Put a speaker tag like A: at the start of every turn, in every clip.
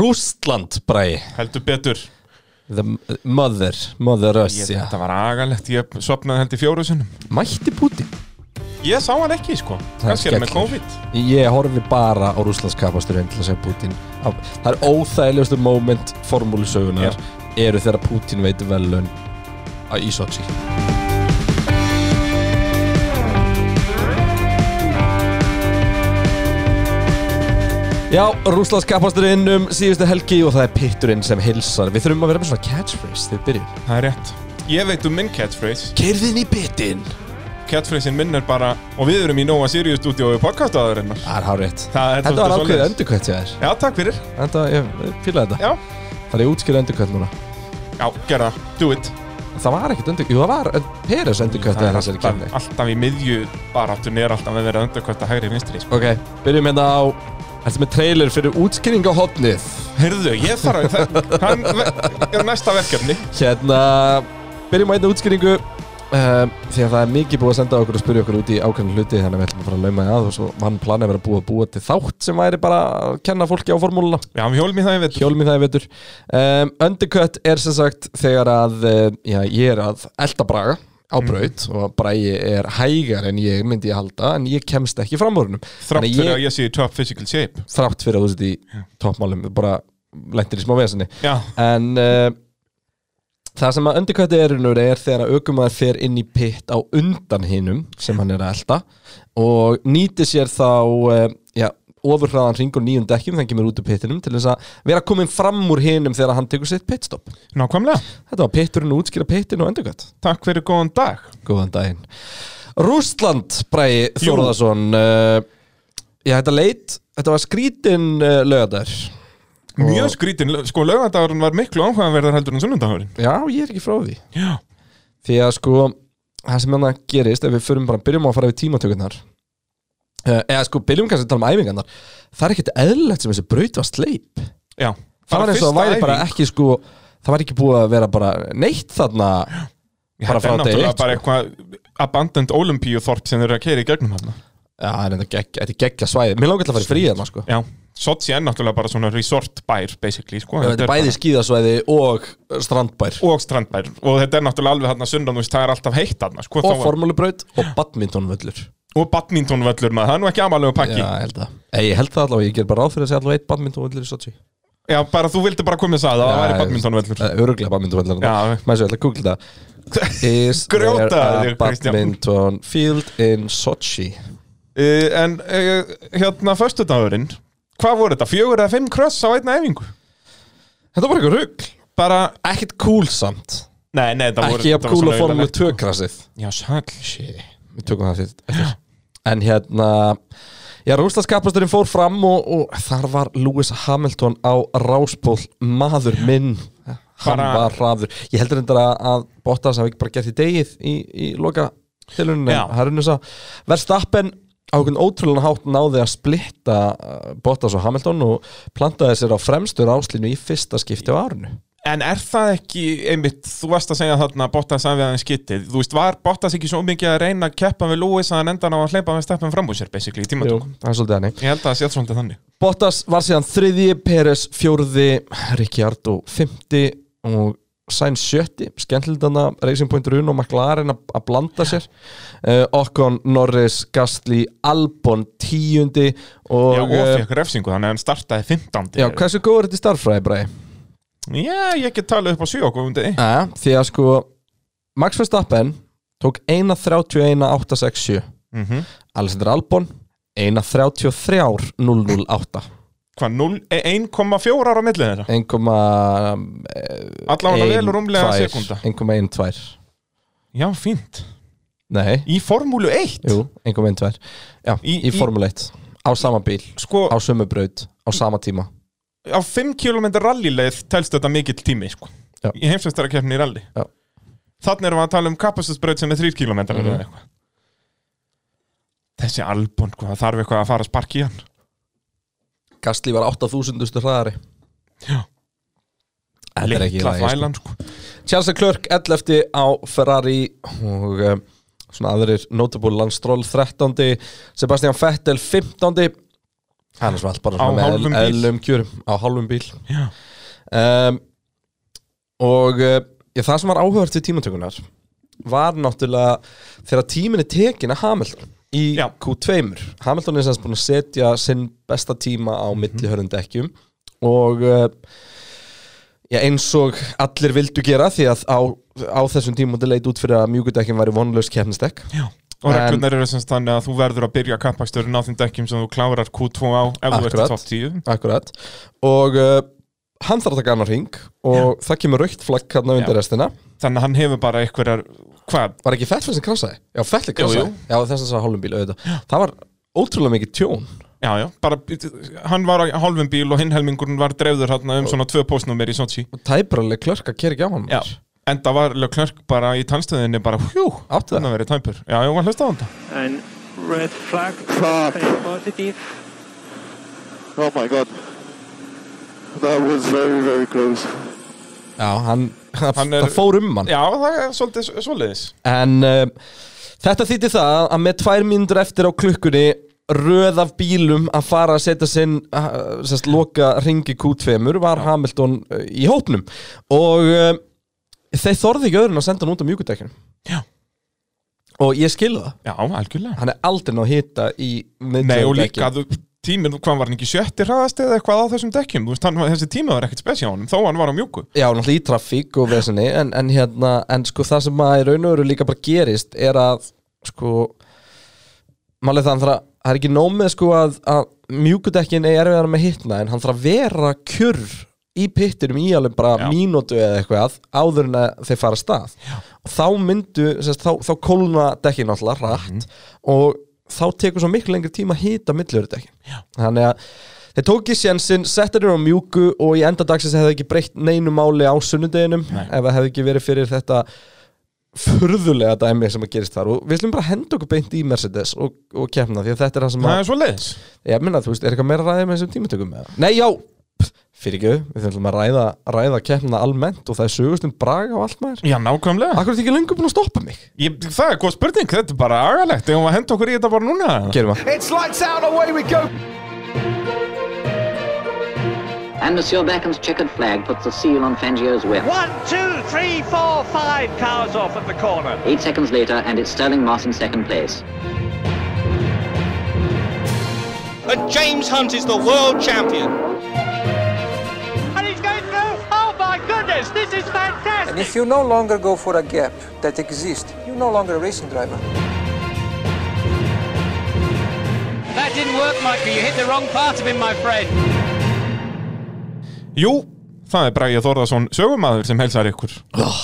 A: Rústland, bræði
B: heldur betur
A: The mother, mother
B: ég,
A: us, já
B: Þetta var agalegt, ég sopnaði held í fjóru sinnum
A: Mætti Putin
B: Ég sá hann ekki sko, kannski er hann með
A: skellur.
B: COVID
A: Ég horfi bara á Rússlands kapasturinn til að segja Putin Á- Það er óþægilegustu moment formúlusögunar eru þegar Putin veit velun í Sochi Já, Rússlands kapasturinn um síðustu helgi og það er pitturinn sem hilsar Við þurfum að vera með svona catchphrase þegar við byrjum
B: Það er rétt Ég veit um minn catchphrase
A: Keirðin í pittin
B: Catchphrasein minn er bara Og við erum í Nova Sirius stúdíu og podcastaðurinnar
A: Það er hárétt
B: Það er
A: Þetta
B: svolítið
A: var ákveðið
B: svoleiðis.
A: endurkvætt hjá þér
B: Já, takk fyrir
A: Þetta, ég fýlaði þetta
B: Já,
A: Það er útskýra endurkvætt núna
B: já, gerða, do it
A: Það var ekkert undir, jú það var Peres
B: Það
A: endurkvættið
B: er
A: þessari
B: alltaf,
A: kemni
B: alltaf í miðju Baráttunni er alltaf að vera undarkvæmt að hægri vinstri sko.
A: Ok, byrjum hérna á Ertu með trailer fyrir útskýring á hotnið
B: Heyrðu, ég þarf að það- Hann ve- er næsta verkefni
A: Hérna, byrjum á einna útskýringu um, Því að það er mikið búið að senda okkur og spyrja okkur út í ákveðin hluti Þannig að við ætlum að fara að lauma því að og svo hann planið verið að búa, búa til þátt sem væri bara að kenna fólki á formúluna
B: Já, við hjólum í það ég veit
A: Hjólum í það í vetur um, Undercut er sem sagt þegar að eh, já, ég er að elda braga á braut og bragi er hægar en ég myndi ég halda en ég kemst ekki fram úr húnum
B: Þrátt
A: Þannig
B: fyrir
A: ég-
B: að ég sé í top physical shape
A: þrátt fyrir að þú sett í toppmálum bara lendir í smá vesinni
B: Já,
A: en uh, það sem að undirkvætti er raunur er þegar að aukumæður fer inn í pitt á undan hinnum sem hann er að elda og nýti sér þá uh, já, ofurhraðan ring og nýjum dekkjum þannig kemur út úr pittinum til þess að vera komin fram úr hinnum þegar hann tekur sitt pitstopp
B: nákvæmlega
A: þetta var pitturinn að útskýra pittin og undirkvætt
B: Takk fyrir góðan dag
A: Góðan daginn Rústland, Bræði
B: Jú.
A: Þórðarsson uh, Já, þetta leit Þetta var skrítin uh, lögadar
B: Mjög skrítin, sko laugardagurinn var miklu áhugaverðar heldur en sunnundagurinn
A: Já, ég er ekki frá því
B: Já,
A: Því að sko, það sem hann gerist Ef við förum bara, byrjum á að fara við tímatökurnar uh, Eða sko, byrjum kannski að tala um æfingarnar Það er ekkert eðlilegt sem þessi braut var sleip
B: já
A: Það var eins og það væri bara ekki sko Það var ekki búið að vera bara neitt þarna bara frá
B: Þetta er
A: degi
B: náttúrulega
A: eitt,
B: bara
A: sko.
B: eitthvað abandoned Olympíuþorp sem þeir eru að keira í gegnum þarna
A: Já, það er enda gegg- þetta er geggja svæði Mér langar til að fara í frí þarna sko
B: Já, Sochi er náttúrulega bara svona resort bær basically, sko
A: Þetta er bæði skíðasvæði og strandbær
B: bara- Og strandbær, og þetta er náttúrulega alveg þarna sundan, þú veist, það er alltaf heitt þarna, sko
A: og
B: þá-
A: formúlubraut og badmintonvöllur
B: Og badmintonvöllur maður, það er nú ekki amalegu
A: Já,
B: pakki
A: ég
B: já.
A: held það Ei, Ég held það allavega, ég ger bara ráð fyrir að segja allavega eitt badmintonvöllur í Sochi
B: bara þú vildi bara koma þess að, það
A: Já,
B: væri
A: ég-
B: badmintonvöllur
A: Það er öruglega badmintonvöllur
B: Já.
A: Mæsum, ég ætla að googla það Is
B: Grjóta
A: there a
B: þig, Kristján.
A: badminton field in Sochi
B: Uh, en uh, hérna, föstudagurinn, hvað voru þetta? Fjögur eða fimm kröss á einna efingu?
A: Þetta var eitthvað rugg
B: Bara,
A: Ekkert cool samt
B: nei, nei, það voru
A: Ekki jafn
B: þetta var
A: cool
B: svona
A: að formúlu
B: auðvitað-
A: 2 krasið
B: Já, sæll
A: Shit, við tökum það fyrir eftir. En hérna Já, Rúslandskapasturinn fór fram og, og þar var Lewis Hamilton á ráspól maður minn Hann
B: Bara-
A: var hraður Ég heldur endur að, að Bottas hafi ekki bara gert í degið í, í loka tiluninu
B: Já.
A: Verðstappen Verstappen á einhvern ótrúlega hátt náði að splitta uh, Bottas og Hamilton og plantaði sér á fremstur áslínu í fyrsta skipti á árinu
B: En er það ekki, einmitt, þú varst að segja þarna að Bottas að við aðeins getið Þú veist, var Bottas ekki svo mikið að reyna að keppa við Lewis að hann endan á að hleypa með steppin fram úr sér, basically, í
A: Jú,
B: tímatökum
A: það er svolítið hannig
B: Ég held að það sé svolítið þannig
A: Bottas var síðan þriðji, Peres fjórði, Ricciardo fymti og Sainz sjötti, skemmtildana Racing Point Run og McLaren að að blanda sér uh, Okkon, Norris, Gastli, Albon tíundi og,
B: Já, og
A: eh,
B: fekk refsingu, þannig að hann startaði 15.
A: já, hversu góð er þetta í starffræði bræði?
B: Já, ég get talað upp á 7 okkur um degi
A: Ja, því að sko Max Verstappen tók 1.31.867
B: mm
A: Alexander Albon 1.33.008
B: Hvað, 0 eh, 1,4 á millið þeirra?
A: 1,1
B: Alla hann vel rúmlega sekunda
A: 1,12
B: Já, fínt
A: Nei,
B: Í formúlu 1?
A: jú, 1,12 Já, í,
B: Í-
A: í
B: í-
A: Formule 1 Á sama bíl,
B: Sko,
A: á sömu braut Á sama tíma
B: á 5 km rallyleið telst þetta mikill tími sko.
A: Já.
B: í heimsveistara keppni í rally
A: Já.
B: þannig erum við að tala um kapasitusbraut sem er 3 km
A: Mhm.
B: eða eitthvað þessi albún, hvað þarf eitthvað að fara að sparki í hann
A: Gastli var 8000 hraðari
B: Já.
A: Þetta er ekki í
B: litla
A: lagi, sko.
B: þvælan sko.
A: Charles Leclerc 11 á Ferrari og um, svona aðrir notable Lance Stroll 13 Sebastian Vettel 15 hann er svalt bara
B: Á
A: svona
B: hálfum
A: með
B: bíl.
A: eðlum kjörum á hálfum bíl
B: Já.
A: um, og uh, já, það sem var áhugavert við tímatökunar var náttúrulega þegar tímin er tekin að Hamilton í
B: Já.
A: Q2 Hamilton er semst búin að setja sinn besta tíma á
B: Mhm.
A: millihörðum dekkjum og uh, já, eins og allir vildu gera því að á, á þessum tímum leit út fyrir að mjúkudekkin væri vonlaus kefnisdekk
B: Já. Og
A: En-
B: reglunar eru semst þannig að þú verður að byrja kappaksturinn á þeim dekkjum sem þú klárar Q2 á ef þú ert í
A: Akkurat.
B: topp 10
A: Akkurat Og uh, hann þarf að taka annar hring Og það kemur raukt flagg hann á undir
B: Já.
A: restina
B: Þannig að hann hefur bara einhverjar hvað?
A: Var ekki Fettler sem krassaði? Já, Fettler krassaði
B: jú.
A: Já, þess að það hálfum bíl auðvitað Það var ótrúlega mikið tjón
B: Já, já, bara hann var á hálfum bíl og hinn helmingurinn var dreifður hann um svona tvö postnúmer í Sochi
A: Og tæbralið klörk að kera ekki á hann
B: Já,
A: maður.
B: enda var Leclerc bara í tannstöðinni bara hjú,
A: Átti
B: þannig
A: það
B: að verið tæpur Já, ég var hlustað á þetta
C: and red flag
D: Fuck.
C: and positive
D: Oh my god. That was very, very close.
A: Já, hann,
B: Hann er-
A: það fór um hann
B: Já, það er svolítið s- svoleiðis
A: En uh, þetta þýtti það að með tvær mínútur eftir á klukkunni röð af bílum að fara að setja sinn uh, sérst, loka ringi Q2 var Hamilton uh, í hópnum og uh, þeir þorði ekki öðrun að senda hann út á mjúkudekkinu
B: Já.
A: og ég skilði það
B: Já, algjörlega
A: hann er aldrei ná að hita í
B: Nei, og
A: miðtökum
B: líka
A: dekkin.
B: þú, tíminn, hvað var hann ekki sjötti hraðast eða eitthvað á þessum dekkjum Þú veist, hann, var- þessi tími var ekkert spesja á honum, þó hann var á mjúku
A: Já, náttúrulega í trafík og vesinni en, en hérna, en sko það sem að í raun og veru líka bara gerist er að sko málið það, hann þarf að, það er ekki nómið sko að, að mjúkudekkin er erfiðar með hitna en hann þarf að vera kjurr í pittinum í alveg bara
B: Já.
A: mínútu eða eitthvað áður en að þeir fara af stað Já. og þá myndu, sérst, þá, þá kólna dekkin alltaf rætt og þá tekur svo miklu lengri tíma að hita millurudekkin þannig að þeir tók í sjensin, settir þeir á mjúku og í enda dagsins hefði ekki breytt neinu máli á sunnudeginum
B: Nei.
A: ef það hefði ekki verið fyrir þetta furðulega dæmi sem að gerist þar og við slum bara henda okkur beint í Mercedes og, og kemna því að þetta er það sem
B: Það
A: að
B: er svoleiðis
A: ég minna, þú veist, er eitthvað meira að ræða með þessum tímatökum með Nei, já, Pff, fyrir ekki við þurfum að ræða, ræða kemna almennt og það er sögustum braga og allt maður
B: Já, nákvæmlega
A: Akkur er þetta ekki lengur búin að stoppa mig
B: ég, Það er góð spurning, þetta er bara agalegt Ef hún var að henda okkur í þetta bara núna
A: Gerum að
E: It's lights out, away we go.
F: And Monsieur Beckham's checkered flag puts the seal on Fangio's whip.
G: One, two, three, four, five cars off at the corner.
F: Eight seconds later, and it's Sterling Moss in second place.
E: And James Hunt is the world champion.
G: And he's going through. Oh my goodness, this is fantastic.
H: And if you no longer go for a gap that exists, you're no longer a racing driver.
I: That didn't work, Michael. You hit the wrong part of him, my friend.
B: Jú, það er Bragi Þórðarsson sögumadur sem helsar ykkur Ah.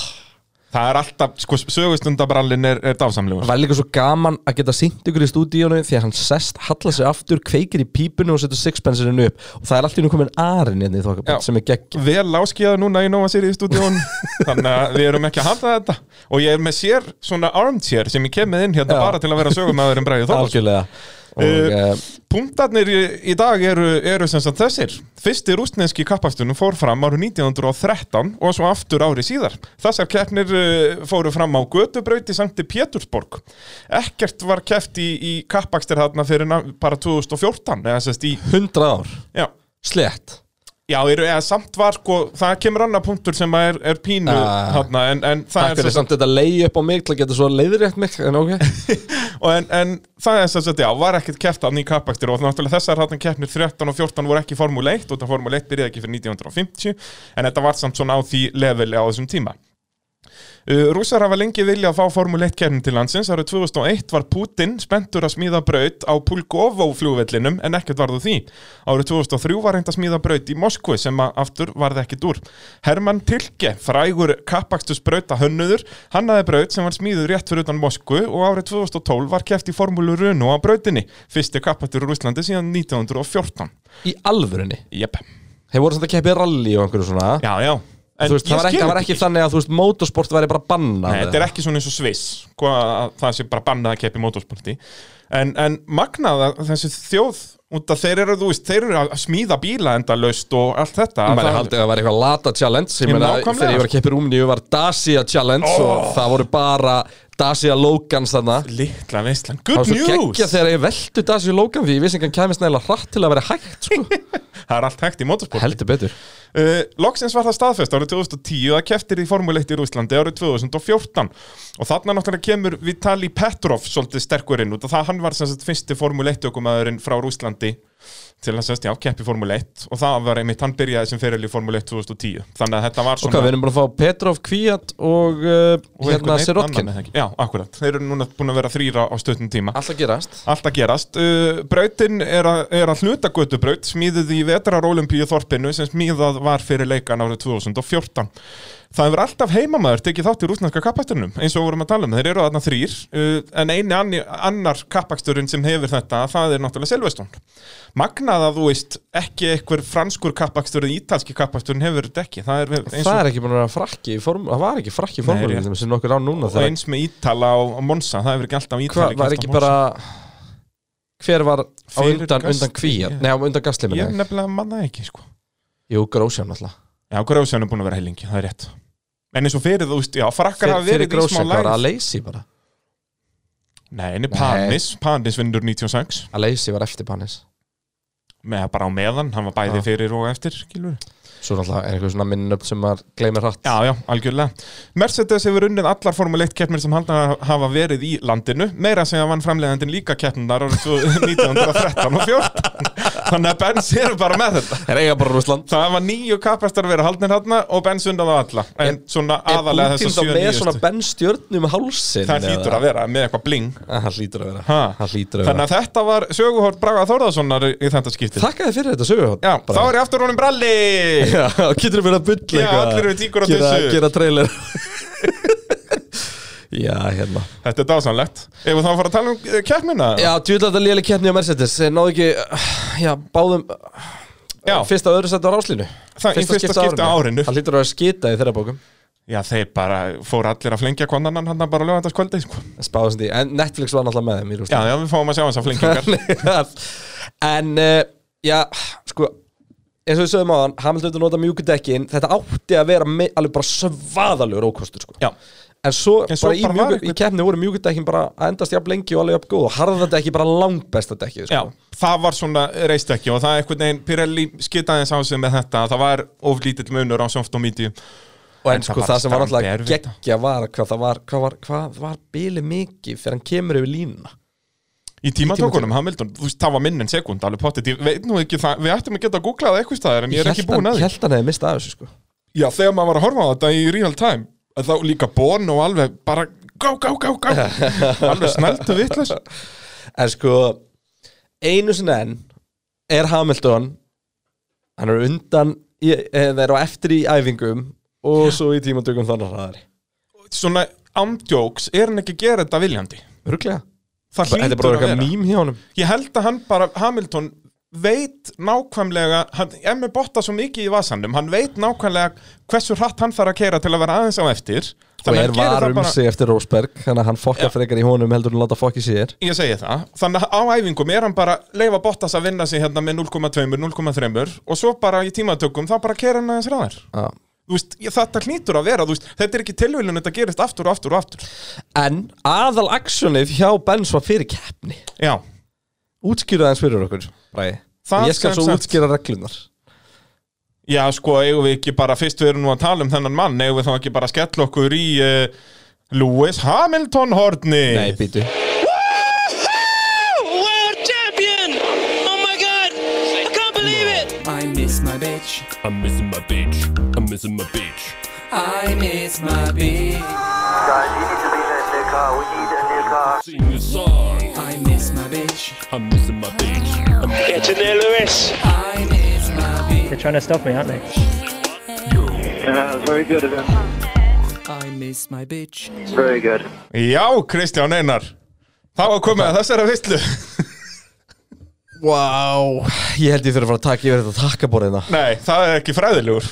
B: Það er alltaf, sko, sögustundabrallin er, er dásamlegur
A: Það var líka svo gaman að geta sýnt ykkur í stúdíónu því að hann sest, hallar sig aftur, kveikir í pípunu og setur sixpenserinu upp og það er allt í nú komin arinn hérna í
B: Já.
A: þokkabætt sem er geggjum
B: Vel áskíðað núna í Nova Series stúdíón Þannig að við erum ekki að halda þetta Og ég er með sér svona armchair sem ég kem með inn hérna
A: Já.
B: bara til að vera sögumadur en Bragi Þórðarsson
A: Algjörlega og,
B: Uh,
A: uh,
B: Punktarnir í, í dag eru, eru sem sagt þessir Fyrsti rústneski kappastunum fór fram árið 1913 og svo aftur ári síðar Þessar keppnir uh, fóru fram á Götubraut í Sankti Pétursborg Ekkert var keppt í, í kappakstir þarna fyrir na- bara 2014 eða sérst í,
A: 100 ár,
B: já
A: slett
B: Já, eru, eða samt var sko, það kemur annar punktur sem að er, er pínu
A: Ah.
B: þarna, en, en það
A: Takk
B: er
A: fyrir samt þetta leið upp á mig til að geta svo leiðrétt mig en ok
B: og en, en það er sem sagt, já, var ekkert keft að ný kappakstir og náttúrulega þessar hann keppnir 13 og 14 voru ekki í Formúlu 1 og það Formúlu 1 byrjaði ekki fyrir 1950 en þetta var samt svona á því leveli á þessum tíma Uh, Rússar hafa lengi vilja að fá Formule 1 kefni til landsins. Árið 2001 var Putin spenntur að smíða braut á Pulkovo flugvellinum en ekkert varðu því. Árið 2003 var reynd að smíða braut í Moskvu sem að aftur varði ekkert úr. Hermann Tilke, frægur kappakstus brauta hönnuður, hannaði braut sem var smíður rétt fyrir utan Moskvu og árið 2012 var keft í Formúlu Runo á brautinni, fyrsti kappaktur úr Íslandi síðan 1914.
A: Í alvörunni
B: Jep.
A: Þeir voru samt að keppa í rally og einhverju svona
B: Já, já. En
A: Þú veist,
B: ég
A: það var ekki,
B: skil
A: það var
B: þetta
A: ekki þannig að þú veist, motorsport væri bara bannað
B: Nei, þetta er ekki svona eins og Sviss hvað að það sé bara bannað að keppa í motorsporti en, en magnað að þessi þjóð út að þeir eru, þú veist, þeir eru að smíða bíla enda laust og allt þetta
A: Maður
B: Það-
A: haldið að það var eitthvað lata challenge Ég
B: Ég
A: meina,
B: nákvæmlega. Oh.
A: þegar ég var að keppa í Rúmni var Dacia challenge og það voru bara Dacia Logans þarna
B: Litla veistlan,
A: Það
B: good
A: var svo
B: news
A: geggja þegar ég veldu Dacia Logan því ég vissi ekki hann kæmist nægilega hratt til að vera hægt sko.
B: Það er allt hægt í motorsport
A: Heldur betur
B: Uh, loksins var það staðfest árið 2010 að keftir í formuleitt í Rúslandi árið 2014 og þarna náttúrulega kemur Vitali Petrov svolítið sterkur inn út og það hann var sem sagt fyrsti formuleitt ökumæðurinn frá Rúslandi til að sem sagt já, keppi formuleitt og það var einmitt, hann byrjaði sem feril í formuleitt 2010 þannig að þetta var
A: Og hvað,
B: svona
A: við erum búin að fá Petrov, Kvíat og, uh,
B: og einhvern
A: hérna
B: einn
A: Sirotkin
B: annan, eða ekki? Já, akkurat, þeir eru núna búin að vera þrýra á stöðnum tíma
A: Alltaf gerast
B: Alltaf gerast. Uh, brautin er, a, er að hluta götubraut, smíðið í vetrarólympíu þorpinu sem smíðað var fyrir leikan árið 2014. Það hefur alltaf heimamaður tekið þátt í rúsnarska kappaksturinnum, eins og við vorum að tala um. Þeir eru þarna þrýr, uh, en eini anni, annar kappaksturinn sem hefur þetta, það er náttúrulega Silveston. Magnað að þú veist, ekki einhver franskur kappakstur eða ítalski kappaksturinn hefur þetta ekki. Það er eins
A: Það
B: og,
A: er ekki búin að vera frakki í form Það var ekki frakki í
B: Nei,
A: formúlunum
B: rétt.
A: sem nokkur á núna
B: og
A: þegar
B: eins með Ítala og, og Monsa, það hefur ekki alltaf Ítali.
A: Hvað var ekki bara Hver var á
B: Fyrir
A: undan,
B: Gasly,
A: undan kvíja
B: ég-
A: Nei, á undan
B: Ég er
A: gaslimina
B: nefnilega manna ekki, sko.
A: Jú, Grósján alltaf
B: Já, Grósjan er búin að vera heilingi, það er rétt En eins og fyrir þú veist, já, frakkar hafa
A: Fyrir
B: verið í smá
A: Grósján var
B: læð
A: Aleysi bara
B: Nei, en Panis, Panis vinnur 96
A: Aleysi var eftir Panis
B: með bara á meðan, hann var bæði
A: Já.
B: fyrir og eftir skilur við.
A: Svo náttúrulega er einhver svona minnöfn sem maður gleymir hratt
B: Já, já, algjörlega. Mercedes hefur unnið allar Formule 1 keppnir sem haldnar hafa verið í landinu, meira sem að vann framleiðandinn líka keppnundar árið 1913 og 14 Þannig að Benz eru bara með þetta
A: Er eiga bara Rúsland
B: Það var nýju kappastar að vera haldnir haldna og Benz undan á alla, en svona
A: Er
B: aðalega
A: Putin
B: þess
A: þá
B: að sjö
A: með svona
B: nýjustu
A: bennstjörnum hálsin
B: Það hlýtur að vera með eitthvað bling
A: vera Það hlýtur að vera
B: Ha.
A: Það hlýtur að
B: Þannig
A: vera
B: að þetta var söguhort Braga Þórðarssonar í þetta skiptið
A: Takk að þið fyrir þetta söguhótt
B: Já, þá er ég aftur honum bralli
A: Já, getur við verið að bulla
B: Já,
A: eitthvað
B: allir eru tíkur á
A: gera,
B: tussu.
A: Gera trailer Já, hérna
B: Þetta er dásanlegt Ef við þá að fara að tala um eh, keppnina
A: Já, djúðlega þetta léli keppni á Mercedes Þeir Náðu ekki, já, báðum
B: Já.
A: Fyrsta og öðru setja á ráslínu
B: Það í fyrsta skipti á árinu.
A: Það hlýtur að vera skita í þeirra bókum
B: Já, þeir bara fóru allir að flengja konanan hann bara lögandagskvöldi sko.
A: Spáðum því, en Netflix var náttúrulega með þeim í
B: Já, já, við fáum að sjá hans að flengingar
A: rústingar En, uh, já, sko eins og við sögum á hann, Hamilton vildi nota mjúku dekkin þetta átti að vera me- alveg bara svaðalegur ókostur sko
B: Já,
A: en svo,
B: En svo
A: bara, í,
B: bara var
A: mjúku,
B: einhver-
A: í keppni voru mjúkudekkin bara að endast jafn lengi og alveg jafn góð og harða dekki bara langbesta dekki sko.
B: já, það var svona reist ekki og það er einhvern veginn Pirelli skitaði eins á sig með þetta það var oflítill munur á soft og medium
A: og en
B: en það
A: sko
B: var
A: það sem var
B: standið
A: alltaf
B: erfitt.
A: geggja var hvað það var, hvað var, hvað var bíli mikið fyrir hann kemur yfir línuna
B: Í tímatökunum, Hamilton, þú veist, það var minn en sekund alveg potið, ég veit nú ekki það við ættum að geta að googla það eitthvað staðar en ég er ekki
A: Hélt
B: búin
A: hann-
B: að því
A: hélt hann hefði mistað af þessu sko
B: Já, þegar maður var að horfa á þetta í real time að þá líka born og alveg bara gá, gá, gá, gá alveg snæltu vitlaus
A: en sko einu sinni enn er Hamilton hann er undan í, eða er á eftir í æfingum og svo í tímatökum þannig hraðari
B: svona amdjóks, er hann ekki að gera þetta viljandi?
A: örglega
B: Það
A: þetta er bara
B: hlýtur að
A: eitthvað
B: vera
A: mím hjá honum
B: Ég held að hann bara, Hamilton veit nákvæmlega, hann er með botta svo mikið í vasanum, hann veit nákvæmlega hversu hratt hann þarf að keira til að vera aðeins á eftir
A: og
B: Þannig að
A: er
B: hann gerir það
A: var um
B: bara-
A: sig eftir Rósberg þannig að hann fokkar frekar í honum heldur en láta fokki sér
B: Ég segi það, þannig að á æfingum er hann bara leifa Bottas að vinna sig hérna með 0,2 0,3 og svo bara í tímatökum þá bara kera hann aðeins ráðar
A: Já.
B: Þú veist, ég, þetta hlýtur að vera, þú veist, þetta er ekki tilvílun þetta gerist aftur og aftur og aftur
A: en aðal aksjonið hjá Benz var fyrir keppni
B: Já,
A: útskýra aðeins fyrir okkur Bræði.
B: Það
A: ég skal
B: sem
A: svo
B: sagt-
A: útskýra reglunar
B: já sko, eigum við ekki bara fyrst við erum nú að tala um þennan mann, eigum við þá ekki bara að skella okkur í uh, Lewis Hamilton horni
A: nei, býtu
I: World champion! Oh my god! I can't believe it!
J: I miss my bitch.
K: I'm missing my bitch. I'm missing my bitch.
J: I miss my bitch.
D: Guys, you need to be in their car. We need a new car.
K: Sing the song.
J: I miss my bitch.
K: I'm missing my bitch. I'm
G: Get in there, Lewis.
J: I miss my bitch.
I: They're trying to stop me, aren't they?
D: Yeah, it was very good of him.
J: I miss my bitch.
D: Very good.
B: Já, Kristján Einar Það var komið að þessara veistlu
A: wow. ég held ég þurfa að fara að taka yfir þetta takkaborðina
B: Nei, það er ekki fræðilegur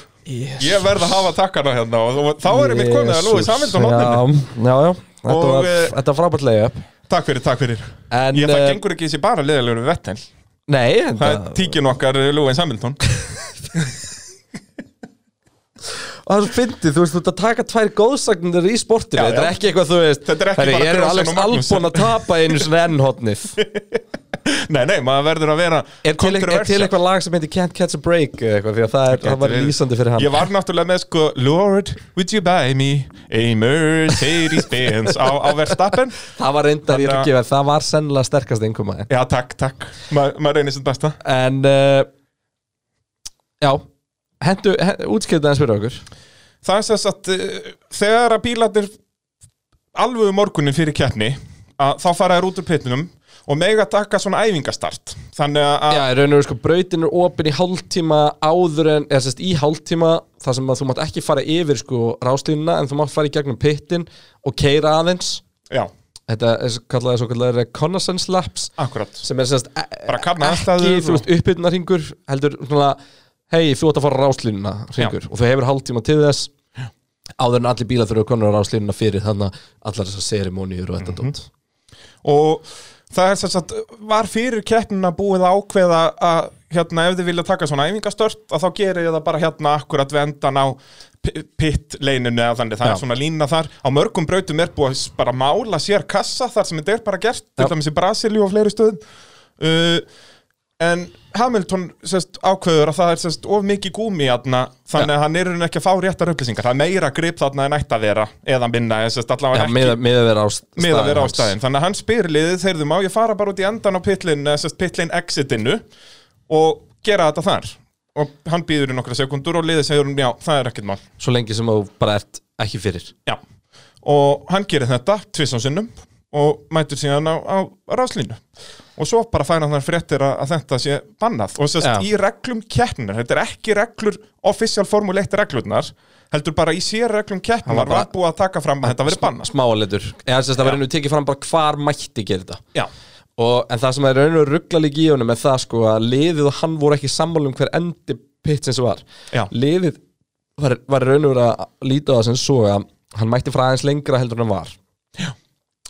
B: Ég verð að hafa takkana hérna og þú- þá er ég mitt komið að Lewis Hamilton horninu
A: já, já, já. Þetta,
B: Og,
A: var,
B: eh,
A: þetta var frábært leiði upp
B: Takk fyrir, takk fyrir
A: En,
B: Ég það
A: eh,
B: gengur ekki þessi bara leðalegur við Vettel
A: Nei, en
B: eh, Það er tíkin okkar Lúin Samilton
A: og það er svo fyndið, þú veist, þú ert að taka tvær góðsagnir í sportinu,
B: Já, já.
A: þetta er ekki eitthvað, þú veist
B: Þetta er ekki
A: herri, ég
B: bara
A: er Alex
B: Grossman og Magnussen.
A: Albon að tapa einu svona ennhotnið
B: Nei, nei, maður verður að vera
A: er, til- er til
B: kontroversial.
A: eitthvað lag sem heitir Can't Catch a Break eða eitthvað, því að það, er, það var
B: Gæti verið.
A: lýsandi fyrir hann
B: Ég var náttúrulega með sko Lord, would you buy me a Mercedes-Benz á, á verðstappen
A: það var reyndar, ég er ekki verið, það var sennilega sterkast einnkoma
B: Já, takk, takk Ma- Maður reynir sitt besta
A: en uh, já, hendu, hendu útskipta eins fyrir okkur
B: Það er sess að uh, þegar að bílarnir alveg um morgunin fyrir keppni að þá fara þær út úr pittinum og mega taka svona æfingastart Þannig að
A: Já, í raun og veru sko brautin er opin í hálftíma áður en, eða sérst í hálftíma þar sem að þú mátt ekki fara yfir sko ráslínuna en þú mátt fara í gegnum pittin og keira aðeins
B: Já,
A: Þetta er svo kallaði svo kallaði reconnaissance laps
B: akkurat
A: sem er sérst
B: Bara sko. kanna
A: ekki,
B: aðstæður
A: þú veist, uppbytna ringur heldur svona, hei, þú átt að fara á ráslínuna ringur og þú hefur hálftíma til þess áður en allir bílar þurfa konur á ráslínuna fyrir þannig allar þessar serimóniur og
B: Mhm.
A: þetta mm
B: og það er sem sagt var fyrir keppnina búið að ákveða að hérna ef þið vilja taka svona æfingastört að þá gerir ég það bara hérna akkurat vendan á pitt leininu eða þannig það
A: Já.
B: er svona lína þar á mörgum brautum er búið að s- bara mála sér kassa þar sem þetta er bara gert til
A: Já.
B: dæmis í Brasilíu og fleiri stöðum uh, en Hamilton sest, ákveður að það er sest, of mikið gúmi þarna, þannig að hann er í rauninni ekki að fá réttar upplýsingar það er meira grip þarna en ætti að vera eða minna, en sest,
A: Já,
B: allavega
A: með,
B: ekki
A: með að vera á staðin
B: með að vera á staðinn þannig að hann spyr liðið, þeirðu má ég fara bara út í endan á pitlin, pitlin exitinu og gera þetta þar og hann býður í nokkra sekundur og liðið segir um já, það er ekkert mál
A: svo lengi sem þú bara ert ekki fyrir
B: já. og hann gerir þetta tvissan sinnum og mætur síðan á, á ráslínu og svo bara færa hann fréttir að, að þetta sé bannað og sérst
A: Já.
B: í reglum keppnir þetta er ekki reglur, official formuleitt reglurnar heldur bara í sér reglum keppnar
A: var bara-
B: var búið að taka fram að þetta verið bannað
A: smáleitur eða þess að það verður nú tekið fram bara hvar mætti gera þetta
B: já,
A: og, en það sem er raun og ruggla líka í honum er það sko að liðið og hann voru ekki sammála um hver endi pitsins var
B: Já.
A: liðið var, var raun og verið að líta á það sem svo að hann mætti frá aðeins lengra heldur en hann var Já.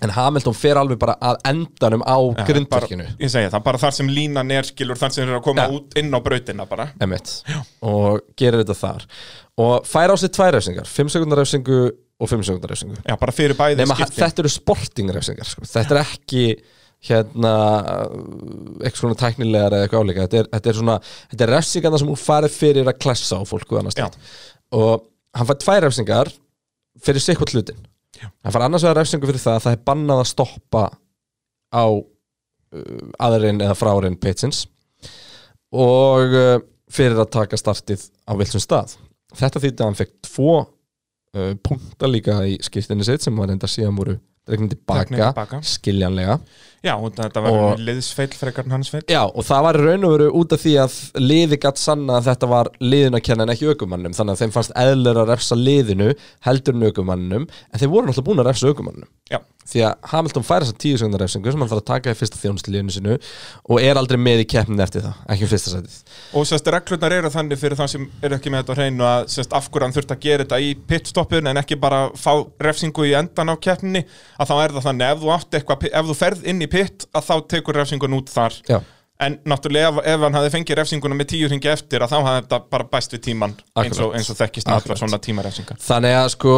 A: en Hamilton fer alveg bara að endanum á
B: Já,
A: grindverkinu
B: bara, Ég segi það, bara þar sem línan er skilur þar sem þeir eru að koma
A: Já.
B: út inn á brautina bara
A: Emmett og gerir þetta þar og fær á sig tvær refsingar 5 sekundar refsingu og 5 sekundar refsingu
B: Já, bara fyrir bæði
A: Nefna,
B: skiptin
A: þetta eru sportingrefsingar sko. þetta er ekki hérna eitthvað svona tæknilegar eða eitthvað áleika þetta er, þetta er svona, þetta er refsingarna sem hún farið fyrir að klessa á fólku annars
B: Já.
A: og hann fær tvær refsingar fyrir sikkvort hlutin Já. hann fær annars vegar refsingu fyrir það að það er bannað að stoppa á uh, aðrin eða frárin pitsins og uh, fyrir að taka startið á vilsum stað þetta þýtti að hann fekk tvo uh, punkta líka í skiptinni sitt sem var enda síðan voru dregnum
B: Dregnir
A: tilbaka,
B: til baka.
A: skiljanlega
B: Já, og þetta var
A: Og-
B: og... liðsfeil frekar en hans feil
A: já og það var í raun og veru út af því að liði gatt sanna að þetta var liðin að kenna en ekki aukumannum þannig að þeim fannst eðlur að refsa liðinu heldur en aukumannum en þeir voru náttúrulega búin að refsa aukumannum
B: Já,
A: því að Hamilton fær þessar tíu sekundar refsingu sem hann þarf að taka í fyrsta þjónustilíðinu sinu og er aldrei með í keppnin eftir það ekki um fyrsta sætið
B: og sérst reglurnar eru þannig fyrir það sem eru ekki með þetta á hreinu að sérst af hverju hann þurft að gera þetta í pitstoppun en ekki bara fá refsingu í endan á keppninni að þá er það þannig ef þú átt eitthvað, ef þú ferð inn í pitt að þá tekur refsingun út þar
A: Já.
B: En náttúrulega ef, ef hann hafði fengið refsinguna með tíu hringi eftir að þá hafði þetta bara bæst við tíman eins og,
A: Akkurat.
B: eins og þekkist með allar
A: Akkurat.
B: svona tímarefsingar
A: Þannig að sko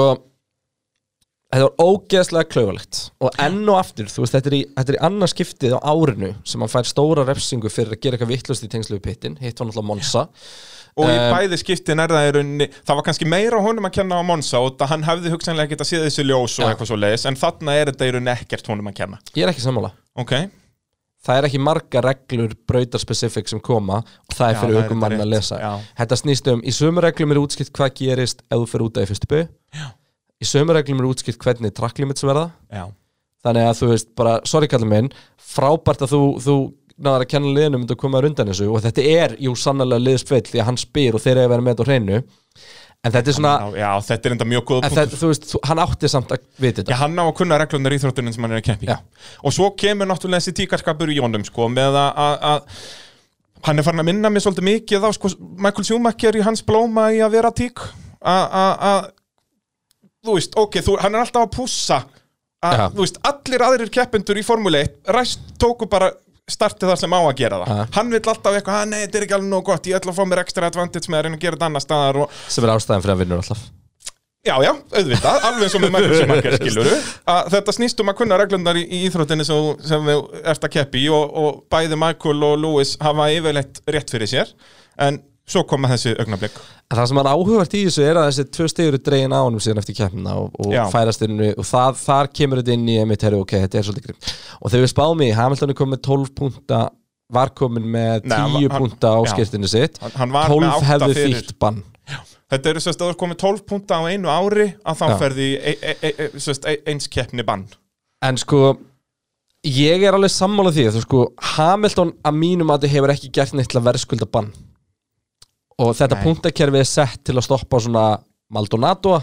A: Þetta var ógeðslega klauvalegt Og enn og aftur, þú veist, þetta er í, þetta er í annars skiptið á árinu sem hann fær stóra refsingu fyrir að gera eitthvað vittlust í tengslu við pittin Hitt var náttúrulega Monsa
B: og í
A: Um,
B: bæði skiptin er það í rauninni það var kannski meira honum að kenna á Monsa og það hann hefði hugsanlega getað séð þessi ljós og
A: Já.
B: eitthvað svo leiðis en þarna er þetta í rauninni ekkert honum að kenna
A: Ég er ekki sammála
B: ok,
A: Það er ekki marga reglur brautarspecifik sem koma og það er
B: Já, það
A: fyrir
B: er
A: aukum mann
B: rétt,
A: að lesa
B: já.
A: Þetta snýst um, í sömu reglum er útskipt hvað gerist ef þú fyrir út af í fyrstu bygg Í sömu reglum er útskipt hvernig track limits verða
B: já,
A: þannig að þú veist bara, sorry kallum minn frábært að þú, þú náðar að kenna liðinu myndi að koma þér undan þessu og þetta er jú sannlega liðsfell því að hann spyr og þeir eru að vera með þetta á hreinu en þetta er svona,
B: já, já þetta er enda mjög góð
A: en
B: punktur
A: þetta, þú veist þú, hann átti samt að vita
B: Já,
A: þetta
B: hann á að kunna reglunar í þróttunum sem hann er að keppi
A: Já.
B: og svo kemur náttúrulega þessi tíkarskapur í honum sko, með að- að að- hann er farin að minna mér svolítið mikið á sko, Michael Schumacher í hans blóma í að vera tík að- að að- þú veist, ok, þú, hann er alltaf að pússa að,
A: Já.
B: þú veist, allir aðrir keppendur í Formule 1 ræst tóku bara starti þar sem á að gera það
A: Ha.
B: hann vill alltaf eitthvað, "Ah, nei, þetta er ekki alveg nóg gott ég ætla að fá mér ekstra advantage með að reyna að gera þetta annar staðar og
A: sem er ástæðan fyrir að vinnur alltaf
B: Já, já, auðvitað, alveg eins og með Michael Schumacher skilur að þetta snýst um að kunna reglundar í, í íþróttinni sem, þú- sem við ert að keppi í og, og bæði Michael og Lewis hafa yfirleitt rétt fyrir sér en svo koma þessi augnablik
A: En það sem er áhugavert í þessu er að þessi tvö stegur er dregin á honum síðan eftir keppnina og,
B: Já.
A: og færast inn í- og það, þar kemur þetta inn í emitt herri, ok, þetta er svolítið grim og þegar við spáum í, Hamilton er komið 12 púnta var komin með
B: Nei, hann var-
A: 10
B: hann-
A: púnta á
B: já.
A: skirtinu sitt
B: Hann- hann var með
A: 12
B: átta
A: hefði
B: fyrir.
A: þýtt bann
B: Þetta eru sérst að þú er komið 12 punta á einu ári að þá
A: Já.
B: ferði í e- e- e- e- sérst, e- eins keppni bann
A: en sko, ég er alveg sammála því að þú sko, Hamilton að mínum að hefur ekki gert neitt til að verðskulda bann og þetta
B: Nei.
A: púntakerfi er sett til að stoppa svona Maldonado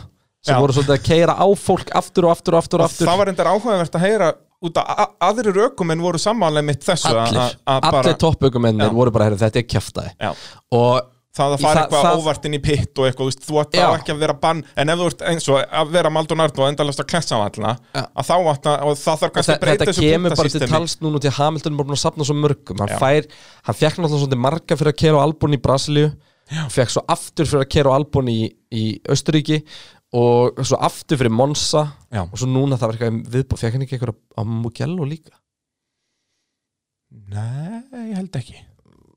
A: sem
B: Já.
A: voru svolítið að keira á fólk aftur og aftur og aftur og aftur
B: Það var endar áhugavert að heyra út að a- aðrir aukumenn voru samanlega mitt þessu að-
A: allir,
B: að- að bara-
A: allir toppaukumennir
B: Já.
A: voru bara heyrðu, þetta er kjaftaði
B: Já.
A: og
B: það að
A: Í
B: fara
A: það-
B: eitthvað
A: það-
B: óvart inn í pitt og eitthvað, þú veist, þú átt
A: Já.
B: þá ekki að vera bann en ef þú ert eins og að vera Maldonardo og endalast að klessa á allna
A: Já.
B: að þá átt að, og það þarf
A: og
B: kannski
A: þe-
B: að breyta
A: þetta
B: þessu
A: kemur bara til
B: punktasystemi.
A: tals núna til að Hamilton er bara búin að sapna svo mörgum hann,
B: Já.
A: fær, hann fekk náttúrulega svolítið marga fyrir að kera á Albon í Brasilíu fekk svo aftur fyrir að kera á Albon í, í Östuríki og svo aftur fyrir Monza
B: Já.
A: og svo núna það var eitthvað um viðbúð fekk hann ekki eitthvað á Mugello líka
B: Nei, ég held ekki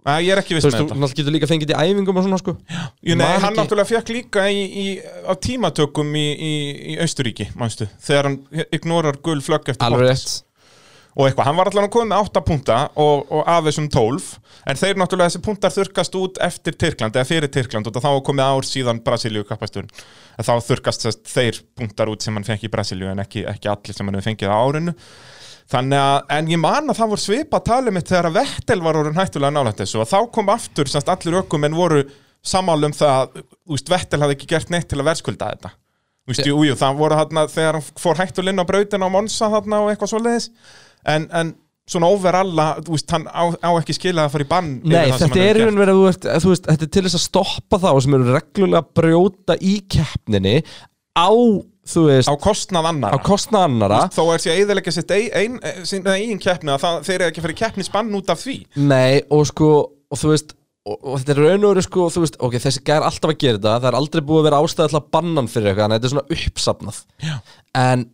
B: Nei, ég er ekki
A: þú
B: viss
A: veist, þú
B: með þetta
A: náttúrulega getur líka fengið í æfingum og svona sko
B: Jú, nei,
A: man
B: Hann
A: ekki-
B: náttúrulega fekk líka í, í, á tímatökum í, í, í Austuríki, manstu þegar hann ignorar gul flögg eftir
A: alveg
B: Bottas.
A: rétt
B: og eitthvað, hann var allan að koma með 8 punta og, og af þessum 12 en þeir náttúrulega þessi puntar þurkast út eftir Tyrkland eða fyrir Tyrkland og þá var komið ár síðan Brasilíu kappasturinn þá þurkast þess, þeir puntar út sem hann fengi í Brasilíu en ekki, ekki allir sem hann hefur fengið á árinu þannig að, en ég man að það voru svipa talið mitt þegar að Vettel var orðin hættulega nálægt þessu og þá kom aftur, semst allir ökum en voru samála um það að úst, Vettel hafði ekki gert neitt til að verðskulda þetta Þú veist, jú, jú, það voru þarna þegar hann fór hættulinn á brautina á Monsa þarna og eitthvað svoleiðis en, en svona overalla, þú veist, hann á, á ekki skilað að fara í bann yfir
A: Nei,
B: það sem
A: þetta
B: hann
A: er einhvern
B: hefur
A: veginn
B: gert.
A: að þú ert, að þú veist, þetta er til þess að stoppa þá sem eru reglulega að brjóta í keppninni á, þú veist, á,
B: á kostnað annara
A: kostna annara
B: þó er sér að eðilegja sitt ein, ein, sín eigin keppni að það, þeir eru ekki að fara í keppnisbann út af því
A: Nei, og sko, og þú veist og, og þetta er raun og veru sko, þú veist, ok, þessi gæðar alltaf að gera þetta, það er aldrei búið að vera ástæða til að banna hann fyrir eitthvað, þannig að þetta er svona uppsafnað Já. en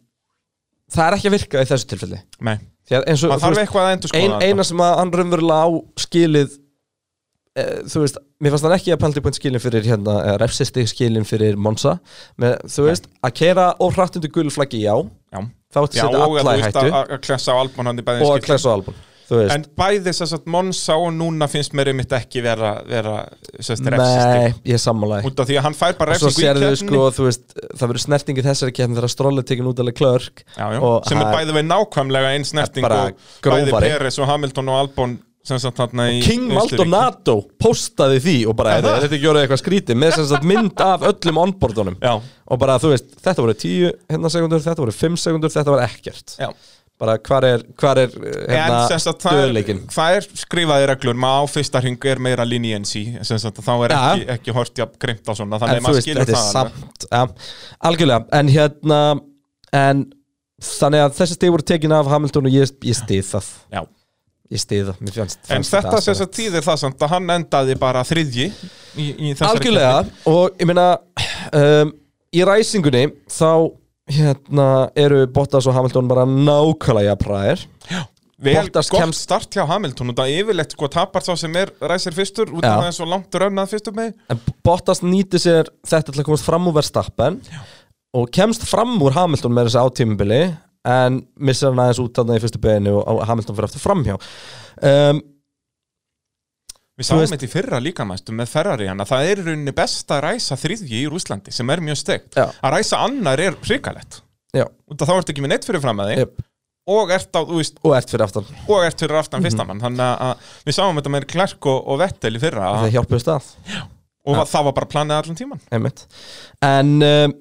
A: það er ekki að virka í þessu tilfelli
B: Nei,
A: Því að eins og,
B: maður
A: þú
B: þarf
A: veist,
B: eitthvað að endur
A: ein,
B: skoða
A: eina sem að hann raunverulega á skilið e, þú veist, mér fannst hann ekki að penalty point skilin fyrir hérna, eða refsisti skilin fyrir Monza, með, þú veist að keira og hratt undir gulu flaggi, já
B: Já,
A: þá ætti
B: já
A: að setja
B: og að
A: alla
B: þú
A: í
B: veist
A: hættu
B: að, að klessa á Albon hann í bæðin
A: og að klesa á album, þú veist
B: En bæði þess að Monsa og núna finnst mér einmitt ekki vera, vera sérst refsistig
A: nei, ég sammála ekki
B: út af því að hann fær bara
A: og svo
B: refsingu í
A: sérðu
B: keppninni
A: sko, þú veist, það verður snertingi þessari keppni þegar stróla tekin út alveg klörk
B: já, já.
A: og
B: sem er
A: hann-
B: bæði við nákvæmlega einn snerting
A: Bara
B: og bæði
A: grófari.
B: Peres og Hamilton og Albon sem sagt þarna í
A: King
B: í Austurríki.
A: Maldonado postaði því og bara, er
B: Er það?
A: þetta ekki orðið eitthvað skrítið með sem sagt mynd af öllum onboardunum
B: Já.
A: og bara, þú veist, þetta voru 10 hérna sekundur, þetta voru 5 sekundur, þetta var ekkert
B: Já.
A: bara, hvar er, hvar er
B: En sem
A: hérna,
B: sagt, það er,
A: döðleikin
B: það er skrifaði reglur maður á fyrsta hring er meira leniency sem sagt, þá er
A: Já.
B: ekki, ekki hort jafn grimt á svona
A: en
B: þannig að
A: þú
B: maður
A: veist,
B: skilur
A: þetta er
B: það alveg.
A: samt ja, algjörlega, en hérna en þannig að þessi stig voru tekin af Hamilton og ég, ég stið það
B: Já.
A: ég stið það, mér fannst
B: En
A: fannst
B: þetta sem
A: aðstæður.
B: sagt tíðir það samt að hann endaði bara þriðji í, í þessari
A: algjörlega,
B: keppni.
A: og ég meina um, í ræsingunni þá hérna eru Bottas og Hamilton bara nákvæmlega præðir
B: Vel
A: Bottas
B: gott
A: kemst-
B: start hjá Hamilton út af yfirleitt sko tapar sá sem er ræsir fyrstur út
A: Já.
B: af það er svo langt rönnað fyrstur með
A: en Bottas nýti sér þetta til að komast fram úr verðstappen og kemst fram úr Hamilton með þessi átímubili en missir hann aðeins út þarna í fyrstu beinu og og Hamilton fyrir aftur framhjá um,
B: Við sáum
A: veist-
B: þetta í fyrra líka mæstu með Ferrari hann að það er í rauninni best að ræsa þriðji í Rúslandi sem er mjög stegt.
A: Já.
B: Að ræsa annar er hrikalett.
A: já,
B: Út af þá ertu ekki með neitt fyrir fram að þig
A: yep.
B: og, ert á, þú veist,
A: og ert fyrir aftan
B: og ert fyrir
A: Mhm.
B: aftan fyrstamann. Þannig að- að við sáum þetta með Klerk og, og Vettel í fyrra
A: það hjálpuðu stað
B: og ja. það var bara planið allan tíman.
A: einmitt. en um,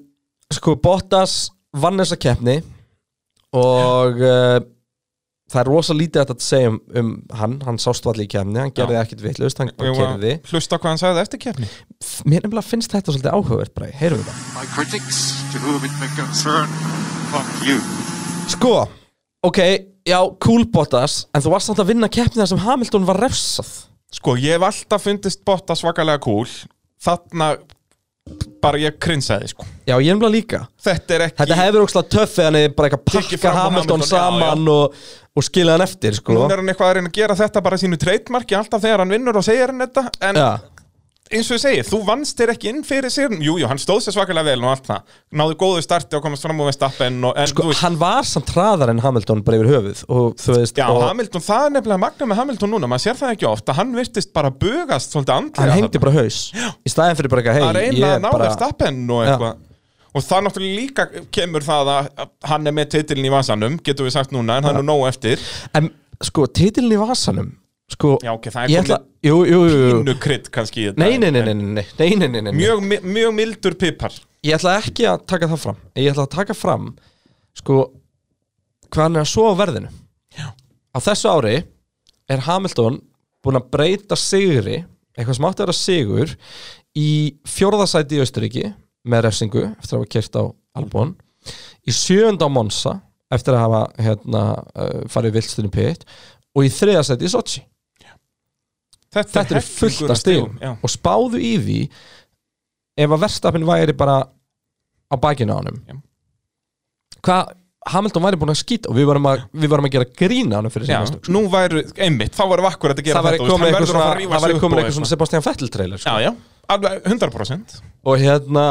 A: sko Bottas vann þessa keppni og uh, það er rosa lítið hægt að segja um, um hann, hann sást allir í keppni hann gerði ekkert vitlaust, hann bara kerði
B: Hlusta hvað hann sagði eftir keppni.
A: mér nefnilega finnst þetta svolítið áhugavert bara, heyrðum við það
D: My critics, to whom it may concern, fuck you.
A: Sko, ok, já, cool Bottas en þú varst samt að vinna keppnið þar sem Hamilton var refsað
B: Sko, ég hef alltaf fundist Bottas svakalega cool Þarna bara ég krinsaði, sko
A: Já, ég emla líka
B: Þetta er ekki
A: Þetta hefur ógslag töff eða hann er bara eitthvað að
B: Tekið
A: pakka
B: fram á
A: Hamilton
B: Hamilton, já,
A: saman og, og skilja hann eftir, sko
B: Nú er hann eitthvað að reyna að gera þetta bara sínu treytmarki alltaf þegar hann vinnur og segir hann þetta En
A: Já,
B: eins og ég segi, þú vannst þér ekki inn fyrir sér Jú, jú, hann stóð sér svakalega vel og allt það Náðu góðu starti og komast fram úr Vestappen og, En
A: sko,
B: þú veist,
A: hann var samt hraðar en Hamilton bara yfir höfuð og þú veist
B: já,
A: og
B: Hamilton, það er nefnilega magna með Hamilton núna Maður sér það ekki ofta, hann virtist bara bugast svolítið andlega
A: hann hengdi
B: þarna.
A: bara haus í staðin fyrir bara
B: að
A: eitthvað, hei,
B: reyna
A: ég
B: að
A: er
B: ná
A: bara
B: Vestappen og
A: Já.
B: eitthvað Og það náttúrulega líka kemur það að að hann er með titilin í vasanum, getum við sagt núna, en hann er nóg eftir.
A: En sko, titilin í vasanum sko,
B: Já, ok, það er
A: ég
B: komið-
A: ætla, Jú, jú, jú, jú.
B: Innu krydd kannski í þetta.
A: Nei, nei, nei, nei, nei, nei, nei, nei, nei, nei.
B: Mjög, mi- mjög mildur pipar.
A: Ég ætla ekki að taka það fram Ég ætla að taka fram sko, hvað hann er að sofa á verðinu Já. Á þessu ári er Hamilton búinn að breyta sigri eitthvað sem átti að vera sigur í fjórðasæti í Austuríki með refsingu eftir að hafa kert á Albon í sjönda á Monza eftir að hafa hérna, uh, farið vilstunni pitt og í þriðasæti í Sochi þetta er
B: hellingur
A: fullt af stegum
B: já.
A: og spáðu í því ef að verstafinn væri bara á bakinu á honum
B: Já.
A: hvað Hamilton væri búin að skýta og við varum að, við varum að gera grína honum fyrir
B: Já,
A: sem mistök.
B: nú væru, einmitt, þá varum við akkurat að gera
A: það væri
B: þetta
A: komin eitthvað
B: svona,
A: svona, það væri komin eitthvað svona Sebastian Vettel trailer sko.
B: Já, já, alveg 100%
A: og hérna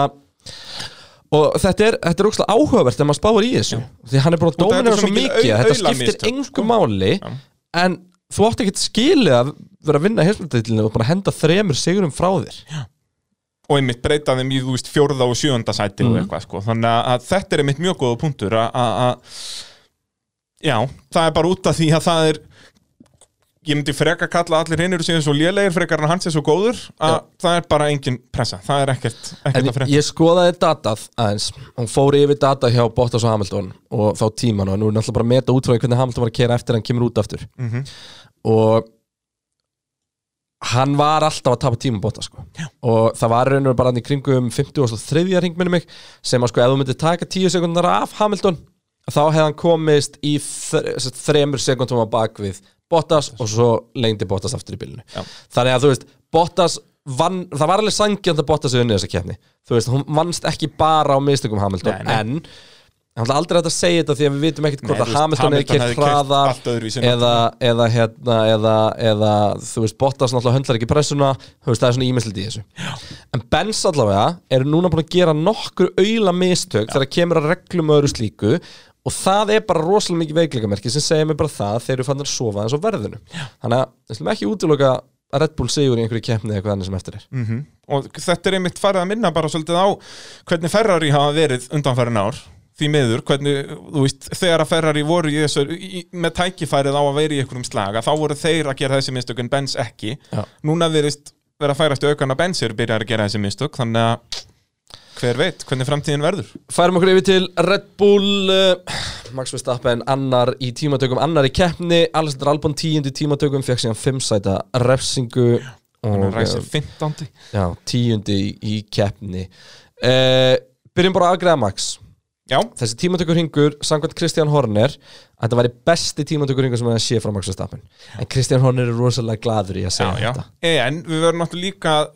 A: og þetta er, þetta er ógslag áhugavert þegar maður spáir í þessu því hann er búin að
B: Út af þetta er
A: dóminera
B: svo
A: svo
B: mikil
A: mikið
B: au-
A: þetta
B: aulamistök,
A: skiptir engu máli
B: Já.
A: en þú átt ekki skilið að vera að vinna heimsmyndatitilinu og bara henda þremur sigurum frá þér
B: Og einmitt breyta þeim í, þú veist, fjórða og sjöunda sæti og eitthvað, sko Þannig að- að þetta er einmitt mjög góða punktur að- að að- Já, það er bara út af því að það er Ég myndi frekar kalla allir hinnir sem er svo lélegir frekar en hans er svo góður að það er bara engin pressa, það er ekkert, ekkert að
A: En
B: frekta
A: ég skoðaði datað aðeins Hún fór yfir data hjá Bottas og Hamilton Og þá tíman og nú er náttúrulega bara að meta útfæði Hvernig Hamilton var að kera eftir hann kemur út aftur Og Hann var alltaf að tapa tíma Bottas sko. Og það var raunur bara hann í kringum 50 og svo þriðja ringminni mig Sem að sko ef þú myndir taka 10 sekundar af Hamilton Þá hefði hann komist í þre- sem sagt, þremur sekundum á bakvið Bottas og svo lengdi Bottas aftur í bylunu
B: Já.
A: þannig að þú veist, Bottas vann, það var alveg sangjand að Bottas við unnið þessa keppni, þú veist, hún vannst ekki bara á mistökum Hamilton,
B: Nei, nei.
A: en það er aldrei hægt að segja þetta því að við vitum ekkert hvort
B: Nei,
A: að
B: þú veist,
A: Hamilton hefði
B: Hamilton
A: kert
B: hefði keyrt
A: hraðar
B: allt öðruvísi en
A: eða, eða, hérna, eða, eða þú veist, Bottas náttúrulega höndlar ekki pressuna þú veist, það er svona ímislið í þessu Já. en Benz allavega er núna búin að gera nokkur auðla mistök þegar kemur að reglum og öðru slíku og það er bara rosalega mikið veikleikamerki sem segir mér bara það að þeir eru fannar að sofa eins og verðinu Já. þannig að við slum ekki útiloka að Red Bull sigur í einhverju keppni eða hvað annað sem eftir er
B: og þetta er einmitt farið að minna bara svolítið á hvernig Ferrari hafa verið undanfærin ár því miður, hvernig, þú veist, þegar að Ferrari voru í þessu, í, með tækifærið á að vera í einhverjum slaga, þá voru þeir að gera þessi mistök en Benz ekki
A: Já.
B: núna verist vera að færast í aukan að Benz eru byrjar að gera þessi mistök, þannig að hver veit, hvernig framtíðin verður
A: Færum okkur yfir til Red Bull uh, Max Verstappen annar í tímatökum annar í keppni, Alessandr Albon tíund í tímatökum fekk síðan fimm sæta refsingu
B: hann
A: og
B: er ræsir 15.
A: eh, já, tíundi í, í keppni uh, Byrjum bara að afgreða Max
B: Já,
A: Þessi tímatökur hingur, samkvæmt Kristján Horner að þetta væri besti tímatökur hingur sem hann sé frá Max Verstappen En Kristján Horner er rosalega gladur í að
B: já,
A: segja
B: já
A: þetta
B: en við verðum náttúrulega líka að,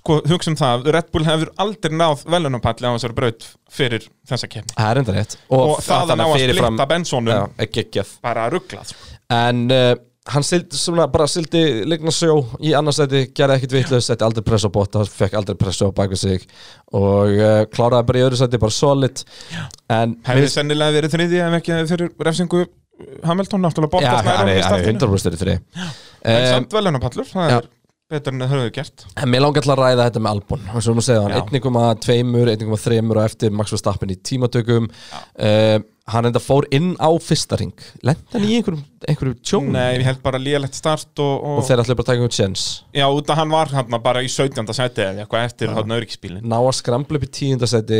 B: sko, hugsa um það, Red Bull hefur aldrei náð velunapalli á þessari braut fyrir þessa kefni
A: Það er enda rétt
B: og, það að ná að splitta
A: Já,
B: Bensonum
A: ekki ekki að
B: bara að sko. rugglað
A: en uh, hann sildi, svona, bara sildi ligna sjó í annarsæti, gerði ekkit vitlaus setti aldrei press á bóta, fekk aldrei press á baku sig og uh, kláraði bara í öðru sæti bara solid en
B: hefði sennilega verið þriði ef ekki fyrir refsingu Hamilton náttúrulega
A: já,
B: Bottas
A: hann
B: nær honum
A: er
B: í
A: hann er
B: startinu.
A: 100% í þri
B: en
A: Eh,
B: samt velunapallur, það
A: já.
B: er betur en það höfðu gert
A: En mér langar til að ræða þetta með Albon og svo erum að segja hann
B: Já.
A: 1,2, 1,3 og eftir Max Verstappen í tímatökum uh, hann enda fór inn á fyrsta ring lenda hann í einhverjum, einhverjum tjón
B: nei, ég held bara lélegt start og, og,
A: og þeir ætlaði bara að taka einhvern sjens
B: já, út að hann var hann bara í 17. seti eða eitthvað eftir hann öryggspílin
A: ná að skrambla upp í tíundasæti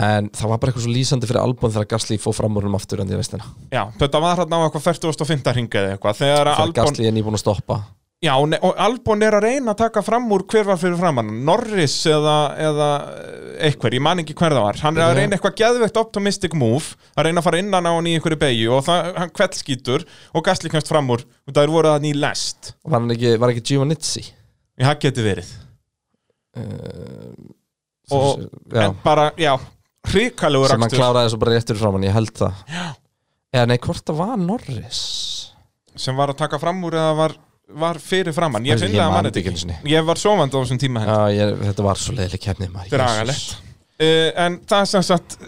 A: en það var bara eitthvað svo lýsandi fyrir Albon þegar Gasly fór fram úr um aftur en því að veist hérna
B: já, þetta var hann á eitthvað 45. ringa eða eitthvað þegar að
A: þegar
B: Albon,
A: Gasly er nýbúin að stoppa
B: Já, ne- og Albon er að reyna að taka fram úr hver var fyrir framann, Norris eða, eða eitthvað, ég man ekki hver það var hann er að reyna eitthvað geðveikt optimistic move að reyna að fara innan á hann í einhverju beigju og það, hann kveldskítur og gasli kemst fram úr og það er voruð hann í lest
A: Var, hann ekki, var ekki Giovanizzi?
B: Já, það geti verið og,
A: Eh, já,
B: en bara, já, hrikalegur
A: sem hann
B: aktur
A: kláraði svo bara réttur fram hann, ég held það já. eða nei, hvort það var Norris
B: sem var að taka fram úr eða var, var fyrir framann ég
A: Ég
B: finnlega að
A: man
B: manna
A: þetta
B: þetta
A: ekki einu sinni.
B: ekki ég var sovandi á þessum tíma
A: já, ég, þetta var svo leiðileg kefni
B: dragalegt uh, en það er sem sagt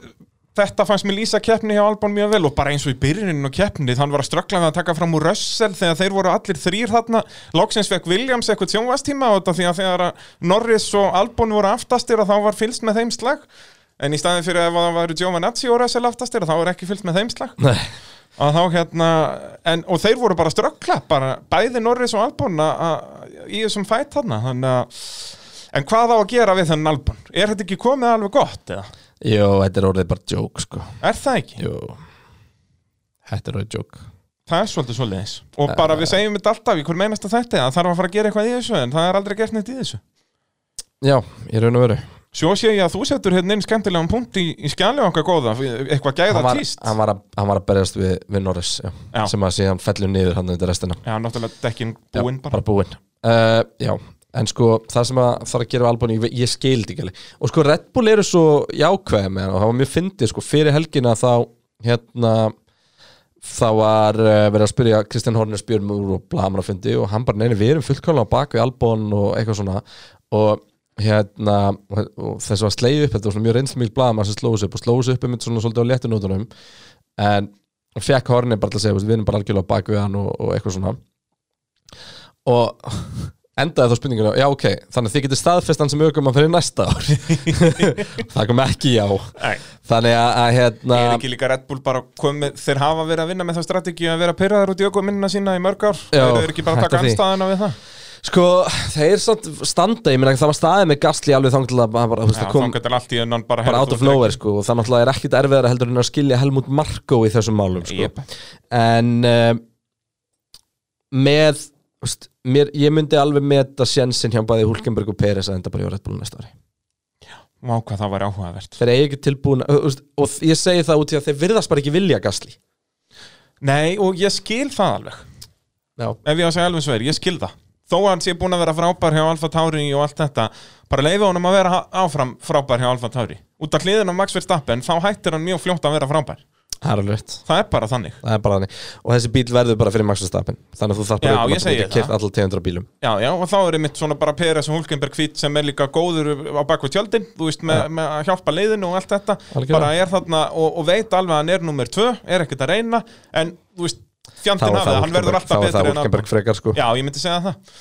B: þetta fannst mér lýsa keppni hjá Albon mjög vel og bara eins og í byrjuninu á keppni hann var að ströggla við að taka fram úr Russell þegar þeir voru allir þrýr þarna loksins fekk Williams eitthvað sjónvastíma á þetta því að þegar að Norris og Albon voru aftastir að þá var fylgst með þeim slag en í staðin fyrir ef það væru Giovanazzi og Russell aftastir að þá er ekki fylgst með þeim slag
A: Nei,
B: að þá hérna en, og þeir voru bara að ströggla bara bæði Norris og Albon að- að- í þessum fætt þarna þannig að En hvað á að gera við þennan Albon? Er þetta ekki komið alveg gott eða?
A: jú, þetta er orðið bara joke sko
B: Er það ekki?
A: jú, þetta er orðið joke
B: Það er svolítið svolítið
A: Eh,
B: Og bara við segjum þetta alltaf í hver meinast að þetta Það þarf að fara að gera eitthvað í þessu En það er aldrei gert neitt í þessu
A: já, ég raun og veru
B: Svo sé ég að þú setur hérna inn skemmtilegan punkt í, í skjali okkar góða Eitthvað
A: hann
B: gæða
A: var,
B: týst
A: hann, var að, hann var að berjast við, við Norris já.
B: Já.
A: sem að síðan fellur niður hann undir restina
B: Já, náttúrulega dekkin
A: Já,
B: búinn bara
A: bara búinn uh, já, en sko það sem að þarf að gera á Albon ég, ég skildi ekki alveg og sko Red Bull eru svo jákvæði með hann og það var mjög fyndið sko fyrir helgina þá hérna þá var uh, verið að spyrja Kristján Horners Björn Múr og blamar að fyndi og hann bara neini við erum fullkvæðlega á bak við Albon og eitthvað svona og hérna og, og þess að sleiði upp þetta var svona mjög reynsmíl blamar sem slóðu sig upp og slóðu sig upp um svona svolítið á léttunótunum en fekk Hornir bara til að segja við erum bara algjörlega á bak við hann og, og eitthvað svona og endaði þá spurninguna já ok, þannig að þið getur staðfest hann sem aukum að fyrir næsta ár það kom ekki já
B: Nei.
A: þannig að, að hérna
B: Er ekki líka Red Bull bara komið Þeir hafa verið að vinna með það strategi að vera pyrraðar út í okkur minna sína í mörg ár
A: Já,
B: Þeir eru ekki bara að
A: hætta
B: taka
A: því.
B: anstæðina við það
A: sko, þeir samt standa ég meina það var staðið með Gasly alveg þangt til að hann bara, þú veist,
B: Já,
A: það kom
B: þá getur allt í enn bara,
A: bara
B: heyrðu,
A: out
B: þú
A: of
B: ert ekki-
A: nowhere sko, og það náttúrulega er ekkit erfiðara heldur en að skilja Helmut Marko í þessum málum sko.
B: Jep.
A: en uh, með úst, mér, ég myndi alveg meta sjensin hjá bæði Hulkenberg og Peres að enda bara í Red Bull næsta ári
B: Vá, hvað það var áhugavert
A: þeir eru ekki tilbúin og, og ég segi það út í að þeir virðast bara ekki vilja gasli
B: Nei, og ég skil það alveg
A: Já.
B: Ef ég á að segja alveg svo er, ég skil það Þó að hann sé búin að vera frábær hjá Alfa Tauri og allt þetta Bara leifa honum að vera ha- áfram frábær hjá Alfa Tauri Út af hliðin á Max Verstappen, þá hættir hann mjög fljótt að vera frábær
A: það er alveg rétt
B: Það er bara þannig
A: það er bara þannig og þessi bíl verður bara fyrir Max Verstappen þannig að þú þarf
B: Já,
A: bara að
B: ég segi
A: geta kert
B: það.
A: alltaf 200 bílum
B: Já, já, og þá er mitt svona bara Peres og Hulkenberg hvít sem er líka góður á bakvið tjöldin Þú veist, með, með að hjálpa leiðinu og allt þetta
A: Algjörlega.
B: Bara er þarna og, og veit alveg að hann er nummer tvö Er ekkert að reyna, en þú veist,
A: þá er
B: fjandinn af
A: það
B: það, hann verður
A: Hulkenberg- þá
B: alltaf
A: er það
B: betri en Albon.
A: Hulkenberg frekar sko
B: Já, ég myndi segja það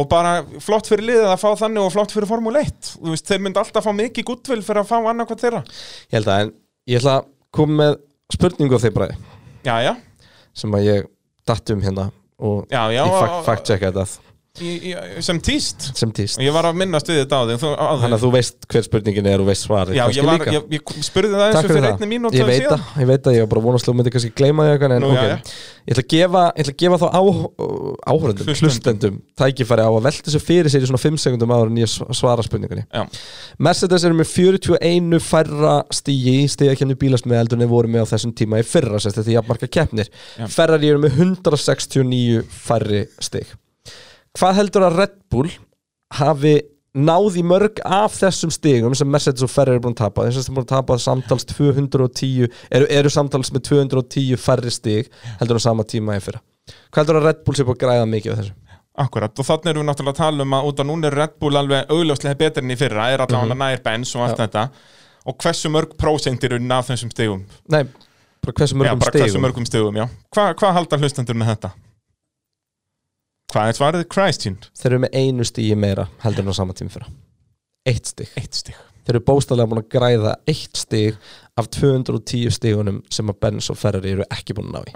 B: Og bara flott fyrir liðið að fá þannig og flott fyrir Formule 1 Þú veist, þeir myndi alltaf fá mikið gúttvill fyrir að fá annarkvæmt þeirra
A: ég held að en ég ætla að koma með spurningu á þeir bræði
B: Já, já,
A: sem að ég datt um hérna og
B: já, já
A: ég
B: og-
A: fact- fact-checka þetta
B: í, í, sem tíst
A: sem týst
B: Og ég var að minnast við þetta á þig þú- á þig.
A: þannig að þú veist hver spurningin er og veist svarið
B: Já,
A: kannski
B: ég, var,
A: líka.
B: ég, ég spurði það eins
A: Takk
B: og
A: fyrir
B: fyrir
A: það,
B: einni mínútu
A: ég veit það, ég veit það, ég var bara vonast að þú myndir kannski gleyma því eitthvað en
B: Nú,
A: ok,
B: jæja.
A: ég ætla að gefa, ég ætla að gefa þá á, áhörðum,
B: Hlustendum.
A: hlustendum tækifæri á að velta þessu fyrir sér í svona 5 sekundum áður en ég sv- svara spurningunni
B: Já.
A: Mercedes eru með 41 færra stígi í stígakefni bílasmiða heldur en þeir voru með á þessum tíma í fyrra sérst þetta er jafnmarka keppnir, Ferrari eru með 169 færri stíg Hvað heldur að Red Bull hafi náði mörg af þessum stigum sem Mercedes og Ferrari er búin að tapa þess að þeir búin að tapa samtals 210 eru, eru samtals með 210 færri stig heldur á sama tíma í fyrra hvað heldur að Red Bull sé búin að græða mikið af þessu?
B: Akkurat, og þannig erum við náttúrulega að tala um að út af núna er Red Bull alveg augljóslega betri enn í fyrra er allavega
A: Mhm.
B: mm nær Benz og allt þetta og hversu mörg prósentir unna af þessum stigum
A: Nei, bara hversu
B: Já,
A: mörgum
B: bara
A: stigum?
B: hversu mörgum stigum, já Hva- Hvað halda hlustendur með þetta? Hvað er svarið? Christian
A: Þeir eru með einu stigi meira heldur en á sama tíma í fyrra eitt stig
B: Eitt stig
A: þeir eru bóstalega búin að græða eitt stig af 210 stigunum sem að Benz og Ferrari eru ekki búin að ná í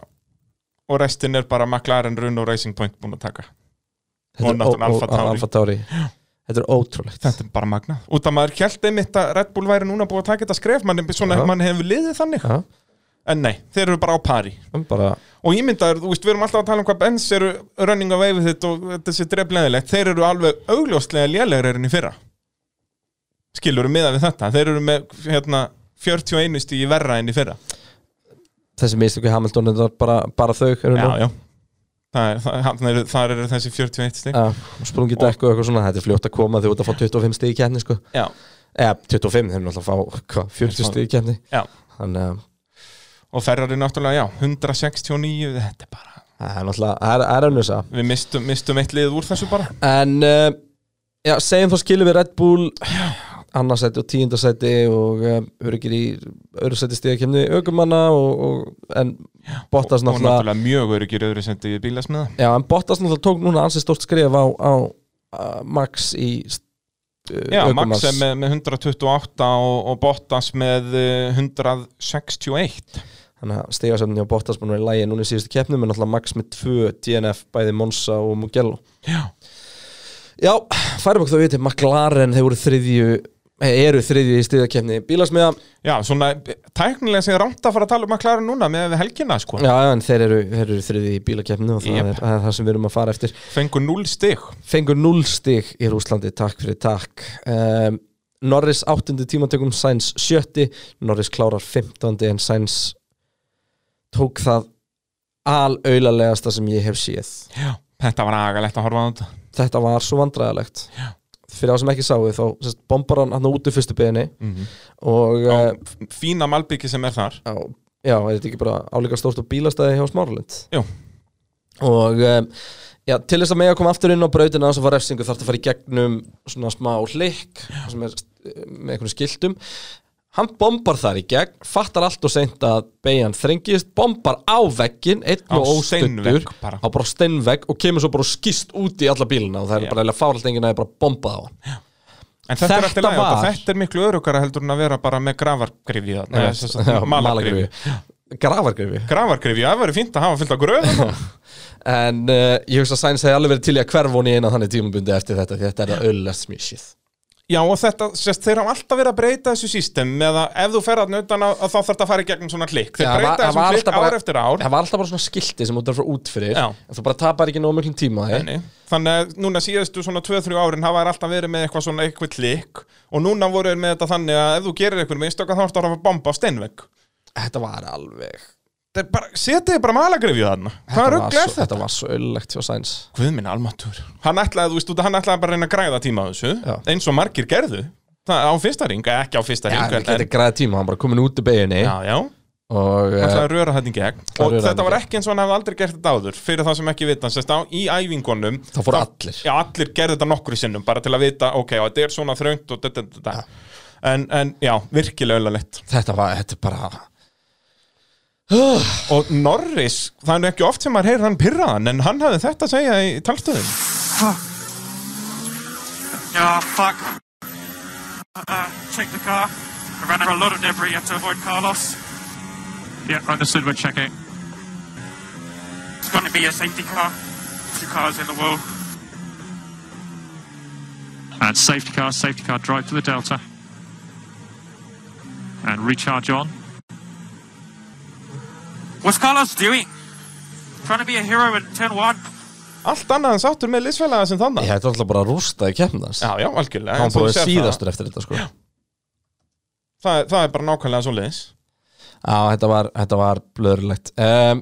B: og restin er bara McLaren, Renault, Racing Point búin að taka
A: Þetta er
B: Og
A: ó-
B: náttúrulega
A: ó-
B: Alfa Tauri.
A: Alfa Tauri Þetta er ótrúlegt
B: þetta er bara magnað út að maður held einmitt að Red Bull væri núna búið að taka þetta skref mann, svona,
A: Já.
B: mann hefur liðið þannig
A: Já.
B: en nei, þeir eru bara á pari
A: En Um bara,
B: og ímyndaður, þú veist, við erum alltaf að tala um hvað Benz eru running away with it og þetta sé drefleðilegt, þeir eru alveg augljóslega lélegri enn í fyrra skilur við miðað við þetta þeir eru með hérna 41 stíði verra enn í fyrra já,
A: þessi mistöku Hamilton er bara, bara þau eru nú.
B: já það er, það, þarna eru, þar eru þessi 41 stíð
A: Já, og sprungið dekk og eitthvað svona þetta er fljótt að koma þau út að fá 25 stig í kefni sko.
B: já,
A: eða 25, þeir eru náttúrulega að fá hva, 40 stig í kefni
B: já,
A: þannig að
B: og Ferrari náttúrulega, já 169, þetta er bara
A: það er náttúrulega, það er- það er önnur það
B: við mistum, mistum eitt lið úr þessu bara
A: en uh, já, segjum þá skilum við Red Bull annarsæti og tíundarsæti og uh, öryggir í öðru sæti stíðakemni aukumanna og, og, en Bottas
B: og, og
A: náttúrulega
B: náttúrulega mjög öryggir öðru sendi bílasmiða
A: já, en Bottas náttúrulega tók núna ansi stórt skrif á, á, á Max í eh,
B: Já,
A: aukumanns
B: Max er með, með 128 og, og Bottas með eh, 161
A: þannig að stigasöfni á Bottas búin að vera í lægi núna í síðustu keppnum en náttúrulega Max með tvö DNF bæði Monsa og Mugello
B: Já.
A: Já, færum okkur þá við til McLaren þeir voru þriðju eh, eru þriðju í stigakeppni bílasmiða
B: Já, svona eh, tæknilega sem er rámt að fara að tala um að klara núna með helgina, sko
A: Já, já, en þeir eru, þeir eru þriðju í bílakeppni og það,
B: Jep.
A: er, það er það sem við erum að fara eftir
B: Fengu 0 stig
A: Fengur 0 stig í Rúslandi, takk fyrir takk um, Norris áttundu tímatökum Sainz sjötti, Norris klárar 15. en Sainz tók það alauðarlegasta sem ég hef séð
B: Já, þetta var agalegt að horfa á þetta
A: þetta var svo vandræðalegt Já. fyrir þá sem ekki sáu þá sérst, bombar hann hann út í fyrstu beginni og
B: Já,
A: já.
B: f- Fína malbyggi sem er þar
A: já, já, er þetta ekki bara álíka stórt og bílastæði hjá Smáralind
B: Jú.
A: og um, já, til þess að mega koma aftur inn á brautina sem var refsingu þarf að fara í gegnum svona smá hlikk sem er st- með einhvern skiltum hann bombar þar í gegn, fattar allt og seint að beigjan þrengist, bombar á veggin, einn
B: Á
A: og óstöndur
B: steinvegg bara.
A: á bara steinvegg og kemur svo bara og skýst út í alla bílina og það er
B: Já.
A: bara eiginlega fáralt enginn að það er bara bombað á hann
B: En þetta, er
A: Þetta
B: eftir lægjótt og
A: var-
B: þetta er miklu örugara heldur en að vera bara með gravargrifi
A: Já, já,
B: Malagrifju
A: Grafargrifi
B: Gravargrifi, það verður fínt að hafa fyllt á gröðum
A: En uh, ég hugsa að Sainz hefði alveg verið til í að hverfa hún í eina þannig tímabundi eftir þetta því þetta er það öllast smísið
B: Já og þetta, sérst, þeir hafa alltaf verið að breyta þessu sístem með að ef þú ferð að utan að, að þá þarf þetta að fara í gegnum svona klikk Þeir
A: Já, það var-
B: breyta
A: það var
B: þessum klikk
A: alltaf
B: ár
A: bara-
B: eftir ár
A: Það var alltaf bara svona skilti sem þú þarf að fara út fyrir
B: Já.
A: en þú bara tapar ekki nóg miklum tíma því
B: Nei. Þannig að núna síðustu svona 2-3 árin hafa þær alltaf verið með eitthvað svona eitthvað klikk og núna voru þeir með þetta þannig að ef þú gerir eitthvað mistök að þá ertu að hafa bomba á steinvegg
A: Þetta var alveg
B: Þeir bara, setið bara malagrifju þarna Hvað
A: var
B: rugg
A: svo-
B: er þetta?
A: Þetta var svo öllegt hjá Sainz
B: Guð minn almatur Hann ætlaði, þú veist, út að hann ætlaði bara að reyna að græða tíma á þessu
A: Já.
B: eins og margir gerðu Það, á fyrsta ring, eh, ekki á
A: Já,
B: fyrsta ring
A: þetta er
B: en-
A: græða tíma, hann bara komin út í beginni
B: já, já.
A: og
B: Það
A: uh,
B: ætlaði að röra þetta í gegn
A: að
B: Og
A: röra
B: þetta
A: þetta í
B: var
A: gegn.
B: ekki eins og hann hefði aldrei gert þetta áður Fyrir það sem ekki vita Sérst á í æfingunum
A: þá fór allir
B: Já, allir gerði þetta nokkru sinnum Bara til að vita, ok, og þetta er svona þröngt og þetta, þetta, þetta En, en já, virkilega öllulegt
A: Þetta var, þetta er bara
B: Og Norris, það er nú ekki oft sem maður heyrir hann pyrraðan En hann hafði þetta að segja í talstöðum
C: Ah, fuck. Uh, check the car. I ran over a lot of debris. You have to avoid Carlos. Yeah, understood. We're checking. It's going to be a safety car. Two cars in the world. And safety car, safety car, drive to the Delta. And recharge on. What's Carlos doing? Trying to be a hero in turn one.
B: Allt annað en sáttur með liðsfélaga sem þannig
A: Ég
B: Já,
A: hætti alltaf bara að rústa í keppnans Hann
B: já, algjörlega
A: var
B: En þú
A: bara
B: sérð
A: síðastur eftir þetta sko Já,
B: það, það, er- það er bara nákvæmlega svo liðs
A: þetta var, þetta var blöðurlegt um,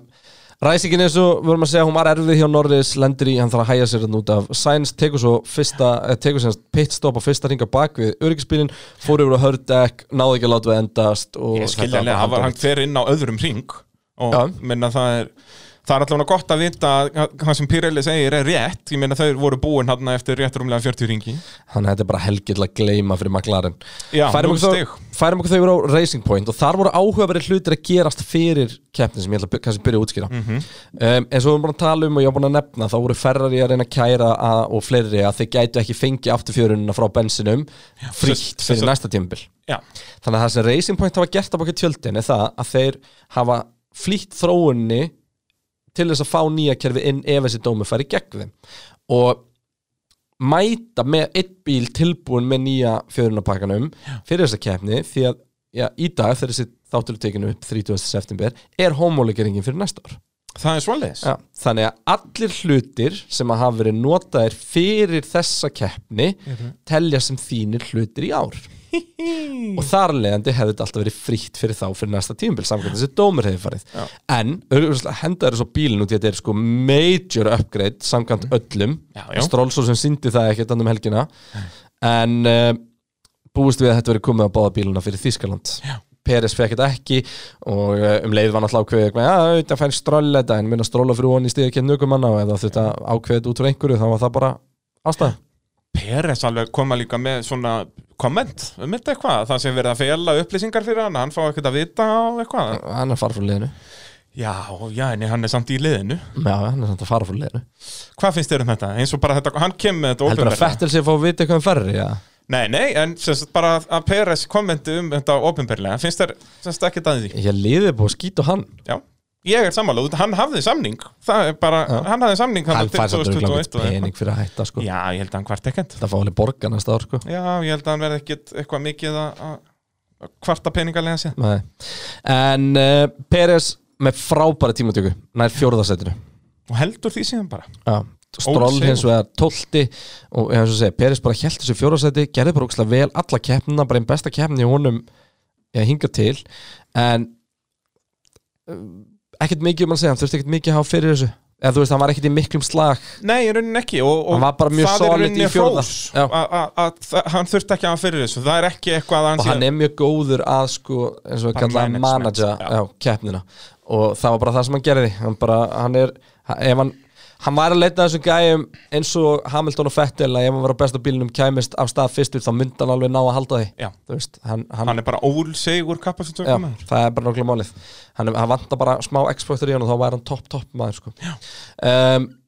A: Ræsingin eins og við vorum að segja hún var erfið hjá Norris, lendir í, hann þarf að hæja sér hann út af Sainz, tekur svo fyrsta, eh, tekur sem sagt pitstop á fyrsta ringa bak við öryggisbílinn, fór yfir á hördekk náði ekki að láta við endast og
B: Ég
A: þetta var
B: skiljanlega,
A: bara
B: hann, var- hann
A: handónýtt.
B: fer inn á öðrum ring og
A: Já.
B: minna það er það er allavega gott að vita að að það sem Pirelli segir er rétt, ég minna þau voru búin hann eftir rétt rúmlega 40 ringi
A: Þannig að þetta er bara helgill að gleyma fyrir McLaren
B: Já,
A: Færum
B: núll
A: okkur
B: stig.
A: þá- færum okkur þau yfir á Racing Point og þar voru áhugaveri hlutir að gerast fyrir keppnin sem ég ætla að by- kannski byrja að útskýra
B: Mhm.
A: um, En svo við erum búin að tala um og ég var búin að nefna þá voru Ferrari að reyna að kæra að, og fleiri að þeir gætu ekki fengi afturfjörunina frá bensinum
B: sem-
A: frítt
B: sem
A: fyrir
B: sagt-
A: næsta tímabil
B: Já,
A: Þannig að það sem Racing Point hafa gert á baki tjöldin er það að þeir hafa flýtt þróunni til þess að fá nýja kerfi inn ef þessi dómi fari gegn þeim og mæta með eitt bíl tilbúin með nýja fjörunapakkanum fyrir þessa keppni því að já, í dag þegar þessi þáttur er tekinu upp 30. september er homolegeringin fyrir næsta ár
B: Það er svoleiðis
A: Já, þannig að allir hlutir sem að hafa verið notaðir fyrir þessa keppni telja sem þínir hlutir í ár og þar leðandi hefði þetta alltaf verið frítt fyrir þá fyrir næsta tímabil samkvæmt þessi dómur hefði farið Já. en auðvitað henda þessu á bílinn út í að þetta er sko major upgrade samkvæmt öllum
B: Já, já.
A: Strólsson sem síndi það ekkert annum helgina en uh, búist við að þetta verið komið á báða bíluna fyrir Þískaland
B: Já.
A: Peres fekk þetta ekki og eh, um leið var náttúrulega ákveðið eitthvað, já, þetta fær stróla þetta en minna stróla fyrir honi í stíða kemd nökumanna og ef það þetta ákveðið út úr einhverju þá var það bara ástæða.
B: Peres alveg koma líka með svona komment um þetta eitthvað, það sem verið að fela upplýsingar fyrir hann, hann fá ekkert að vita og eitthvað.
A: Hann er að fara frá liðinu.
B: Já, já, en hann er samt í liðinu.
A: Já, hann er samt að fara frá liðinu.
B: Hvað finnst þér um þetta? Eins og bara þetta, hann kemur með þetta
A: Heldur að
B: opinberlega.
A: Fettel sé að fá að vita eitthvað um ferri, já.
B: Nei, nei, en sem sagt bara að- að Peres kommenti um þetta opinberlega, finnst þér sem sagt ekkert að því?
A: Ég liðið búið að skýta á hann.
B: Já, ég er sammála, hann hafði samning, það er bara,
A: Já.
B: hann hafði samning þarna
A: Hann
B: til
A: fær samt örgulega
B: 2021 og
A: eitthvað
B: eitthvað.
A: pening fyrir að hætta, sko.
B: Já, ég held að hann hvart ekkert.
A: Það fá alveg borga næsta ár, sko.
B: Já, ég held að hann verði ekkert eitthvað mikið að að kvarta peningalega sér.
A: Nei. En uh, Peres með frábæra tímatöku, nær fjórðasettinu.
B: Og heldur því síðan bara.
A: Já, Stroll
B: Ósigur.
A: hins vegar 12 og eins og segja, Peris bara held þessu fjórasæti gerði bara ógslag vel alla keppnina bara einn besta keppni í honum ég hinga til en um, ekkert mikið um að segja, hann þurfti ekkert mikið að hafa fyrir þessu eða þú veist, hann var ekkert í miklum slag
B: Nei, í rauninni ekki. Og, og
A: Hann var bara mjög
B: það er
A: solid
B: rauninni
A: í fjórða.
B: hrós
A: Já.
B: að- að- að það- Hann þurfti ekki að hafa fyrir þessu. Það er ekki eitthvað að hann
A: og hann er mjög góður að sko eins og við
B: Bara
A: kallaðum
B: management,
A: manager
B: já.
A: já. keppnina og það var bara það sem hann gerði hann bara, hann er hann- ef hann Hann var að leita að þessum gæjum eins og Hamilton og Vettel að ef hann var á besta bílunum kæmist af stað fyrstur þá myndi hann alveg ná að halda því
B: Já.
A: Þú veist, hann, hann,
B: Hann er bara ólsegur
A: Já,
B: kapasitökum.
A: það er bara nokkulega málið hann, hann vantar bara smá exportur í hann og þá væri hann topp, topp maður sko um,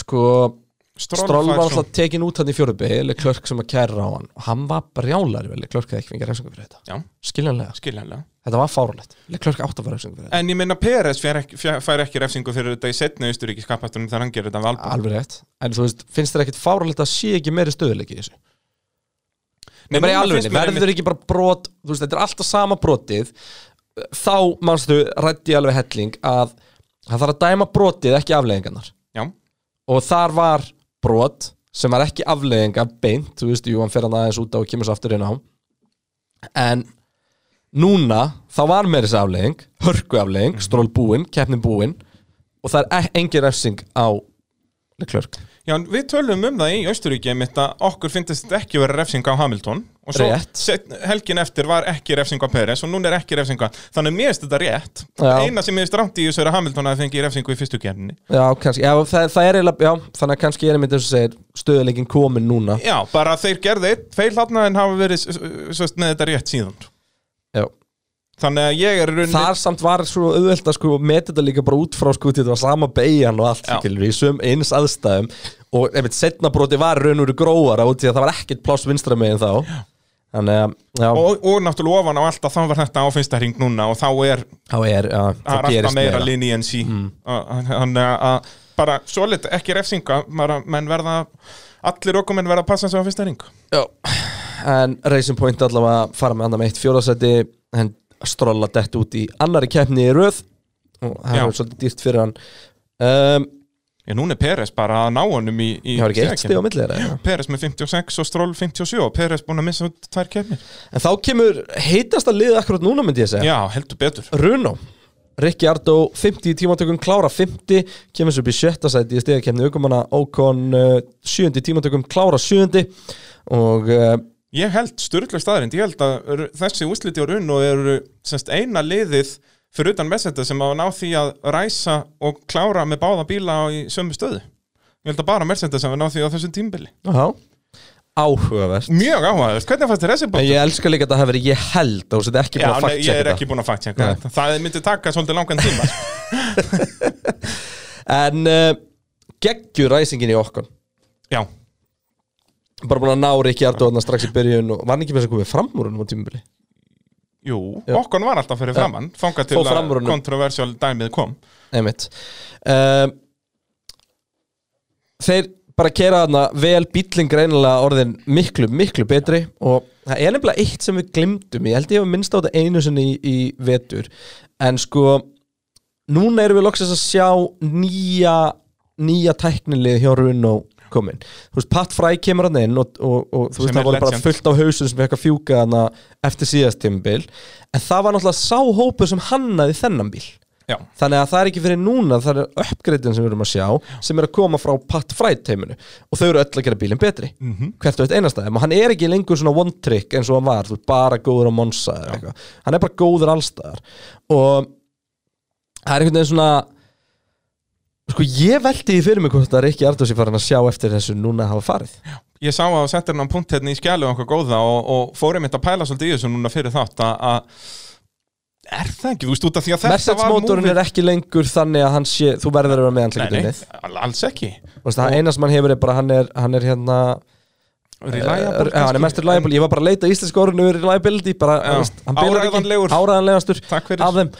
A: sko Stroll var alltaf tekin út hann í fjörubið eða klörk sem að kæra á hann og hann var brjálari vel, klörk eða ekki fengið refsingu fyrir þetta
B: Já.
A: skiljanlega, sko.
B: Skiljanlega.
A: þetta var fáránlegt klörk átt að fara refsingu fyrir þetta
B: En ég minna Peres fær ekki, fær- fær ekki refsingu fyrir þetta í setni austuríkis kapasitunum þegar hann gerir þetta um við Albon.
A: alveg rétt, en þú veist, finnst þér ekkit fáránlegt að sé ekki meiri stöðuleiki í þessu Nei, bara í
B: núna
A: alveg,
B: finnst mér einmitt-
A: verður ekki bara brot þú veist, þetta er alltaf sama brotið þá, manstu, rætti alveg helling að það þarf að dæma brotið ekki afleggingarnar
B: Já,
A: og þar var brot sem var ekki afleðinga beint, þú veist, jú, hann fer hann aðeins út á og kemur svo aftur inn á en núna, þá var meira þessi afleðing, hörku afleðing stról búinn, keppnin búinn og það er e- engin refsing á Leclerc,
B: Já, en við tölum um það í Austuríki mitt að okkur finnst þetta ekki vera refsing á Hamilton og svo
A: Rétt.
B: set, helgin eftir var ekki refsing á Peres og núna er ekki refsing á þannig að mér finnst þetta rétt
A: Já.
B: eina sem mér finnst rámt í þessu er að Hamilton að fengi refsingu í fyrstu gerninni
A: já, kannski já, það, það er eiginlega, já, þannig að kannski er einmitt þess að segir stöðuleikin komin núna
B: Já, bara að þeir gerði eitt feil þarna en hafa verið s- s- s- með þetta rétt síðan
A: já.
B: þannig að ég er runni
A: þar samt var svo auðvelt að sko meti þetta líka bara út frá sko þetta var sama beigjan og allt
B: Já.
A: skilur í sum eins aðstæðum og einmitt setna broti var raun úr gróara út í að það var ekkert pláss vinstra megin þá þannig að já,
B: og, og náttúrulega ofan á allt að þá var þetta á fyrsta hring núna og þá er
A: þá er já,
B: að
A: það
B: rafta
A: gerist
B: meira Mm.
A: meira
B: linni en sí þannig að bara svolít ekki refsinga, bara menn verða allir okkur menn verða að passa sig á fyrsta hring
A: Já. en Racing Point allavega fara með annar með eitt fjóðarsæti en stróla dett út í annari keppni í röð og það
B: Já.
A: er svolítið dýrt fyrir hann um,
B: Já, núna er Peres bara að ná honum í, í
A: ég var ekki eitt
B: sigurkeppni.
A: stið á milli þeirra já.
B: Peres með 56 og Stroll 57 og Peres búin að missa út tvær kefnir
A: en þá kemur heitasta liðið akkurat núna myndi ég segja
B: Já, heldur betur
A: Runo Ricciardo 50 í tímatökum, klára 50 kemur svo upp í sjötta sæti í stegakefni aukumanna Ocon uh, 7 í tímatökum, klára 7 og uh,
B: Ég held styrklega staðrind, ég held að r- þessi úsliti og runn og eru semst, eina liðið fyrir utan Mercedes sem að ná því að ræsa og klára með báða bíla á í sömu stöðu Ég held að bara Mercedes sem að ná því á þessu tímbili
A: já, áhugavert
B: Mjög áhugaður, hvernig fannst þér þessi
A: En
B: bótt?
A: ég elska líka að það hefur verið ég held og þetta er ekki
B: Já,
A: búin að
B: nei, ég
A: faktjaka
B: er
A: þetta
B: ekki búin að fakt checka þetta. Það myndi taka svolítið langan tíma sko.
A: En uh, geggjur ræsingin í Ocon
B: Já,
A: bara búin að ná Ricciardo þarna strax í byrjun og var hann ekki með þess að komið fram úr hann á tímabili
B: jú, okkur var alltaf fyrir framann Fanga til
A: Fór fram úr
B: að
A: honum.
B: kontroversial dæmið kom
A: Einmitt um, Ehm, Þeir bara að kera þarna vel bíllinn greinilega orðin miklu, miklu betri og það er nefnilega eitt sem við glimtum ég held ég hef minnst á þetta einu sinni í, í vetur en sko núna erum við loksins að sjá nýja, nýja tæknilið hjá Runo komin þú veist, Pat Fry kemur hann inn og, og, og þú veist,
B: Sem er
A: það voru bara
B: legend.
A: fullt á hausum sem fekk að fjúka hana eftir síðast tímabil en það var náttúrulega sá hópur sem hannaði þennan bíl
B: Já.
A: þannig að það er ekki fyrir núna það er uppgreitin sem við erum að sjá sem er að koma frá Pat Fry teiminu og þau eru öll að gera bílinn betri
B: Mhm.
A: -hmm. hvert og eitt einastæðum og hann er ekki lengur svona one trick eins og hann var, þú veist, bara góður á Monsa eða eitthvað, hann er bara góður allstæðar og það er einhvern veginn svona sko ég veldi því fyrir mig hvort það er ekki Ardósi farin að sjá eftir þessu núna að hafa farið
B: ég sá að þú settir hann punkt hérna í skjælu og okkur góða og, og fórum mitt að pæla svolítið í þessu núna fyrir þátt að- að er það ekki, þú veist út af því að þetta
A: Mercedes
B: var
A: mótorinn
B: movie-
A: er ekki lengur þannig að hann sé, þú verður að vera með
B: Nei, nei,
A: andlikutunnið
B: al- alls ekki
A: það eina sem hann hefur er bara hann er, hann er hérna Eh,
B: Reliable
A: Já, hann er
B: kannski,
A: mest reliable, ég var bara að leita íslensku orðinu yfir reliability, bara
B: Já.
A: þú veist, hann bilar ekki.
B: Áreiðanlegur.
A: áræðanlegur
B: Takk fyrir.
A: af þeim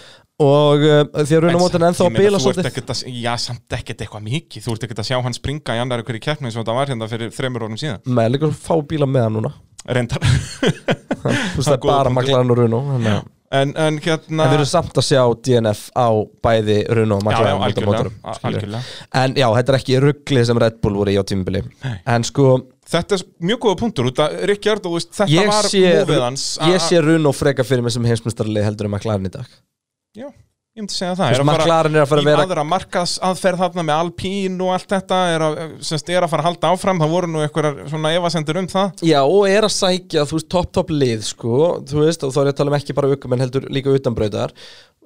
A: og uh, því að runamótin ennþá
B: Ég
A: að
B: meina,
A: bila
B: þú ert
A: svolítið
B: ekkert að- Já, samt ekkert eitthvað mikið Þú ert ekkert að sjá hann springa í annar ykkur í keppni sem þetta var hérna fyrir þremur orðum síðan
A: með líka fá bíla með hann núna
B: Reyndar
A: þú veist það er
B: góður
A: bara
B: punktur.
A: maklarinn og runum en uh,
B: En, en
A: en
B: hérna
A: við erum samt að sjá DNF á bæði runum og
B: Já, já,
A: maklarinn
B: algjörlega,
A: mótorum,
B: a-
A: skilur.
B: algjörlega.
A: en já, þetta er ekki ruggli sem Red Bull voru í á tímubili en sko,
B: Þetta er mjög góða punktur út að Ríkjard og veist, þetta
A: ég
B: var
A: sé
B: móvið hans að-
A: ég sé runum freka fyrir mig sem heimsmyndstarli heldur um maklarinn í dag
B: Já, ég myndi segja það
A: Þú veist,
B: Er að fara
A: McLaren er að fara að
B: í
A: vera-
B: aðra markaðsaðferð þarna með Alpín og allt þetta er að, semst, er að fara að halda áfram Það voru nú einhverjar svona efasendur um það
A: Já, og er að sækja, þú veist, topp-topp lið, sko, þú veist, og þá er ég að tala um ekki bara aukum, en heldur líka utanbrautar.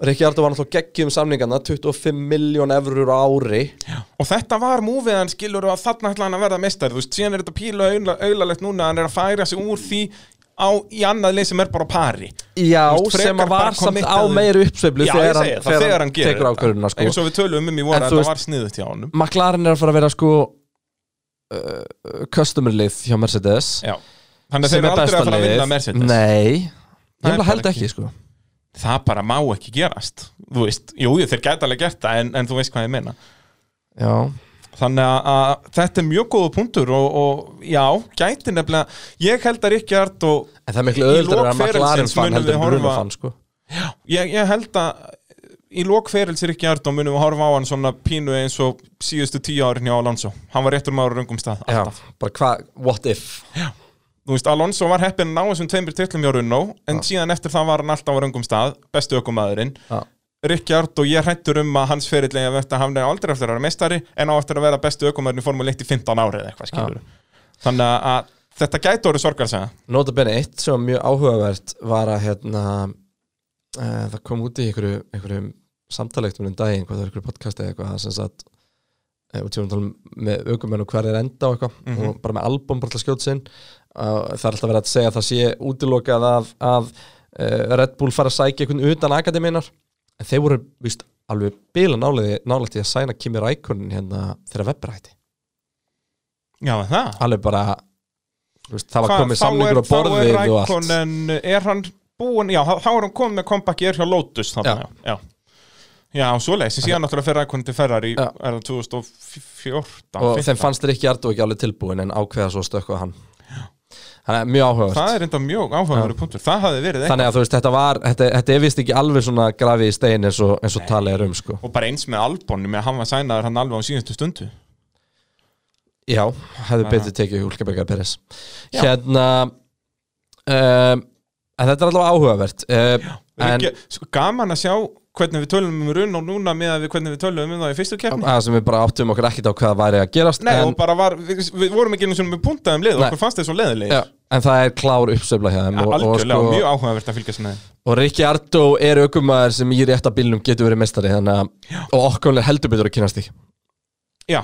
A: Rikki Ardó var náttúrulega
B: um
A: geggjum samningarna, 25 miljón eurur á ári.
B: Og þetta var múfið hann skilur og þarna ætla hann að verða meistari Þú veist, síðan er þetta pílu auðalegt núna Hann er að færa sig úr því á, í annað leið sem er bara á pari
A: Já,
B: Þú veist,
A: sem
B: frekar
A: að var
B: bara
A: samt á
B: committaður.
A: meiri uppsveiflu
B: Já, ég
A: þegar,
B: segi það, þegar hann gerir
A: tekur ákvörðuna, sko.
B: Eins og við tölum um í
A: En
B: voru að
A: þú
B: þetta
A: veist-
B: var sniðut hjá honum
A: McLaren er að fara að vera, sko, uh, customer lið hjá Mercedes.
B: Já. Þannig að þeir eru aldrei að fara að vinna Mercedes
A: Nei,
B: Það
A: ég
B: er
A: vil held
B: bara
A: ekki, sko.
B: Það bara má ekki gerast Þú veist, jú, jú, þeir gæti alveg gert það en, en þú veist hvað ég meina
A: Já,
B: Þannig að, að þetta er mjög góða punktur og, og já, gæti nefnilega Ég held að Ríkjart og
A: en það er miklu
B: Í
A: öðuldur að
B: lok
A: vera McLaren
B: ferilsins
A: fann
B: munum
A: heldur
B: við
A: en Bruno
B: horfa-
A: fann, sko.
B: ég, ég held að í lokferils er ekki hært og munum við horfa á hann svona pínu eins og síðustu tíu árin hjá Alonso hann var réttur maður á röngum stað
A: Já,
B: alltaf.
A: bara hvað, what if?
B: þú veist, Alonso var heppin að ná þessum tveimur titlum hjá Runó en síðan eftir það var hann alltaf á röngum stað bestu ökumæðurinn
A: Já.
B: Ríkjard og ég hrættur um að hans ferill eigi að verða hann er aldrei eftir að vera mestari en á eftir að vera bestu ökumæðurinn í formule 1 í 15 ári eða eitthvað skilur þannig að- að þetta gæti orðið sorgarsega
A: Nota bene eitt sem var mjög áhugavert var að hérna, uh, það kom út í einhverju, einhverjum samtalegtum um daginn, hvað það er einhverju podcast eða eitthvað, það sem sagt eh, út í vorum að tala um með aukumenn og hver er enda og eitthvað
B: Mhm.
A: og bara með album bara til að skjóta sinn uh, það er alltaf verið að segja að það sé útilokað af, af uh, Red Bull fara að sækja einhvern utan akademinar en þeir voru víst alveg bila nálægt í að sæna Kimi Rækonin hérna þegar Webber hætti
B: já, er það
A: alveg bara þú veist, það var
B: Hva-
A: komið
B: þá
A: samningur
B: er-
A: á borðið og allt
B: Þá er Rækonen, er hann búinn, já, þá þá er hann komið með kompakki er hjá Lotus þarna, já. já. Já, svoleiðis, en síðan náttúrulega fer Rækonen til Ferrari
A: Já.
B: er það 2014
A: og
B: 15.
A: þeim fannst Rikki Ardó ekki alveg tilbúin en ákveða svo stökkuð hann það er mjög
B: Það
A: áhugavert
B: er enda mjög áhugaður punktur, það hafði verið eitthvað
A: þannig að þú veist þetta var þetta, þetta er vist ekki alveg svona grafið í stein eins og, eins og talið er um sko
B: og bara eins með Albon, með að hann var sænaður hann alveg á síðustu stundu
A: já, hefðu betur tekið Hulkebergar Peres hérna um, en þetta er allavega áhugavert um, en
B: Ríkja, sko, Gaman að sjá hvernig við tölum um runn og núna með að við hvernig við tölum um það í fyrstu keppni
A: það sem við bara áttum okkur ekkert á hvað væri að gerast
B: Nei,
A: en,
B: og bara var, við, við vorum ekki einu sinni með puntaðum lið,
A: Nei.
B: okkur fannst þeir svo leðilegir
A: já, en það er klár uppsveifla hjá þeim og, og,
B: Algjörlega,
A: sko,
B: mjög áhugavert að fylgjast með þeim
A: Og Rikki Ardó er aukumæður sem í rétta bílnum getur verið mestari þannig að og okkur er heldur betur að kynast því
B: Já,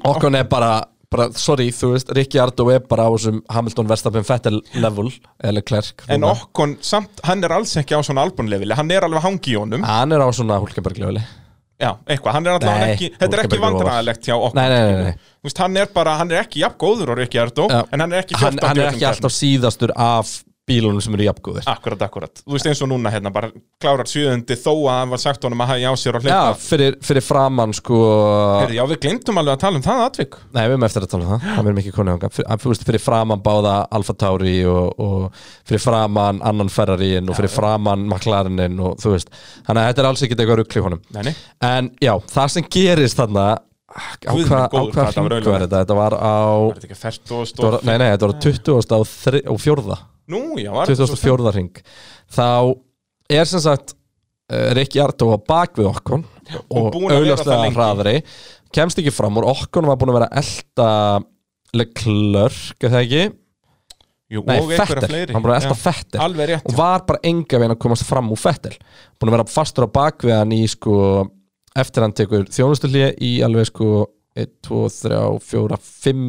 A: Okkur er bara, bara, sorry, þú veist Rikki Ardó er bara á þessum Hamilton Verstappen Vettel level, eða klerk
B: En Okkon, samt, hann er alls ekki á svona albunlefili, hann er alveg hangi í honum
A: Hann er á svona Hulkenberg level
B: Já, eitthvað, hann er allavega
A: Nei,
B: ekki, þetta
A: Hulkenberg
B: er ekki
A: er ofar.
B: vandræðalegt hjá Okkon
A: Nei, nei, nei, nei.
B: Þú veist, hann er bara, hann er ekki jafn góður og Rikki Ardó, en hann er ekki
A: hann,
B: 14
A: hann er ekki alltaf síðastur af bílunum sem eru jafngóðir
B: Akkurat, akkurat. Þú veist eins og núna hérna bara klárar sjöðundi þó að hann var sagt honum að hægja á sér og
A: Já,
B: hlaupa.
A: fyrir, fyrir framann sko
B: Heyrðu, já, við glemtum alveg að tala um það atvik.
A: Nei, við erum eftir að tala um það, það verðum ekki konið ánga fyrir, fyrir framann báða Alfa Tauri og, og fyrir framann annan Ferrarín og fyrir framann McLarenin og þú veist, þannig að þetta er alls ekki eitthvað rugl í honum
B: Nei, nei.
A: En já, það sem gerist þarna á
B: Guð minn
A: hvað
B: góður,
A: hva
B: hvað þetta var
A: hringu er
B: raululegt.
A: þetta? Þetta var á
B: Var þetta ekki fært og
A: þetta
B: stór?
A: var, Nei, nei, þetta var á 20. og, þri, og fjórða
B: Nú, já, var þetta svo
A: 2004 hring þá er sem sagt eh, Ricky Arto á bak við Okkon og
B: búinn að vera það
A: auðvitað
B: lengi.
A: hraðri kemst ekki fram úr Okkon var búin að vera elda Leclerc er það ekki?
B: Jú,
A: Nei,
B: og einhverja
A: Fettel,
B: fleiri.
A: hann búin að elda
B: Já.
A: Fettel
B: Alveg rétt,
A: og
B: já.
A: var bara enga veginn að komast fram úr Fettel búin að vera fastur á bak við hann í sko eftir hann tekur þjónustulíja í alveg sko 1, 2, 3, 4, 5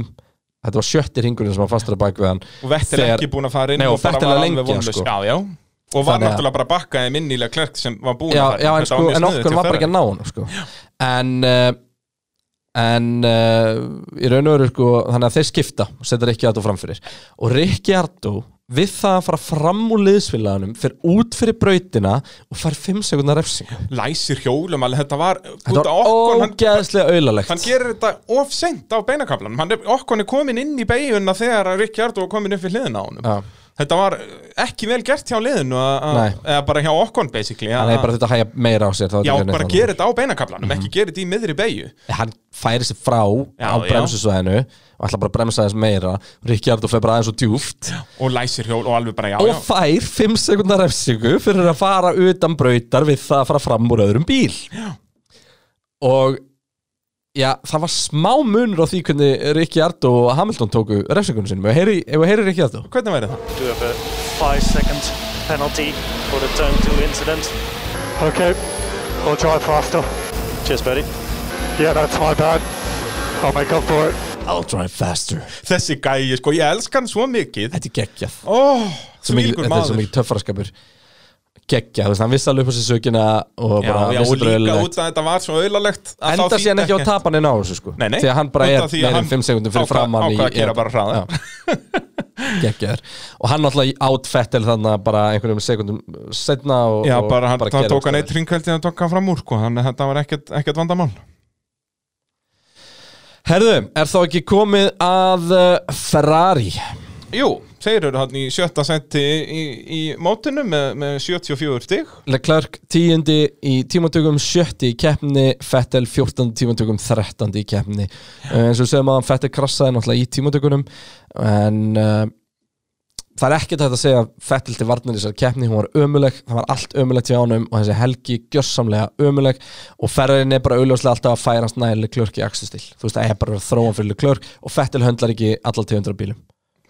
A: þetta var sjötti hringurinn sem var fastur á bak við hann
B: Og Vettel
A: Þegar-
B: ekki búin að fara inn
A: Nei, og
B: og bara
A: Vettel
B: var
A: er
B: alveg
A: lengi,
B: vonlaus.
A: sko.
B: Já, já. Og var
A: Þannig að-
B: náttúrulega bara að bakka þeim inn í Leclerc sem var búin
A: já,
B: að fara.
A: já, en,
B: Þetta
A: sko,
B: var mjög
A: en
B: sniðugt
A: okkur
B: hjá
A: var bara ekki
B: Ferrari.
A: að ná hann sko. en uh, en uh, í raun og veru sko, þannig að þeir skipta og setja Ricciardo framfyrir og Ricciardo við það að fara fram úr liðsfélaganum fer út fyrir brautina og fær 5 sekundar refsingu
B: Læsir hjólum, alveg þetta var...
A: þetta
B: Þetta
A: var ógeðslega auðlalegt
B: hann gerir þetta of seint á beinakablanum hann er, okkur er komin inn í beiguna þegar Rikki Ardó er komin upp við hliðina á honum
A: Já.
B: þetta var ekki vel gert hjá liðinu að- að-
A: Nei.
B: eða bara hjá okkur basically
A: hann
B: að-
A: er bara þetta að hæja meira á sér þá er Mhm.
B: já,
A: þetta neitt
B: bara
A: annað.
B: gerir þetta á beinakablanum ekki gerir þetta í miðri beigju
A: hann færi sér frá
B: Já,
A: á
B: já.
A: bremsusvæðinu og ætla bara að bremsa þess meira Ricciardo fer bara aðeins og djúft
B: og læsir hjól og alveg bara já,
A: og
B: já
A: fær 5 sekundar refsingu fyrir að fara utan brautar við það að fara fram úr öðrum bíl og já, það var smá munur á því hvernig Rikki Ardó og Hamilton tóku refsingunum sinum ef við heyri Rikki Ardó
B: hvernig væri það?
L: do have a five second penalty for the turn two incident. Okay, I'll drive faster. Cheers, buddy. Yeah, that's my bad. I'll make up for it.
A: I'll drive faster
B: þessi gæi, sko, ég elska hann svo mikið
A: Þetta er geggjað
B: ó,
A: Svo mikið-
B: svílgur
A: Þetta er svo
B: maður
A: mikið töffaraskapur geggjað, þú veist, hann vissi alveg upp á sér sökina og
B: já,
A: bara
B: já,
A: vissi
B: og
A: bara
B: líka
A: auðvitað.
B: út að þetta var svo auðlalegt
A: enda síðan ekki á tapaninn á þessu sko
B: hérna. Nei, nei.
A: því að hann bara
B: Út
A: er
B: af því að
A: meirinn
B: hann
A: 5 sekundum fyrir
B: ákvað-
A: framann í-
B: ákvað að gera bara
A: Já.
B: hraðar.
A: geggjaður og hann náttúrulega átfettel þannig að bara einhverjum sekundum setna og,
B: já,
A: og
B: bara hann það
A: gerir
B: tók hann
A: þetta.
B: eitt ringkvældi og tók hann fram úr, sko, þannig að þetta var ekkert ekkert vandamál
A: Herðu, er þá ekki komið að uh, Ferrari
B: Jú, þeir eru hann í sjötta senti í, í mótinu með, með 74 stig
A: Leclerc 10. í tímatökum 7. í keppni, Fettel 14. í tímatökum 13. í keppni uh, eins og við segjum að Fettel krassaði náttúrulega í tímatökunum en uh, það er ekkert hægt að segja Fettel til varnar í þessari keppni, hún var ömuleg það var allt ömulegt hjá honum og þessi helgi gjössamlega ömuleg og Ferrarin er bara auðljóslega alltaf að færa hans næri Leclerc í axtustil, þú veist það er bara að þróan fyrir Leclerc og Fettel höndlar ekki allar 200 bílum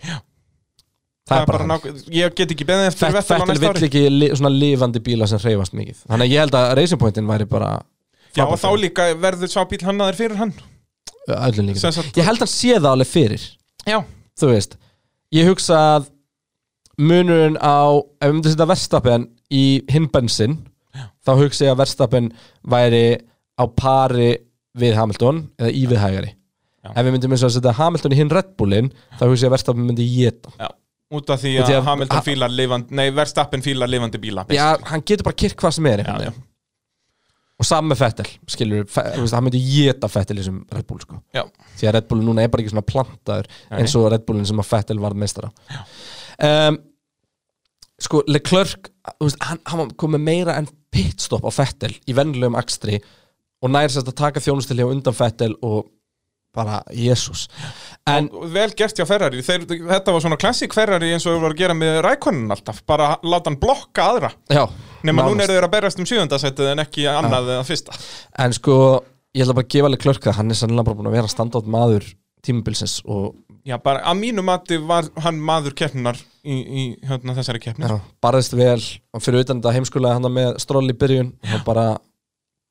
A: Já
B: Það er bara nák- Ég get ekki beðið eftir
A: Fett-
B: Vettel á
A: Fettel
B: næsta
A: vill
B: ári
A: ekki li, svona lifandi bíla sem hreyfast mikið Þannig að ég held að Racing Pointin væri bara
B: Já, og þá líka verður sá bíl hannaður fyrir hann
A: öllum
B: Sem
A: líka
B: sagt-
A: Ég held að hann sé það alveg fyrir
B: Já,
A: Þú veist Ég hugsa að munurinn á Ef við myndum setja verstappen í hinbensin Þá hugsa ég að verstappen væri á pari við Hamilton Eða í við hægari
B: Já.
A: Ef við myndum eins og að setja Hamilton í hinn Red Bullin Þá hugsa ég að verstappen myndi geta
B: já Út af því
A: Út
B: að
A: í að-
B: Hamilton
A: Ha-
B: fílar lifandi Nei, Verstappen fílar lifandi bíla
A: Já, hann getur bara kyrk hvað sem er einhvern
B: já.
A: veginn. Og saman með Fettel, skilur við, hann myndi geta Fettel í þessum Red Bull, sko.
B: já.
A: Því að Red Bullin núna er bara ekki svona plantaður eins og Red Bullin sem að Fettel varð meistara. Um, sko, Leclerc, þú veist, hann, hann var komið meira en pitstopp á Fettel í vennilegum akstri og nær sérst að taka þjónustilja undan Fettel og bara, jésús. En,
B: Vel gert hjá Ferrari Þeir, Þetta var svona klassik Ferrari eins og við varum að gera með Rækonin alltaf Bara láta hann blokka aðra
A: já.
B: Nefna
A: nánast.
B: núna eru þeir að berjast um sjöðundasettið en ekki annað eða fyrsta
A: En sko, ég ætla bara að gefa alveg klörka Hann er sannlega bara búin að vera standátt maður tímabilsins og
B: Já, bara að mínu mati var hann maður keppnar í, í hérna, þessari keppni
A: já, barðist vel og fyrir utan þetta heimskulega hann með stról í byrjun og bara,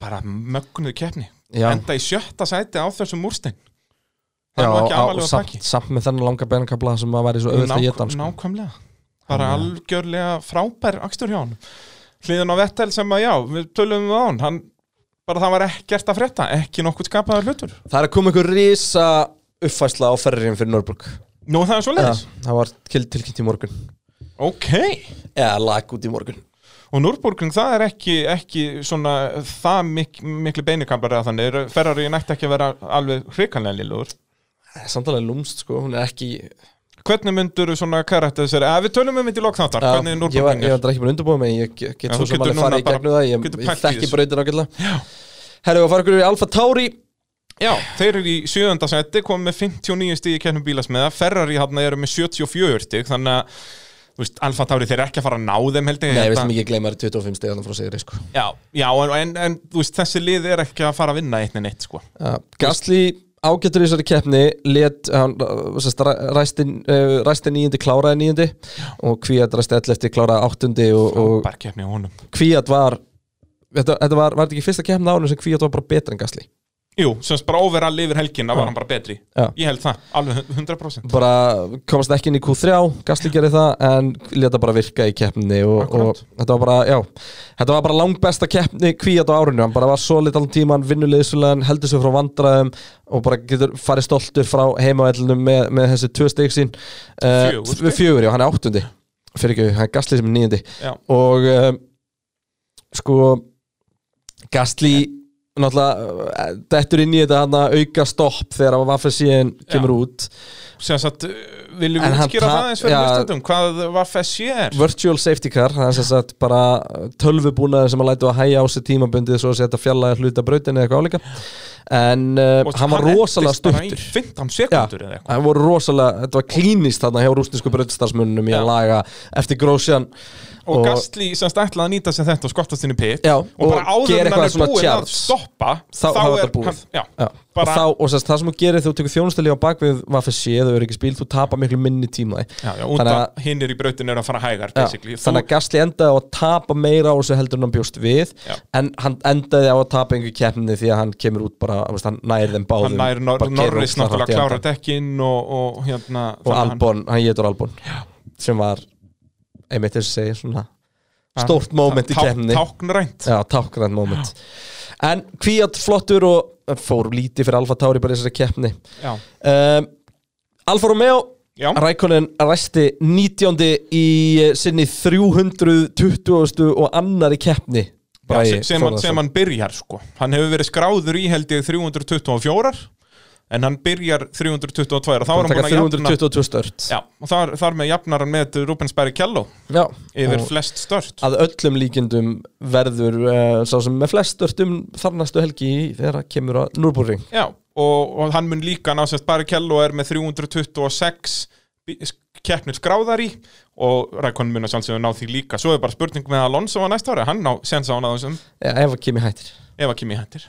B: bara mögnuðu keppni
A: Já.
B: enda í sjötta sæti á þessum úrstein það
A: já,
B: er nú
A: og,
B: ekki
A: og
B: amalega
A: samt,
B: pakki
A: samt með þennan langa beinakabla sem að væri svo auðvitað að geta hann sko.
B: nákvæmlega bara algjörlega frábær akstur hjá hann hliðin á Vettel sem að já, við tölum við á hann, hann bara það var ekkert að frétta, ekki nokkuð skapaður hlutur
A: Það er að koma einhver risa uppfæsla á ferriðin fyrir Nörburg
B: Nú það er svo
A: Já,
B: leiðis
A: það var til- tilkynnt í morgun
B: Ok
A: Eða lag út í morgun
B: Og Núrburgring, það er ekki, ekki svona, það mik miklu beinikamblar eða þannig, eru- Ferrari nætti ekki að vera alveg hrikallega lilugur
A: Samtalega lúmst sko, hún er ekki
B: Hvernig myndur svona karakter þessari, eða við tölum um þetta í lokþáttar,
A: Já,
B: hvernig
A: Ég var,
B: Núrburgring
A: ég
B: er
A: var bara ekki búin undirbúið með Ég get
B: Já,
A: svo
B: þú
A: sem
B: getur
A: alveg
B: núna
A: farið í
B: bara-
A: gegnum það Ég,
B: getur
A: ég
B: pælt í
A: þekki
B: þessu.
A: brautin ágætlega Herru, við fara ykkur yfir í Alfa Tauri
B: Já, þeir eru í sjöönda seti, komið með 59 stíð í kennum bílasmiða, Ferrari hann eru með 74 stíð, þannig að, þú veist, Alfa Tauri þeir eru ekki að fara að ná þeim held ég
A: Nei,
B: Ég
A: við
B: held að-
A: slum ekki gleyma þér 25 stegarna frá sigri sko.
B: Já, já en, en, en þú veist, þessi lið er ekki að fara að vinna eitt en eitt, sko
A: Ja, Gasly ágættur í þessari keppni let, hann uh, sest, ræ- ræsti, uh, ræsti nýjandi, kláraði nýjandi og Kvíat ræsti 11, kláraði áttundi og, og
B: Bara keppni á honum
A: Kvíat var þetta, þetta var, var þetta ekki fyrsta keppni árið sem Kvíat var bara betra en Gasly
B: Jú, sem sagt bara overall yfir helginna var hann bara betri
A: Já.
B: Ég held það, alveg 100%
A: bara komast ekki inn í Q3 Gasly gerði það en leta bara virka í keppni og, og þetta var bara já, þetta var bara langbesta keppni kvíat á árinu, hann bara var svo lit allan tíma hann vinnur liðsulegan, heldur sig frá vandræðum og bara getur farið stoltur frá heimavællunum með, með þessi tvö steg sín uh,
B: Fjögur
A: við fjögur, já, hann er áttundi fyrir ekki, hann er Gasly sem er nýjandi
B: Já.
A: og uh, sko Gasly náttúrulega eh, dettur inn í þetta hann að auka stopp þegar að Vaffa síðan kemur út
B: Sem sagt, uh, viljum
A: En
B: við
A: hann
B: útskýra
A: ta-
B: það eins fyrir
A: já.
B: mistundum Hvað var FSC er?
A: Virtual safety car, það er sem sagt bara tölvubúnaður sem að lætu að hæja á sig tímabundið svo að setja fjallaði hluta brautinni eða eitthvað álíka en uh, hann var rosalega stuttur
B: 15 sekundur eða eitthvað
A: hann voru rosalega, þetta var klínist þarna hjá rústinsku brautistarsmunnum í að laga eftir grósjan
B: Og Gastli sem sagt ætlaði að nýta sér þetta og skottast inn í pit
A: Já,
B: Og bara
A: og
B: áður
A: gera
B: en hann
A: eitthvað
B: er
A: svona
B: búinn að
A: charge.
B: stoppa
A: þá, þá er þetta búið
B: hann- Já,
A: Já.
B: bara-
A: og, þá, og sest, það sem þú gerir þegar þú tekur þjónustali á bakvið Vaffi sé, þau eru ekki spil, þú tapar miklu minni tíma
B: já, já, út
A: að
B: að hinn er í brautinu er að fara hægar
A: Já,
B: basically. Þú-
A: þannig að Gasly endaði á að tapa meira á þessu heldur en hann bjóst við
B: Já.
A: en hann endaði á að tapa einhver keppni því að hann kemur út bara, þú veist, hann nær þeim báðum
B: hann nær Nor
A: bara keyrir
B: Norris
A: ógeðslega hratt
B: náttúrulega
A: í
B: klára
A: enda.
B: dekkin og, og hérna
A: og
B: þannig að
A: Albon, hann getur Albon sem var, einmitt þess að segja svona stórt moment í
B: tá-
A: keppni
B: táknrænt.
A: já, táknrænt moment en Kvíat flottur og fór lítið fyrir Alfa Tauri bara í þessari keppni
B: Já.
A: um, Alfa Romeo
B: Já.
A: Rækonin ræsti 19. í eh, sinni 320. og annari keppni
B: Já,
A: Bragi
B: sem, sem, hann,
A: Þórðarson.
B: sem hann byrjar sko hann hefur verið skráður í held ég 324 en hann byrjar 322 og þá er
A: Búinn
B: hann
A: að
B: búin að
A: taka
B: jafna
A: 322 stört
B: já, og þar, þar með jafnar hann með Rúbensberg Kjalló
A: Já.
B: yfir
A: Og-
B: flest stört
A: að öllum líkindum verður uh, sá sem með flest störtum þarnastu helgi í þegar að kemur að Núrbúring
B: já, og, og hann mun líka ná sérst Barry Kjalló er með 326 bí- sk- keppnir skráðar í og Rækon mun að sjálfsögðu ná því líka svo er bara spurning með Alonso á næsta ári hann ná sensa á náðum sem
A: ef að kemur hættir
B: ef að kemur í hendir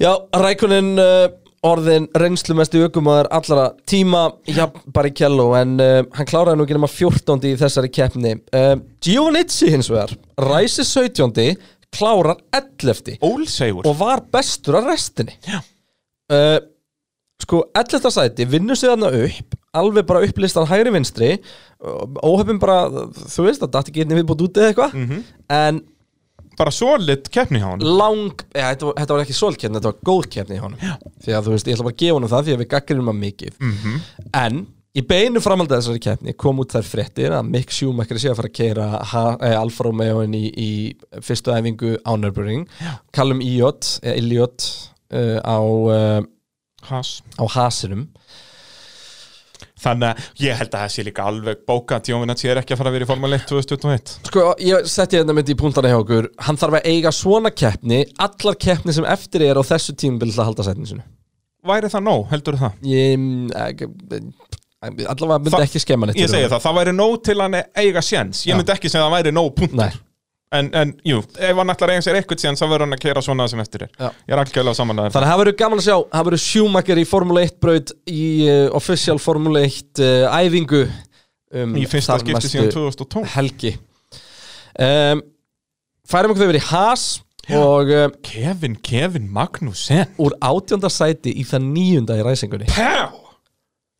A: Já, Rækonin uh, orðin reynslumestu aukumæður allra tíma já, bara í kello en uh, hann kláraði nú ekki nema 14. í þessari keppni uh, Giovannizzi hins vegar ræsi 17. klárar 11.
B: Ólsegur
A: og var bestur að restinni Já uh, Sko, 11. sæti vinnur sig þarna upp alveg bara upplistan hægri vinstri óhefum bara, þú veist að datt ekki einnig viðbútt út eða eitthvað en
B: bara solid keppni hjá hann
A: lang, ja, þetta, var, þetta var ekki svolkeppni, þetta var góð keppni í honum því að þú veist, ég ætla bara að gefa honum það því að við gaggrinum hann mikið
B: Mhm.
A: en í beinu framhaldið af þessari keppni kom út þær fréttir að Mick Schumacher sé að fara að keira ha, e, Alfa Romeo í, í fyrstu æfingu á Nürburgring Callum Iot, e, Iot uh, á, uh,
B: Haas
A: á Hasinum
B: Þannig að ég held að það sé líka alveg bóka að Jóvinatsi er ekki að fara að vera í Formule 1 2021
A: Sko, ég setti hérna myndi í punktana hjá okkur hann þarf að eiga svona keppni allar keppni sem eftir er á þessu tímubil að halda sætinu sinu
B: Væri það nóg, heldur það?
A: Ég, eh, allavega myndi
B: Það-
A: ekki skemma neitt
B: Ég
A: fyrir
B: segi
A: honum.
B: það, það væri nóg til hann eiga séns Ég myndi ekki segja að það væri nóg
A: Nei.
B: punktur en, en jú, ef hann ætlar að eiga sér eitthvað séns þá verður hann að keira svona það sem eftir er
A: Já.
B: Ég er algjörlega saman að það
A: Þannig að það verður gaman að sjá, það verður Schumacher í Formule 1 braut í uh, official Formule 1 uh, æfingu um,
B: Í fyrsta
A: þar
B: skipti
A: næstu
B: síðan 2012.
A: Helgi um, Færum okkur yfir í Haas og um,
B: Kevin, Kevin Magnussen
A: úr átjónda sæti í það nýjunda í ræsingunni
B: Pow!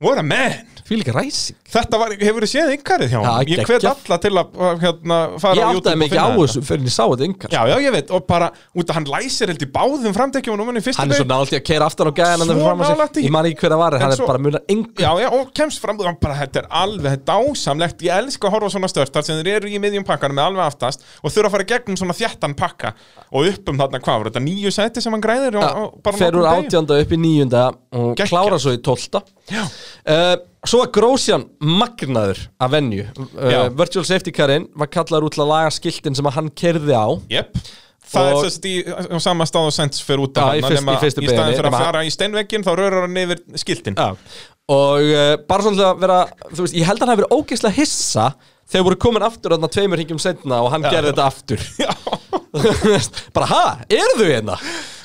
B: What a man!
A: Fylg ræsing
B: Þetta var, hefur þið séð yngarið hjá
A: Það
B: hann
A: er
B: Ég hvet
A: geggjað.
B: alla til að hérna,
A: Ég
B: fara á YouTube
A: áttaði mig
B: og
A: ekki á
B: finna
A: þessu fyrir en ég sá þetta yngar
B: Já, já, ég veit, og bara, út að hann læsir held í báðum framtekjum og númenni fyrstu
A: Hann er svo nálægt í að keira aftan á gæðan
B: Svo nálægt í.
A: Ég man ekki hver það var,
B: En
A: en hann
B: svo-
A: er bara munar yngar
B: Já, já, og kemst fram og bara, þetta er alveg dásamlegt Ég elska að horfa á svona störtar sem þeir eru í miðjum pakkanum með alveg aftast og þurfa að fara í gegnum svona þjættan pakka og upp um þarna hvað var þetta nýju seti sem hann græðir og, og bara
A: fer úr
B: nokkrum degi.
A: átjönda upp í nýjunda og
B: Geggjað.
A: klára svo í tólta uh, svo var Grósjan magnaður af venju uh,
B: Já.
A: virtual safety carinn var kallaður út til að laga skiltin sem að hann kerði á
B: Jep Það
A: Og-
B: er sérst í á sama stað og sens fyrir út
A: Já,
B: af
A: í
B: hann
A: fyrst- í fyrstu
B: í staðin
A: beginni,
B: fyrir að
A: nema-
B: fara í steinveggin þá rörar hann yfir skiltin
A: Já. og uh, bara svona að vera þú veist, ég held að hann hafi verið ógeðslega hissa þegar voru komin aftur þarna tveimur hringjum setna og hann
B: Já,
A: gerði
B: já.
A: þetta aftur Þú veist, bara ha, eru þau hérna?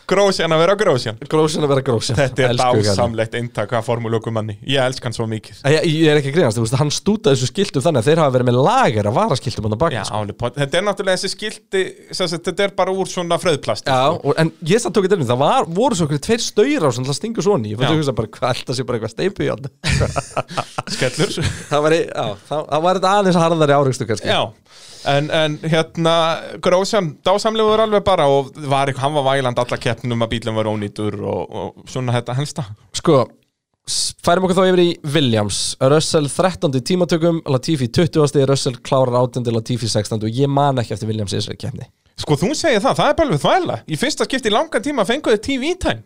B: Grósjan að vera grósjan
A: Grósjan að vera grósjan
B: Þetta er
A: Elsku gæðan.
B: dásamlegt eintak að formúlöku manni Ég elsk hann svo mikið
A: Æ, Ég, Eh, ég er ekki að grínast, þú veist, hann stútaði þessu skiltum þannig að þeir hafa verið með lager að vara skiltum hann að baka
B: Já, alveg pott. Þetta er náttúrulega þessi skilti sem sagt, Þetta er bara úr svona fröðplast
A: Já, sko. og, en ég satt tók eitthvað, það var, voru svo okkur tveir staurar sem það stingur svona í, ég fann
B: Já.
A: að hugsa bara hvað alltaf sé bara eitthvað steipu í hann
B: Skellur
A: það var, í- já, það, það var þetta aðeins harðari árygstu kannski
B: Já, en, en hérna Grósjan, dásamlegur alveg bara og var, eitthvað- hann var væland alla keppnum að bílum var ónýtur og, og svona þetta helsta
A: Sko, s- færum okkur þá yfir í Williams Russell 13. í tímatökum, Latifi 20. Russell klárar 18. Latifi 16. og ég man ekki eftir Williams í þessari kemni
B: Sko þú segir það, það er bara alveg þvæla Í fyrsta skipti í langan tíma fenguðu TV-time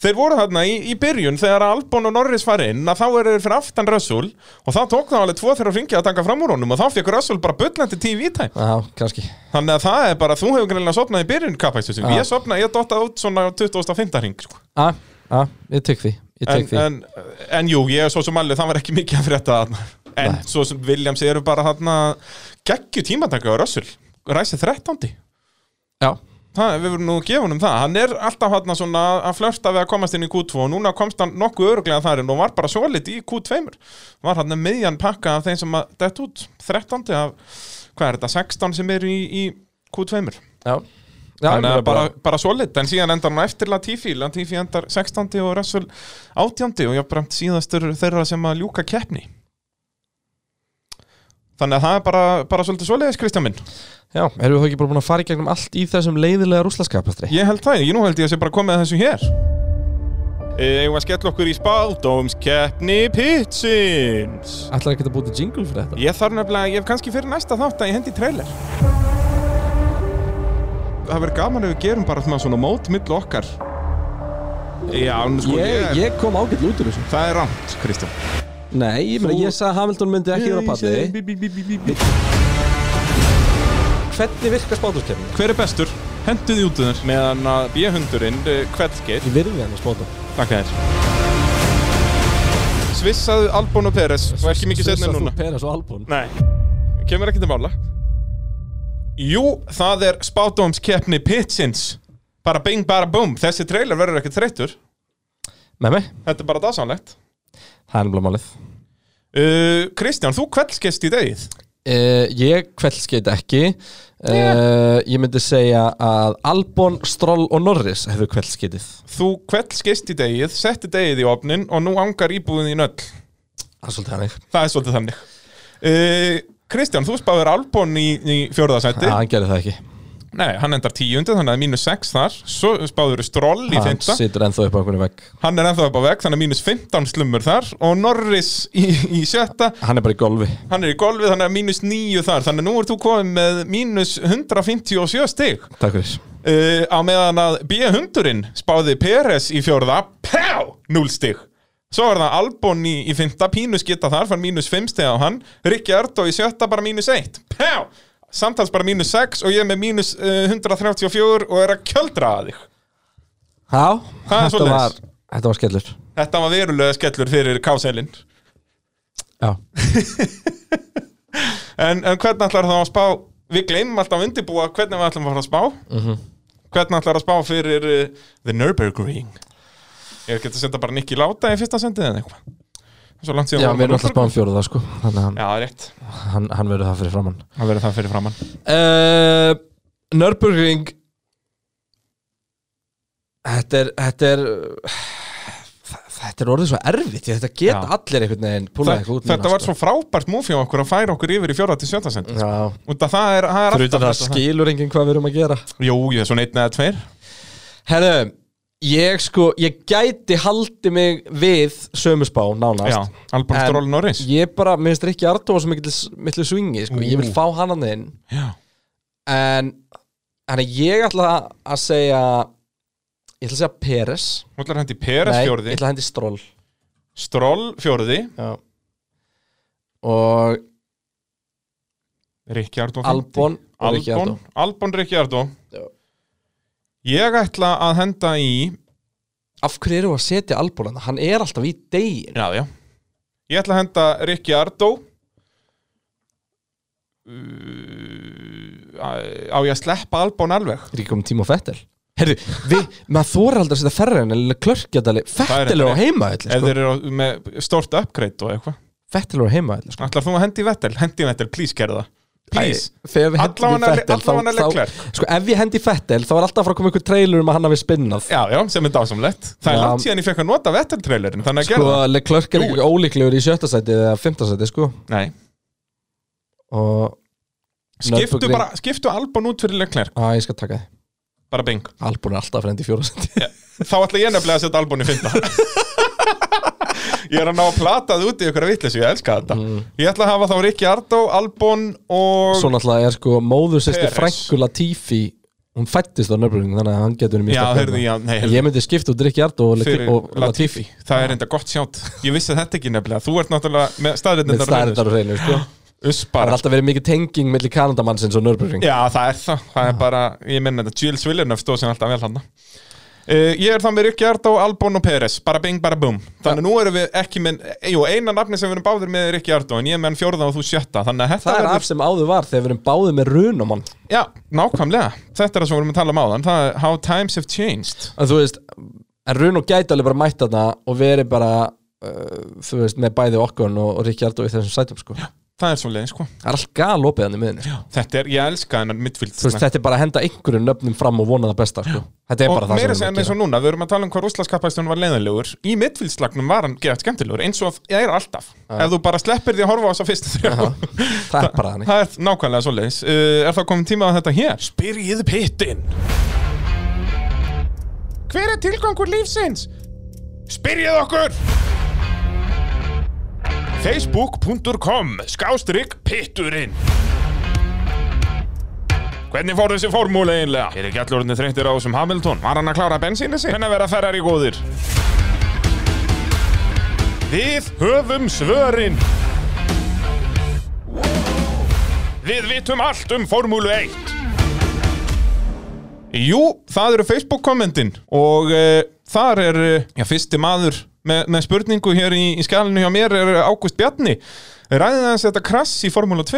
B: Þeir voru þarna í, í byrjun þegar Albon og Norris fari inn að þá eru þeir fyrir aftan Russell og þá tók það alveg tvo þeirra hringi að taka fram úr honum og þá fekk Russell bara bullandi TV-time
A: Já, kannski
B: Þannig að það er bara, þú hefur greinlega sopnað í byrjun kapækstusum
A: Já.
B: Ég sopnaði, ég dottaði út svona á 25. hring sko.
A: A, a, ég tek því, ég
B: en,
A: tek því
B: en, en jú, ég er svo sem alveg, það var ekki mikið að frétta þarna En svo sem Williams eru bara þarna geggju tímataka á Russell Ræsið 13.
A: Já,
B: Það, við verðum nú gefun um það, hann er alltaf hann svona að flörta við að komast inn í Q2 og núna komst hann nokkuð öruglega þar inn og var bara svolít í Q2 var hann meðjan pakka af þeim sem að dett út 13. af, hvað er þetta, 16 sem eru í, í Q2
A: já Já,
B: þannig
A: ég
B: að bara, bara solid en síðan endar hann eftir Latifi Latifi endar 16. og Russell 18. og jafnbremt síðastur þeirra sem að ljúka keppni þannig að það er bara, bara svolítið svoleiðis Kristján minn
A: Já, erum við þá ekki bara búin að fara í gegnum allt í þessum leiðilega rúslaskapastri?
B: ég held það, ég nú held ég að sé bara komið að þessu hér Eða að skella okkur í spáldómskeppni Pitsins
A: Ætlar ekki að búti jingle fyrir þetta?
B: Ég þarf nefnilega, ég hef kannski fyrir næsta þátt að ég hendi í trailer Það verður gaman ef við gerum bara svona- svona mót millu okkar Já, nú sko
A: Ég, ég kom ágætt út úr þessu
B: Það er rámt, Kristján
A: Nei, ég meina, ég sagði að Hamilton myndi ekki vera á palli Hvernig virkar spátumskefni?
B: Hver er bestur? Henduði út þunnar Meðan að B-hundurinn, Kveldgeir
A: Ég virði hann að spátum
B: Takk þér Svissaðu Albon og Peres Og ekki mikið setna núna
A: Peres og Albon
L: Nei,
B: Kemur ekki til mála Jú, það er spátdómskeppni Pitsins Bara bing, bara búm Þessi trailer verður ekki þreyttur
A: Með mig,
B: Þetta er bara dásanlegt
A: það er blá málið
B: uh, Kristján, þú kveldskest í degið
A: uh, Ég kveldskeitt ekki uh, Ég myndi segja að Albon, Stroll og Norris hefur kveldskeittið
B: Þú kveldskest í degið, setti degið í opnin Og nú angar íbúðin í nöll
A: Það er svolítið hannig
B: Það er svolítið þannig uh, Kristján, þú spáður Albon í, í fjórðasætti
A: Það hann gerir það ekki
B: Nei, hann endar tíundi, þannig að mínus 6 þar Svo spáður Stroll í
A: Hann
B: fymta
A: situr ennþá upp á einhvern vegg
B: Hann er ennþá upp á veg, þannig að mínus 15 slumur þar Og Norris í, í sjötta
A: Hann er bara í golfi
B: Hann er í golfið, þannig að mínus 9 þar Þannig að nú ert þú komið með mínus 157 stig
A: Takk fyrir
B: uh, Á meðan að B-hundurinn spáði Peres í fjórða Pá! 0 stig Svo er það Albon í, í fymta, Pínus geta þar, fann mínus 5 stig á hann Rikki Ardó í sjötta, bara mínus 1 Pá! Samtals bara mínus 6 og ég er með mínus uh, 134 og er að kjöldra að þig
A: Já,
B: Það er
A: þetta
B: svoleiðis.
A: var, þetta var skellur
B: Þetta var verulega skellur fyrir káselin
A: Já
B: En, en hvernig ætlar það að spá Við gleymum alltaf að undirbúa hvernig við ætlum að fara að spá
A: Mhm.
B: Hvernig ætlar að spá fyrir uh, The Nürburgring Ég geti að senda bara Nicky Láta í fyrsta sendið eða eitthvað Það er Svo langt síðan
A: Já,
B: vorum
A: við erum
B: á
A: alltaf
B: Nürburgring.
A: spáðum fjóruða sko Þannig að hann,
B: Já, rétt
A: hann, hann verður það fyrir framann
B: Það verður það fyrir framann
A: uh, Nürburgring Þetta er, þetta er uh, það, þetta er orðið svo erfitt því Þetta geta
B: Já.
A: allir einhvern veginn
B: Þa,
A: púlað eitthvað út sko.
B: þetta var svo frábært múfi á okkur að færa okkur yfir í fjóra til sjötta sent
A: Já.
B: og það er, það er
A: Mm. Fyrir utan það
B: þetta.
A: skilur enginn hvað við erum að gera
B: Jú, ég er svona einn eða tveir
A: Herðu, ég sko, ég gæti haldi mig við sömusbá nánast
B: Já, Albon
A: En
B: Stroll Norris.
A: Ég bara, mér finnst ekki Ardóa sem mittlu swingi, sko, ég vil
B: Ú.
A: fá hann hann inn
B: Já.
A: En, hann er ég ætla að segja Ég ætla að segja Peres
B: Þú ætlar að hendi Peres
A: Nei,
B: fjórði
A: ég ætla að hendi Stroll
B: Stroll fjórði
A: Já. Og
B: Ricciardo
A: Albon
B: fimmti.
A: og Ricciardo.
B: Albon, Albon Ricciardo Ég ætla að henda í
A: af hverju eru að setja Albon hann? Hann er alltaf í degin
B: Já, já Ég ætla að henda Ricciardo Uh, Á ég að sleppa Albon alveg
A: Er ekki komið tíma á Fettel? Herru, við, maður þóra aldrei að setja ferrarinn eða klörkjadali, Fettel er á heima
B: Ef þeir
A: sko.
B: eru á- með stórt upgrade og eitthvað
A: Fettel er á heima sko.
B: Ætlar þú að hendi Vettel? Hendi Vettel, please gerðu það Please
A: Æ, Þegar við hendum
B: Allavega-
A: í Fettel þá,
B: allavega Leclerc.
A: þá, sko, Ef ég hendi í Fettel þá er alltaf að fara að koma ykkur trailer um að hann hafi spinnað
B: Já, já, sem er dásamlegt Það er
A: Já.
B: langt síðan ég fekk að nota Vettel-trailerin Þannig að
A: Sko,
B: gerðu það
A: Leclerc er
B: Jú.
A: ekki ólíklegur í sjötta sæti eða fymta sæti, sko
B: Nei.
A: Og
B: Skiptu,
A: Nürburgring-
B: bara, skiptu Albon út fyrir Leclerc
A: Á, ég skal taka þið
B: Bara bing
A: Albon er alltaf frendi í fjóra sæti
B: Þá ætla ég nefnilega að setja Albon í fynda Ég er að ná að plata það út í ykkur að vitleysu, ég elska þetta
A: Mm.
B: Ég ætla að hafa þá Rikki Ardó, Albon og
A: Svo náttúrulega er sko móður sýsti
B: Perez.
A: frænku Latifi Hún fættist á nöfnum þannig að hann getur mjög
B: Já,
A: sterkur.
B: heyrðu, já, nei, heyrðu.
A: Ég myndi skipta út Rikki Ardó og,
B: fyrir
A: Lati- og Latifi
B: Það er enda gott sjátt Ég vissi þetta ekki nefnilega, þú ert náttúrulega með
A: Með
B: staðrindar
A: staðrindar og reynir, sko Það
B: Uspar
A: er alltaf verið mikið tenging millir Kanadamannsins og Nörbjörn
B: Já, það er það, það er bara, ég menna þetta Jules Villeneuve stóð sem alltaf vel hann uh, Ég er þá með Rikki Ardó, Albon og Peres Bara bing, bara bum Þannig nú erum við ekki með, jú, eina nafni sem við erum báðir með er Rikki Ardó En ég er með hann fjórða og þú sjötta Þannig að þetta
A: Það er
B: verður-
A: af sem áður var þegar við erum báðið með runumann
B: Já, nákvæmlega Þetta er það sem við vorum að tala um áðan Það er how times have changed
A: En þú veist, en runum gæti alveg bara mætt þarna og verið bara uh, þú veist, með bæði okkur og, og Rikki Ardó í þessum sætum sko Það
B: Það er svo leiðin sko
A: er allt galopið hann í miðinni sko.
B: Þetta er, ég elska hennar midfield
A: Þú veist, þetta er bara að henda einhverjum nöfnum fram og vona það besta sko Þetta er
B: Og
A: bara það
B: meira
A: við
B: sem
A: erum að
B: eins og
A: gera.
B: núna, við erum að tala um hvað rúslaskapastunum var leiðinlegur Í midfieldslagnum var hann geðast skemmtilegur Eins og það er alltaf Ef þú bara sleppir því að horfa á þess að fyrsta þrjá
A: Það er bara þannig
B: Það er nákvæmlega svo leiðis uh, Er þá komin tíma á þetta hér? Spyrjið pittin Hver er tilgangur lífsins? Spyrjið okkur facebook.com skástrygg pitturinn Hvernig fór þessi formúli eiginlega? Er ekki allur orðinni þreyttir á þessum Hamilton? Var hann að klára bensínu sig? Hvernig verða Ferrari góðir? Við höfum svörin Við vitum allt um formúlu 1 Jú, það eru Facebook kommentin og uh, þar er uh, já, fyrsti maður með, með spurningu hér í, í skælinu hjá mér er Ágúst Bjarni Ræðið aðeins þetta krass í formúlu 2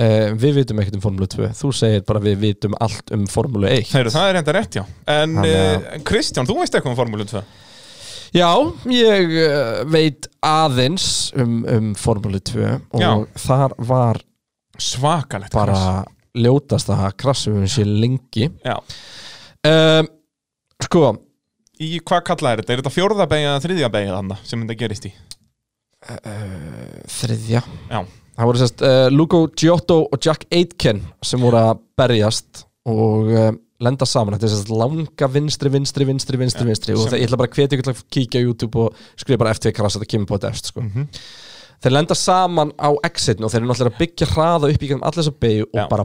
A: Uh, við vitum ekkert um Formule 2 Þú segir bara við vitum allt um Formule 1
B: Heyrðu, það er enda rétt, já. En
A: Þannig að-
B: eh, Kristján, þú veist eitthvað um Formúlu 2?
A: Já, ég uh, veit aðeins um, um Formule 2 og
B: Já.
A: þar var
B: Svakalegt.
A: bara
B: krass.
A: ljótast að krassum við sér lengi
B: Já.
A: um, Sko
B: Í hvað kallað er þetta? Er þetta fjórða beigja eða þriðja beigja þannig sem þetta gerist í?
A: þriðja
B: Já.
A: Það voru sérst uh, Lugo Giotto og Jack Aitken sem voru að berjast og uh, lenda saman Þetta er sérst langa vinstri, vinstri, vinstri, vinstri, vinstri og
B: sem-
A: það, ég ætla bara að hvetja ykkur til að kíkja á YouTube og skrifa bara FTV krass að það kemur på þetta efst sko.
B: Mhm.
A: Þeir lenda saman á exitinu og þeir eru náttúrulega að byggja hraða upp í gegnum allir þessa beigju og
B: Já.
A: bara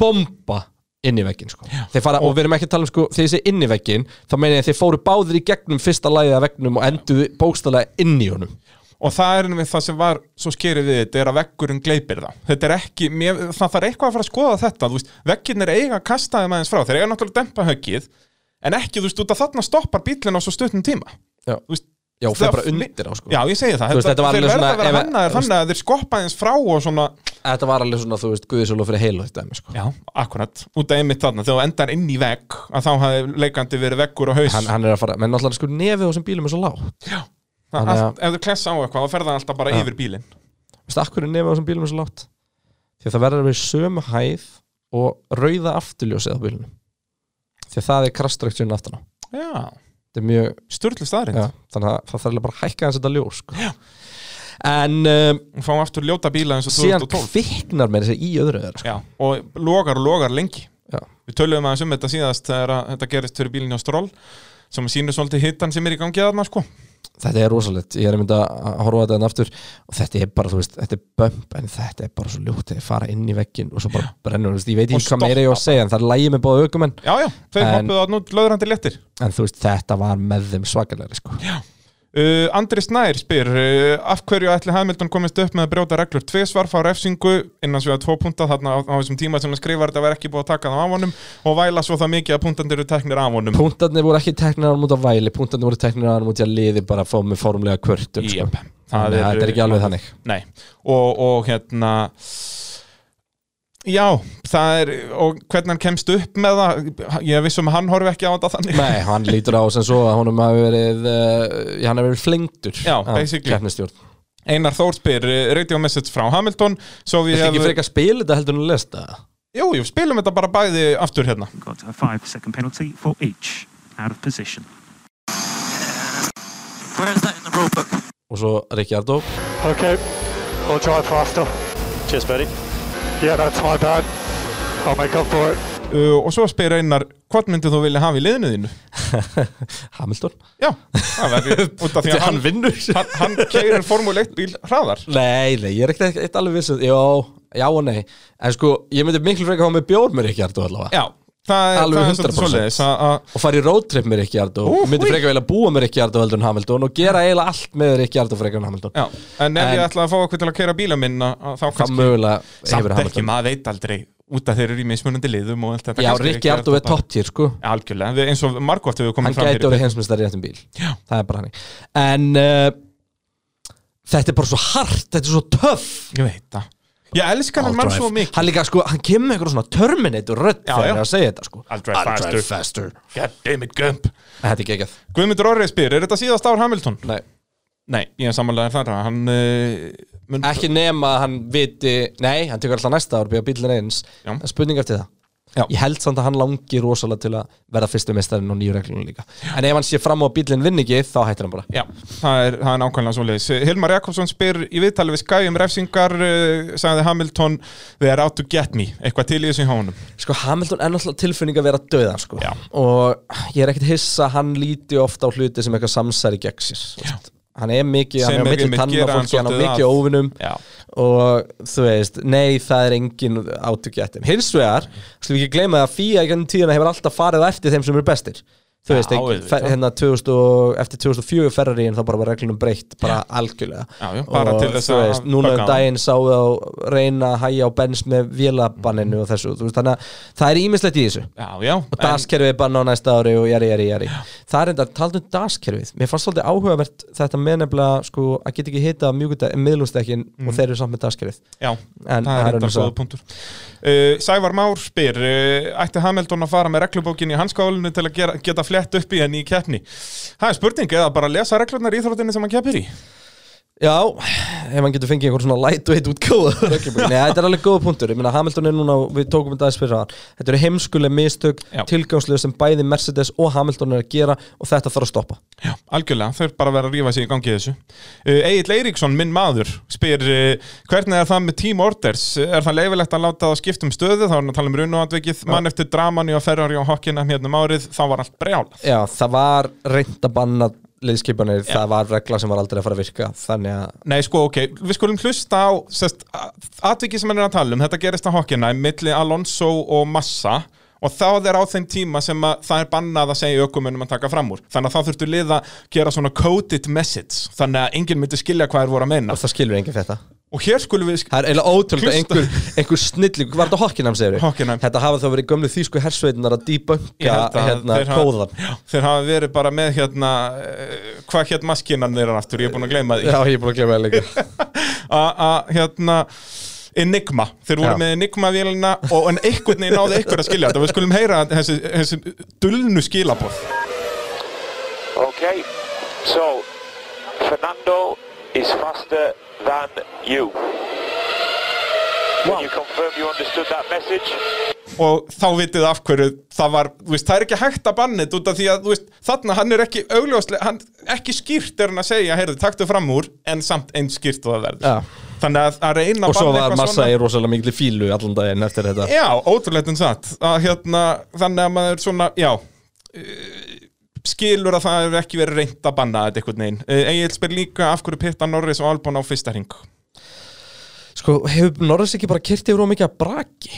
A: bomba inn í veggin sko. Þeir fara, og, við erum ekki að tala um sko, þegar ég segi inn í veggin þá meina ég að þeir fóru báðir í gegnum fyrsta lagið af veggnum og enduðu bókstælega inn í honum
B: Og það er einmitt það sem var svo skerið við þetta er að veggurinn gleipir það. Þetta er ekki, mér, það þarf eitthvað að fara að skoða þetta. Þú veist, vegginn er eiga að kasta þeim aðeins frá. Þeir eiga náttúrulega að dempa höggið, en ekki, þú veist, út að þarna stoppar bílinn á svo stuttum tíma.
A: Já.
B: Þú veist,
A: Já, og fer
B: það-
A: bara undir á, sko.
B: Já, ég segi það.
A: Þú veist, þetta var
B: þeir
A: alveg
B: verða
A: svona-
B: að vera
A: ef-
B: hannaðir
A: þú veist-
B: þannig að þeir skoppa aðeins frá og svona,
A: Þetta var alveg svona, þú veist, guðisólu fyrir heilu þetta dæmi, sko.
B: Já, akkurat, út af einmitt þarna þegar þú endar inn í vegg að þá hafði leikandi verið veggur og haus
A: hann, hann er að fara, menn alltaf sko nefið á þessum bílum er svo lágt
B: Já,
A: hann
B: allt,
A: er að-
B: ef þú klessa á eitthvað þá ferða hann alltaf bara
A: Já.
B: yfir bílinn
A: veist, akkur er nefið á þessum bílum er svo lágt því að það verður að vera í sömu hæð og rauða afturljósið á bílunum því að það er krastræktjörn aftan á
B: Já,
A: þetta er mjög
B: Sturlu staðrind
A: já, þannig að það þarf eiginlega bara að hækka hans þetta ljós sko. en um,
B: og fáum aftur ljóta bíla eins og
A: síðan
B: 2012
A: kviknar með þessi í öðru öðru sko.
B: já, og logar og logar lengi
A: Já.
B: við töluðum aðeins um þetta síðast þegar að þetta gerist fyrir bílinni á stról sem sýnir svolítið hittan sem er í gangi að maður sko
A: þetta er rosalegt, ég er einmitt að að horfa á þetta enn aftur og þetta er bara, þú veist, þetta er bömp en þetta er bara svo ljótt, þegar fara inn í veggin og svo bara brennur, þú veist, ég veit
B: Og
A: ekki hvað meira ég á að segja en það er lægi með báða aukumenn
B: já, já, þeir
A: En-
B: hoppuðu að nú löðrandi léttir
A: en þú veist, þetta var með þeim svakalegri sko.
B: Uh, Andri Snær spyr uh, af hverju ætli Hamilton komist upp með að brjóta reglur tvei svarf á refsingu innan svega tvo punta þarna á, á þessum tíma sem hann skrifar þetta var ekki búið að taka það af honum og væla svo það mikið að puntandir eru teknir af honum
A: Puntarnir voru ekki teknir á hann út af væli Puntarnir voru teknir á hann út af liði bara að fá með formlega kvörtun sko.
B: Jep.
A: Þannig að þetta er ekki alveg þannig
B: eh, Nei, og, og hérna Já, það er og hvernig hann kemst upp með það ég vissum að hann horfi ekki á þetta þannig
A: Nei, hann lítur á sem svo að honum hafi verið uh, hann hafi verið flengdur
B: Já,
A: af
B: basically.
A: keppnisstjórn.
B: Einar Þór spyr, uh, radio message frá Hamilton svo
A: Viltu
B: við
A: ekki frekar spila þetta heldur en að lesta það?
B: Jú, jú, spilum þetta bara bæði aftur hérna
M: Got a five second penalty for each out of position. Where is that in the rule book?
A: Og svo Ricciardo
L: Okay, I'll drive faster. Cheers, buddy. Yeah, that's my bad. I'll make up for it.
B: uh, og svo spyr Einar hvort myndið þú vilja hafa í liðinu þínu
A: Hamilton
B: já, það verður út af því að
A: Hann
B: hann
A: vinnur
B: hann, hann keirir Formule 1 bíl hraðar
A: Nei, nei, ég er ekkert eitt alveg viss um- Já, já og nei En sko, ég myndi miklu frekar hafa með bjór með Ricciardo allavega
B: já, það er,
A: Alveg
B: það er
A: 100%.
B: svolítið svoleiðis að- að-
A: Og fara í roadtrip með Ricciardo
B: Ú,
A: Myndi
B: húi.
A: frekar vilja búa með Ricciardo heldur en Hamilton Og gera eiginlega allt með Ricciardo frekar en Hamilton
B: já, en ef
A: En-
B: ég ætla að fá okkur til að keira bíla minna að þá
A: Það
B: kannski,
A: mögulega hefur
B: samt ekki
A: Hamilton
B: maður veit aldrei út af þeir eru í mismunandi liðum og allt þetta
A: Já,
B: kannski
A: Rikki
B: ekki
A: Ardó er
B: alltaf bara-
A: topp týr sko
B: algjörlega, við- eins og margótt hefur
A: Hann
B: komið fram
A: gæti
B: fyrir
A: orðið heimsmyndstari í réttum bíl Já. Það er bara hann En uh, þetta er bara svo hart Þetta er svo töff
B: ég veit það ég elska hann mann svo mikið
A: Hann líka sko, hann kemur með eitthvað svona Terminator rödd
B: Já,
A: Þegar
B: já.
A: hann er að segja þetta sko
B: I'll drive
A: I'll drive
B: faster God damn it, Gump
A: Þetta er geggjað
B: Guðmundur Orrið spyr, er þetta síðast ár Hamilton?
A: Nei.
B: Nei, ég er samanlega þar að hann uh, mun...
A: Ekki nema að hann viti Nei, hann tekur alltaf næsta ár Býða bílinn eins
B: Já.
A: En spurning eftir það
B: Já.
A: Ég held samt að hann langi rosalega til að verða fyrstu mestarinn og nýju reglunum líka En ef hann sé fram á að bílinn vinn ekki, þá hættir hann bara
B: Já, það er, það er nákvæmlega svoleiðis Hilmar Jakobsson spyr í viðtali við Sky um refsingar uh, sagði Hamilton They are out to get me, eitthvað til í þessu hjónum
A: Sko Hamilton er náttúrulega tilfinning að vera döðan sko.
B: Já.
A: og ég er ekkert hissa að hann líti ofta á hluti sem eitthvað samsæri gegn sér þú veist. hann er mikið, hann er
B: Sem er
A: á milli
B: einmitt
A: tanna
B: gera hann
A: fólki, hann er
B: svolítið
A: mikið
B: að-
A: óvinum
B: Já.
A: og þú veist, nei það er engin átökjættum, hins vegar slum ekki gleyma að FIA í gennum tíðina hefur alltaf farið á eftir þeim sem eru bestir þú
B: Já,
A: veist, ekki,
B: auðvitað.
A: fer, hérna 2000 og, eftir 2004 ferrari en þá bara var reglunum breytt bara algjörlega
B: Já, já, bara til þess
A: þú
B: að
A: veist, núna
B: bögga
A: um
B: hann.
A: daginn sáðu á reyna að hæja á bens með vélabanninu og þessu, þú veist, þannig að það er ímislegt í þessu
B: Já, já,
A: og daskerfið er bara ná næsta ári og jari, jari, jari það er enda, taldu um daskerfið mér fannst svolítið áhugavert þetta með nefnilega sko, að geta ekki hita miðlumstekkin
B: Mm.
A: og þeir eru samt með daskerfið
B: já
A: En
B: það
A: það er
B: er þetta
A: önnur saga.
B: góða punktur uh, Sævar Már spyr uh, Ætti Hamilton að fara með reglubókin í hanskálinu til að gera, geta flett upp í henni í keppni Það er spurning, eða bara lesa reglurnar í Íþróttinni sem hann keppir í
A: já, ef hann getur fengið einhvern svona lightweight útgóða Nei, þetta er alveg góða punktur, ég meina Hamilton er núna við tókum þetta aðeins fyrir hann, þetta eru heimskuleg mistök,
B: Já.
A: tilgangslega sem bæði Mercedes og Hamilton er að gera og þetta þarf að stoppa
B: Já, algjörlega, þau bara verða að rífa sig í gangi í þessu uh, Egil Eiríksson, minn maður spyr, uh, hvernig er það með team orders er það leifilegt að láta það skipta um stöðu þá er hann að tala um runuandvikið mann eftir dramanu að Ferrari og Hokkina hérna um árið þá var allt brjál
A: Já, það var reynd að banna liðskipanir, það var regla sem var aldrei að fara að virka þannig að
B: Nei, sko, ok, við skulum hlusta á sest, atvikið sem hann er að tala um þetta gerist á Hokkina, milli Alonso og Massa og þá er á þeim tíma sem að það er bannað að segja ökumunum að taka fram úr þannig að þá þurftu liða að gera svona coded message þannig að enginn myndi skilja hvað er voru að meina
A: og það skilur enginn þetta
B: og hér skulum við
A: Það er eiginlega ótrúlega
B: Hlusta.
A: einhver, einhver snilling, var þetta Hockenheim segir við?
B: Hockenheim.
A: Þetta hafa þá verið gömlu þýsku hersveitinar að
B: Ég
A: debunka
B: held að
A: hérna
B: þeir hafa-
A: kóðan
B: Já, þeir hafa verið bara með hérna eh, hvað hétt maskinan þeirra aftur, ég er búin að gleyma því
A: Já, ég er búin að glemja það líka
B: A- að hérna Enigma, þeir voru
A: Já.
B: með Enigma-vélina og en einhvern veginn náði einhver að skilja þetta við skulum heyra þessi, þessi dulnu skilaboð
N: Okay, so Fernando is faster than you. Can you confirm you understood that message?
B: og þá vitið þið af hverju það var, þú veist, það er ekki hægt að banna þetta út af því að, þú veist, þarna hann er ekki augljóslega, hann, ekki skýrt er hann að segja, heyrðu, taktu fram úr, en samt eins skýrt og það verður.
A: Já.
B: Þannig að að reyna
A: og
B: að
A: svo
B: banna
A: var
B: eitthvað
A: massa
B: svona. Eh.
A: í rosalega mikli fílu allan daginn eftir þetta
B: Já, ótrúlegt en satt. Að, hérna, þannig að maður svona, já, eh, skilur að það hefur ekki verið reynd að banna þetta einhvern veginn. Egil spyr líka af hverju pitta Norris og Albon á fyrsta hring.
A: Sko, hefur Norris ekki bara kyrtið úr og mikið að braki?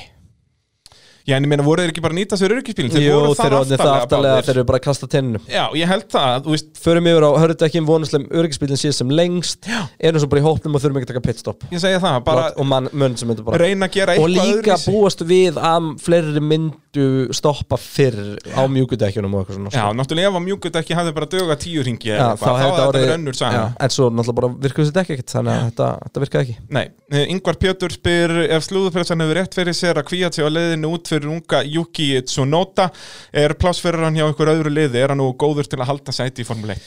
B: Já, en ég meina, voru þeir ekki bara að nýta sér öryggisbílinn? Þeir
A: Jú,
B: voru það
A: þeir orðnir það
B: aftarlega
A: aftalega
B: báðir.
A: þeir eru bara að kasta tenninu
B: Já, ég held það, þú veist
A: Förum yfir á hörðutekkin, vonuslegum öryggisbílinn sé sem lengst Erum svo bara í hópnum og þurfum ekki að taka pitstop
B: Ég segja það, bara
A: Og mann, mönn sem myndu bara
B: Reyna að gera
A: Og
B: eitthvað
A: líka
B: öðruvísi.
A: búast við að fleiri myndu stoppa fyrr á mjúkudekkjunum og eitthvað svona
B: Já, náttúrulega ef að mjúkut ekki hafði bara döga tíu ringi
A: Já, þá
B: þá
A: hefði
B: hefði
A: þetta
B: þetta verið
A: orðið-
B: önnur
A: Já,
B: saga
A: En svo náttúrulega bara virkuðu þetta ekki ekkert Þannig að þetta, þetta virkaði ekki
B: Nei, eh, Ingvar Pjötur spyr ef slúðupressan hefur rétt fyrir sér að kvíja sig á leiðinu út fyrir unga Yuki Tsunoda er plássferður hann hjá einhver öðru liði, er hann nú góður til að halda sæti í Formule 1?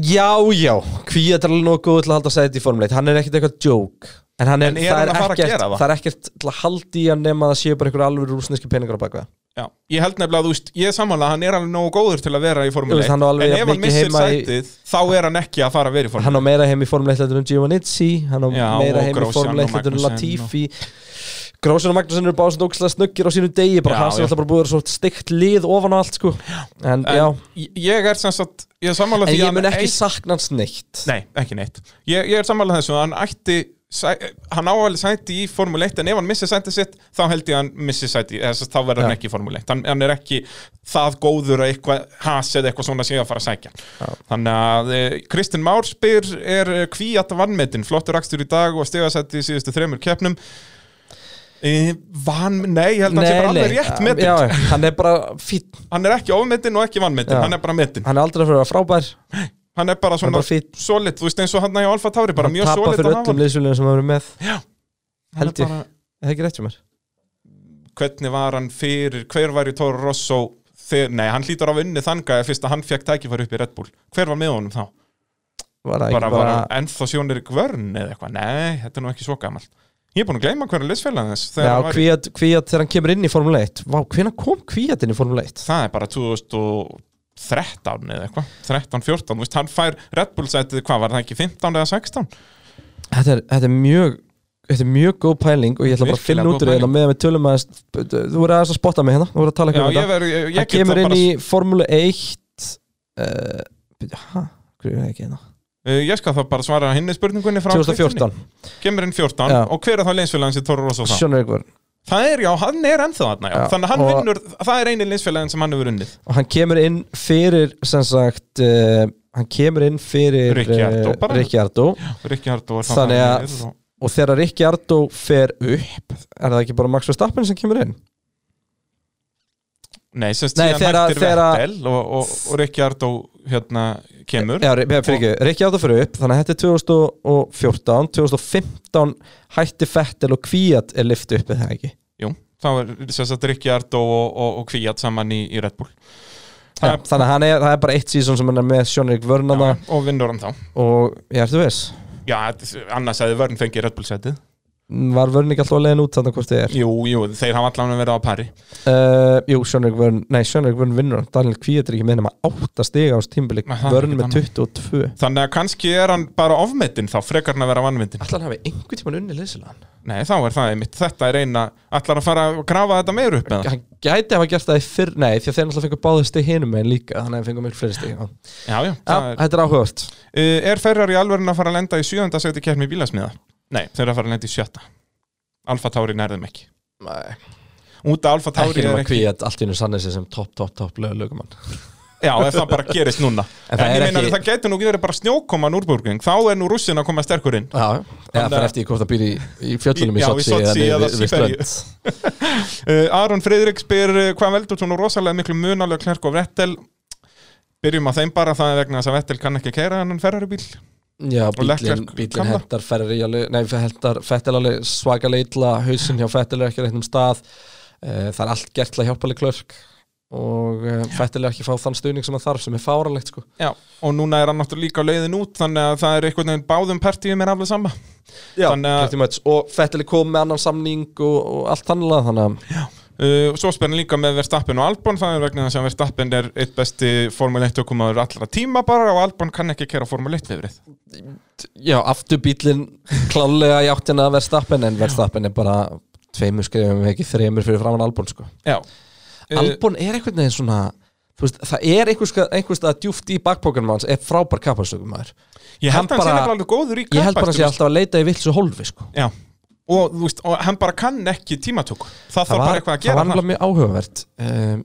A: Já, já, kvíða til alveg nógu góð til að halda sæti í formuleit Hann er ekkert eitthvað joke En, hann er,
B: En er
A: það,
B: hann að fara að
A: ekkert,
B: gera það?
A: það er ekkert til að halda í hann nema að það séu bara einhver alveg rúsneski peningar á bakveða
B: Já, ég held nefnilega að þú veist, ég er sammála að hann er alveg nógu góður til að vera í
A: Þú
B: Formule
A: veist,
B: 1
A: hann á alveg
B: en
A: jafn
B: ef hann
A: mikið
B: missir
A: heima í-
B: sætið, þá er hann ekki að fara að vera í Formule 1
A: Hann á meira heim í formuleitt Þetta um Giovanizzi Hann á
B: Já,
A: meira
B: og
A: heim í
B: Grosjean
A: formuleitt
B: og
A: Þetta um
B: Magnussen
A: Latifi Grósjan og Magnúsin eru báðsund ógslag snuggir á sínum degi
B: Já,
A: Bara hans
B: já.
A: er alltaf bara búið að vera svo steikt lið ofan á allt sko En, já,
B: en ég- ég er sem sagt ég er sammála
A: En
B: því
A: ég
B: að
A: mun
B: hann
A: ekki
B: eigi-
A: sakna hans neitt
B: Nei, ekki neitt Ég, ég er sammála þessu að hann ætti sæ- hann á alveg sæti í Formule 1 en ef hann missir sætið sitt þá held ég að hann missir sæti þess að þá verður hann
A: Já.
B: ekki í Formule 1 hann, hann er ekki það góður að eitthvað has eða eitthvað svona sé að fara að sækja þannig að eh, Kristinn Már spyr er eh, kvíat vannmetin flottur akstur í dag og stegasæti í síðustu þremur keppnum Eh, Van, nei, ég held að hann sé bara alveg rétt
A: um,
B: metin
A: já, já, Hann er bara fýtt
B: Hann er ekki ofmetin og ekki vannmetin,
A: Já.
B: hann er bara metin
A: Hann er aldrei að vera frábær
B: hann er bara
A: Hann
B: svona
A: er bara fínn.
B: solid, þú veist eins og hann í Alfa Tauri bara
A: Hann
B: mjög
A: tapar
B: solid
A: fyrir
B: að hafa
A: öllum liðsfélögum sem hafa verið með
B: Já, hann
A: Held
B: er
A: ég,
B: bara-
A: er það ekki rétt hjá mér?
B: hvernig var hann fyrir, hver var í Toro Rosso þegar, nei, hann hlýtur á unni þanga fyrst að hann fekk tækifæri upp í Red Bull hver var með honum þá?
A: Var það
B: Bara,
A: ekki
B: bara...
A: bara,
B: Var ennþá sjónir í Gvörn eða eitthvað, nei, þetta er nú ekki svo gamalt ég er búin að gleyma hverju liðsfélag þess þegar hann
A: já,
B: var í-
A: kvíat, kvíat þegar hann kemur inn í Formule 1 Vá, hvenær kom kvíat inn í Formule 1?
B: það er bara 2013 eða eitthvað 13, 14, þú veist, hann fær Red Bull sætið, hvað var það ekki, 15 eða 16
A: Þetta er, þetta er mjög Þetta er mjög góð pæling og ég ætla bara að
B: Virkilega
A: finna út úr
B: góð
A: þetta með að við tölum að þú voru aðeins að spotta mig hérna, þú voru að tala
B: Já,
A: eitthvað um
B: ég verð- ég- ég
A: þetta Hann
B: get það
A: kemur inn
B: bara-
A: í Formule 1 uh, byrja, hæ, hverju er það ekki hérna?
B: Uh, ég skal þá bara svara henni spurningunni frá
A: 2014.
B: Kristínu. Kemur inn 14
A: Já.
B: og hver er þá leinsfélagin sem Toro Rosso þá?
A: Sjónur ykkur
B: Það er, já, hann er ennþá þarna, já.
A: Já,
B: Þannig að hann
A: og-
B: vinnur, það er eini leinsfélagin sem hann hefur unnið.
A: og hann kemur inn fyrir sem sagt uh, hann kemur inn fyrir eh,
B: Ricciardo bara.
A: Ricciardo
B: Rikki Hardó er þá
A: þannig að
B: þannig að-
A: og þegar Ricciardo fer upp er það ekki bara Max Verstappen sem kemur inn
B: Nei, semst,
A: Nei,
B: síðan
A: þeirra-
B: hættir
A: þeirra-
B: Vettel og, og, og Rikki Hardó hérna kemur.
A: Já, fyrir ekki, Ricciardo fer upp þannig að þetta er 2014 2015 hætti Fettel og Kvíat er lyft upp eða ekki
B: Jú, þá er semst að Rikki Hardó og, og, og Kvíat saman í, í Red Bull.
A: Já, þannig að hann er, það er bara eitt sísón sem hann er með Sjónrik Vörnana
B: Og vinnur hann þá.
A: og ég ertu viss
B: Já, þetta- annars hefði Vörn fengið Red Bull setið.
A: var Vörn ekki alltaf að leiðin út þannig hvort þið er
B: Jú, jú, þeir hafa allan verið á pari.
A: Uh, jú, Sjónrik Vörn, nei, Sjónrik Vörn vinnur hann. Daniel Kvíat er ekki með nema 8 stiga á þessu tímbili,
B: það er
A: Vörn
B: ekkert
A: með 22
B: Þannig að kannski er hann bara ofmetinn þá, frekar hann að vera vannmetinn.
A: Ætlar hann hafi einhvern tímann unni leysilegan
B: Nei, þá er það einmitt. Þetta er eina, ætlar að fara að grafa þetta meir upp eða?
A: Hann gæti hafa gert það í fyrr, nei, því að þeir náttúrulega fengur báðu stig hinum en líka, þannig að þeir fengur mjög fleiri stig Já,
B: Já, já. það
A: þetta er áhugavert
B: Uh, er Ferrari alvörin að fara að lenda í sjöönda seti keppni bílasmiða? Nei, þeir eru að fara að lenda í sjötta Alfa Tauri nærðum ekki
A: Nei.
B: Út af Alfa Tauri
A: Ekki
B: er
A: nema
B: ekki
A: Kvíat um allt í hennu sannig sem topp, topp, topp lögumann
B: Já, ef það bara gerist núna
A: En
B: En,
A: það
B: ég
A: er
B: meina
A: ekki-
B: að það getur nú ekki verið bara snjókoman úrbúrgeng Þá er nú rússin að koma sterkur inn
A: Já, eða
B: Þannig
A: fyrir
B: að-
A: eftir í hvort það býr í, í fjöllunum í
B: Já, í
A: Sotsi
B: Sochi eða
A: við- við
B: Siberíu.
A: strönd.
B: uh, Aron Friðrik spyr uh, hvað veldur svona rosalega miklu munalega klærk og Vettel Byrjum að þeim bara það er vegna þess að Vettel kann ekki keira hennan Ferrari bíl
A: Já,
B: Og
A: bílinn
B: Leclerc
A: bílin
B: kann það.
A: hendar ferri alveg, nei, hendar fettil alveg svakalega illa hausin hjá fettil er ekki á réttum stað Eh, það er allt gert til að hjálpa alveg klörk og uh, fættilega ekki fá þann stuðning sem hann þarf sem er fáralegt sko
B: Já, og núna er hann náttúrulega líka á leiðin út þannig að það er einhvern veginn báðum partíum er alveg sama
A: Já, pretty much og Fettileg kom með annan samning og, og allt þannlega þannig að
B: Uh, svo spenna líka með Verstappen og Albon það er vegna þess að Verstappen er eitt besti Formule 1 okkumaður allra tíma bara og Albon kann ekki kæra Formule 1 viðrið
A: Já, afturbílinn klálega í áttina að Verstappen en Verstappen er bara tveimur skrifum ekki þremur fyrir framann Albon sko
B: Já Eh,
A: Albon er einhvern veginn svona þú veist, það er einhvers, einhvers að djúft í bakpókanum hans er frábær kapparstökum maður
B: Ég held að hann sé nefnilega alveg góður í
A: Ég held bara að sé
B: kappakstri,
A: alltaf að leita í vilsu hólfi sko
B: Já, og, þú veist, og hann bara kann ekki tímatöku það, þarf bara eitthvað að gera
A: það var alveg mjög áhugavert um,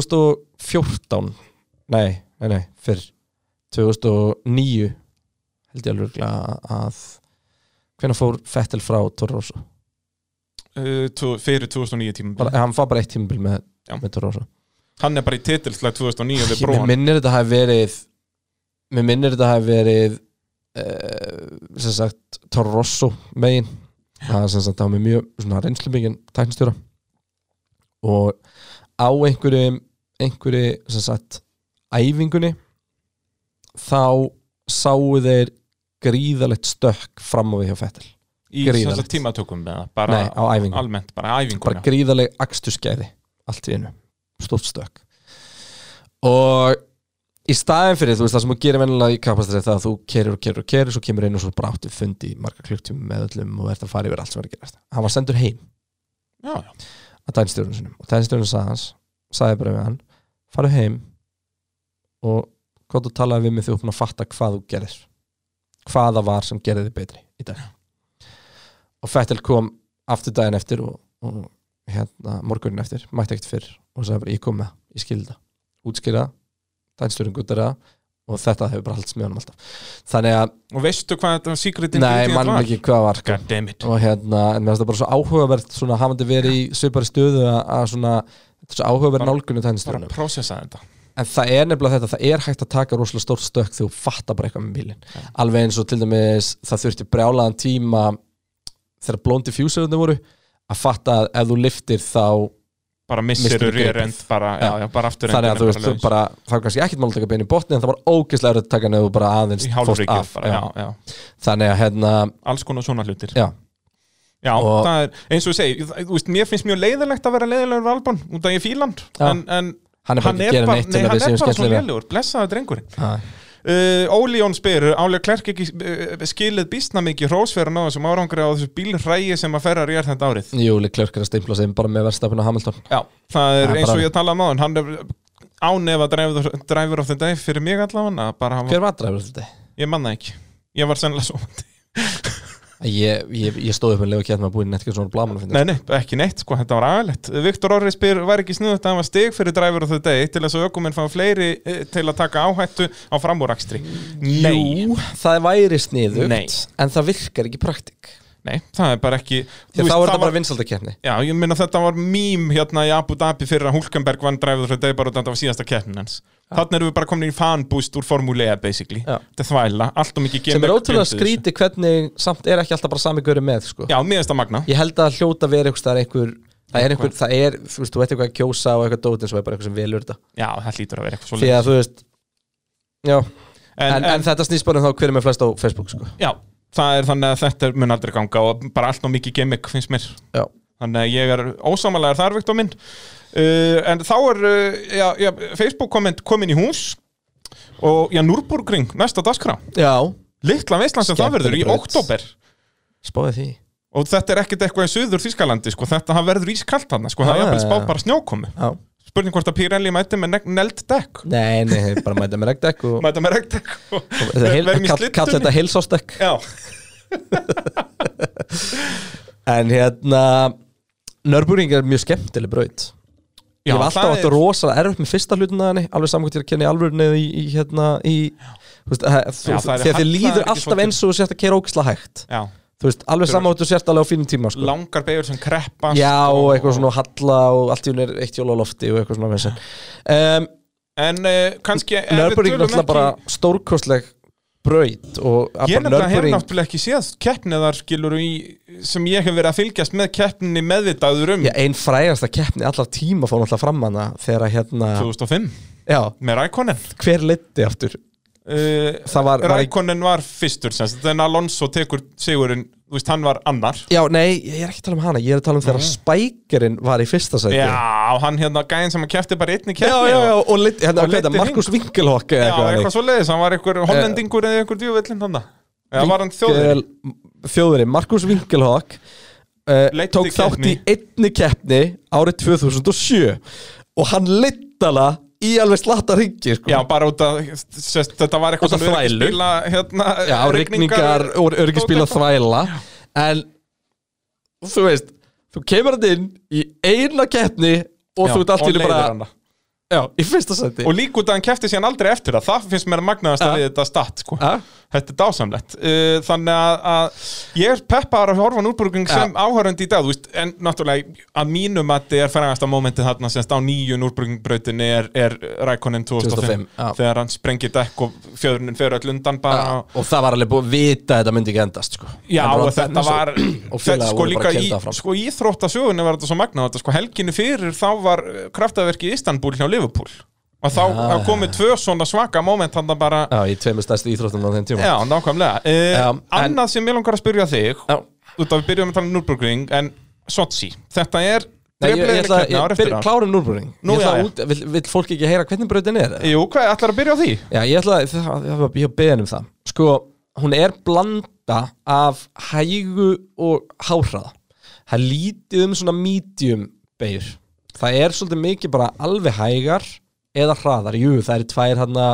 A: 2014 nei, nei, nei, fyrr 2009 held ég alveg að hvenær fór Fettel frá Toro Rosso
B: uh, tó- fyrir 2009 tíma
A: bara, hann fá bara eitt tímabil með, með Toro Rosso
B: Hann er bara í titilslega 2009 við
A: Ég- mér
B: bróðan
A: minnir þetta hafi verið mér minnir þetta hafi verið uh, sem sagt Toro Rosso megin það er sem sagt það var með mjög svona reynslu mikið tæknstjóra og á einhverju einhverju sem sagt æfingunni þá sáu þeir gríðalegt stökk fram á við hjá Fettel
B: í þess að tímatökum með það bara
A: hérna. Nei, á æfingu.
B: almennt, bara æfingu
A: bara gríðaleg aksturskæði allt í einu, stórt stök og í staðin fyrir, þú veist, það sem þú gerir venjulega í kapastri það að þú kerir og kerir og kerir svo kemur inn og svo bara áttu fundi í marga klukktíma með öllum og ert að fara yfir allt sem er að gerast hann var sendur heim
B: Já, já.
A: að tænstjórnum sinum og tænstjórnum sagði hans sagði bara við hann, faru heim og gott og talaði við mig þegar þú búin að fatta hvað þú gerir hvaða var sem gerði þið betri í dag og Fettel kom aftur daginn eftir og, og hérna, morgunin eftir, mætti ekkert fyrr og sagði bara ég kom með, það, ég skildi það útskýra, dænstjórun guttara og þetta hefur bara haldst með honum alltaf þannig að
B: og veistu hvað þetta secret
A: Nei,
B: ingredient
A: mann
B: var?
A: ekki hvað var sko.
B: og
A: hérna, en mér finnst það bara svo áhugavert svona hafandi verið í svipari stöðu að að svona, þetta er svo áhugaverð nálgunni
B: bara
A: tennistjónum,
B: prósessa þetta
A: en það er nefnilega þetta, það er hægt að taka rosalega stórt stökk þegar þú fattar bara eitthvað með bílinn, alveg eins og til dæmis það þurfti brjálaðan tíma þegar blóndi fjúsirunni voru að fatta að ef þú liftir þá
B: bara missir
A: missirðu gripið.
B: rear end bara, já, já, bara aftur
A: þannig að þú veist, þú bara, það var kannski ekkert mál að taka bein í botni en það var ógeðslega erfitt að taka neðu bara aðeins
B: Í hálfri
A: fórst af,
B: gjöf bara, já,
A: þannig að hérna
B: alls konar svona hlutir
A: já,
B: Já,
A: Og-
B: það er, eins og ég segi, það- þú veist, mér finnst mjög leiðilegt að vera leiðilegur við Albon, út af ég fíl hann
A: Já.
B: en, en
A: Hann er bara ekki að gera neitt til
B: nei,
A: að
B: hann
A: við séum
B: er bara svona
A: skemmtilegir.
B: leiðilegur, blessaður drengurinn
A: Nei.
B: uh, Óli Jón spyr, Áli Klerk ekki uh, skilið býstna mikið hrósverðan á þessum árangri á þessu bílrægi sem að ferra rér þetta árið
A: jú, Leclerc er að stimpla sig bara með verðstafinu Hamilton
B: Já, það
A: Það
B: er
A: er
B: eins og
A: bara-
B: ég talaði maður, hann er ánefa driver, driver of the day fyrir mig allavega að bara hafa-
A: Hver var driver of the day?
B: Ég manna ekki, ég var sennilega sofandi
A: ég, ég, ég stóð upp með lefa kjætt með að búið neitt ekki svona blaman að finna
B: Nei, nei, ekki neitt, sko, þetta var aðalegt Viktor Orri spyr, var ekki snuðut að hann var stig fyrir driver of the day til þess að ökuminn fá fleiri eh, til að taka áhættu á framúrakstri Nei,
A: Jú, það væri sniðugt
B: Nei.
A: en það virkar ekki í praktik
B: nei, það er bara ekki
A: Því að þá er þetta bara vinsaldakefni
B: Já, ég minna þetta var mím hérna í Abu Dhabi fyrir að Hulkenberg vann driver of the day bara út af þetta var síðasta keppnin hans Þannig erum við bara komin í fanbúst úr formúli E, basically
A: Já.
B: Þetta er þvæla, allt og mikið
A: sem er
B: gimmick
A: ótrúlega
B: bundið þessu.
A: skríti hvernig samt er ekki alltaf bara sami göri með sko.
B: Já, mér finnst það magna
A: ég held að hljóta verið einhvers staðar einhver það er einhver, það er, þú veist, þú veit eitthvað að kjósa og eitthvað dótin sem er bara eitthvað sem velur þetta
B: Já, það hlýtur að vera eitthvað svo
A: því að þú veist já, en,
B: En-
A: en, þetta snýst bara um þá hver er með flest á Facebook sko.
B: Já, það er þannig að þetta mun aldrei ganga og bara allt og mikið gimmick finnst mér
A: Já.
B: Þannig að ég er ósamalega þar Viktor minn uh, En þá er uh, já, já, Facebook komment komin í hús og já, Núrburgring, næsta dagskrá
A: já,
B: Litla veistlan sem það verður í
A: Skemmtileg braut.
B: oktober
A: spáði því
B: og þetta er ekkert eitthvað í söður Þískalandi sko. þetta það verður ískalt hann sko. það
A: Já,
B: er jafnvel
A: já,
B: spáð
A: já.
B: bara snjókomi
A: já.
B: Spurning hvort að Pirelli mæti með ne- neld dekk
A: nei, nei, þeir bara mæta með regdekk og
B: mæta með regdekk og
A: Heil-
B: verðum í
A: kall, kall þetta
B: slydduunni.
A: heilsástekk
B: Já,
A: en hérna Nörburing er mjög skemmtileg braut
B: Já,
A: ég hef alltaf
B: það
A: áttu
B: er-
A: rosalega erfitt með fyrsta hlutuna henni alveg saman hvort ég er að kenna í alvöru neðu í, í hérna í þú veist, það- þú-
B: það er
A: þegar þið
B: halla er
A: líður
B: ekki
A: alltaf
B: svolítið-
A: eins og þú sért að kera ógislega hægt
B: já.
A: þú veist, alveg saman hvort þú sért alveg á fínum tíma sko.
B: langar beigur sem kreppast
A: já og eitthvað svona halla og allt í hún er eitt jól á lofti og eitthvað svona vesen. um,
B: En uh, kannski ef við
A: Nörburing er
B: tölum
A: náttúrulega
B: ekki-
A: bara stórkostleg braut og að
B: Ég
A: bara
B: nefnilega hef
A: nördurinn-
B: náttúrulega ekki séð keppniðar skilur í, sem ég hef verið að fylgjast með keppninni meðvitaður um
A: Já, ein frægasta keppni allar tíma fór náttúrulega fram hana þegar að hérna
B: 2005
A: Já,
B: með Rækonen
A: hver leiddi aftur?
B: uh,
A: Það var, var ekki,
B: Rækonen var fyrstur sem sagt, en Alonso tekur sigurinn þú veist, hann var annar
A: Já, nei, ég er ekki að tala um hana Ég er að tala um þegar
B: Mhm.
A: spækerinn var í fyrsta sæti
B: Já, hann hérna gæðin sem að kefti bara einni
A: já,
B: keppni
A: já, já, og leiddi, hérna, hvað
B: og
A: er
B: leiddi
A: þetta, Markus Winkelhock eða
B: Já, eitthvað
A: þannig. Eh,
B: svo leiðis, hann var einhver hollendingur eða einhver djúvillin hann Já, var hann þjóður
A: Winkel- Þjóðurinn, Markus Winkelhock uh,
B: Leiddi
A: tók þátt í
B: keppni.
A: einni keppni árið 2007 og hann leittala í alveg slatta ringi sko.
B: Já, bara út að sest, þetta var
A: Út
B: eitthvað
A: af þvælu.
B: öryggisbíla, hérna,
A: Já, rigningar og örgispíla þvæla En Þú veist, þú kemur hann inn Í eina keppni Og
B: Já,
A: þú ert allt í
B: og
A: einu
B: leiðir hana.
A: bara Já, í fyrsta seti
B: og líka út að hann kefti síðan aldrei eftir það það finnst mér að magnaðast að við þetta statt sko. þetta er dásamlegt Uh, þannig að, að ég er peppar að horfa núrbrugning sem áhörund í dag þú veist, en náttúrulega að mínum að þetta er frægasta mómentið þarna semst á nýju núrbrugningbrutinni er, er Rækonin
A: 2005,
B: 2005
A: já.
B: þegar hann sprengir dekk og fjöðrunin fyrir öll undan bara
A: Já, Og það var alveg búið að vita að þetta myndi ekki endast sko.
B: Já,
A: En
B: og
A: bara
B: þetta
A: Dennis
B: var
A: og
B: þetta,
A: félagar voru
B: sko
A: bara
B: líka
A: að
B: í,
A: keyra áfram.
B: sko, í þróttasögunni var þetta svo magnað þetta, sko, helginni fyrir þá var kraftaverki í Istanbúl hjá Liverpool og þá
A: Já.
B: ja. komið tvö svona svaka moment þannig bara,
A: Já, í tveimur stærstu íþróttum á þeim tíma
B: já, nákvæmlega e,
A: Já,
B: annað sem ég langar að spyrja þig ja. út af við byrjum að tala um Nürburgring en Sochi, þetta er
A: Nei, ég, ég ætla
B: keppni ár
A: að
B: eftir ár.
A: klára núrbrúning
B: Nú, já, já.
A: Vill vill fólk ekki heyra hvernig bröðin er?
B: Jú, hvað, ætlar að byrja á því?
A: Já, ég ætla að, það, það var ég að beðin um það Sko, hún er blanda af hægu og háhraða Það er lítið um svona medium beigur Það er svolítið mikið bara alveg hægar eða hraðar Jú, það eru tvær hérna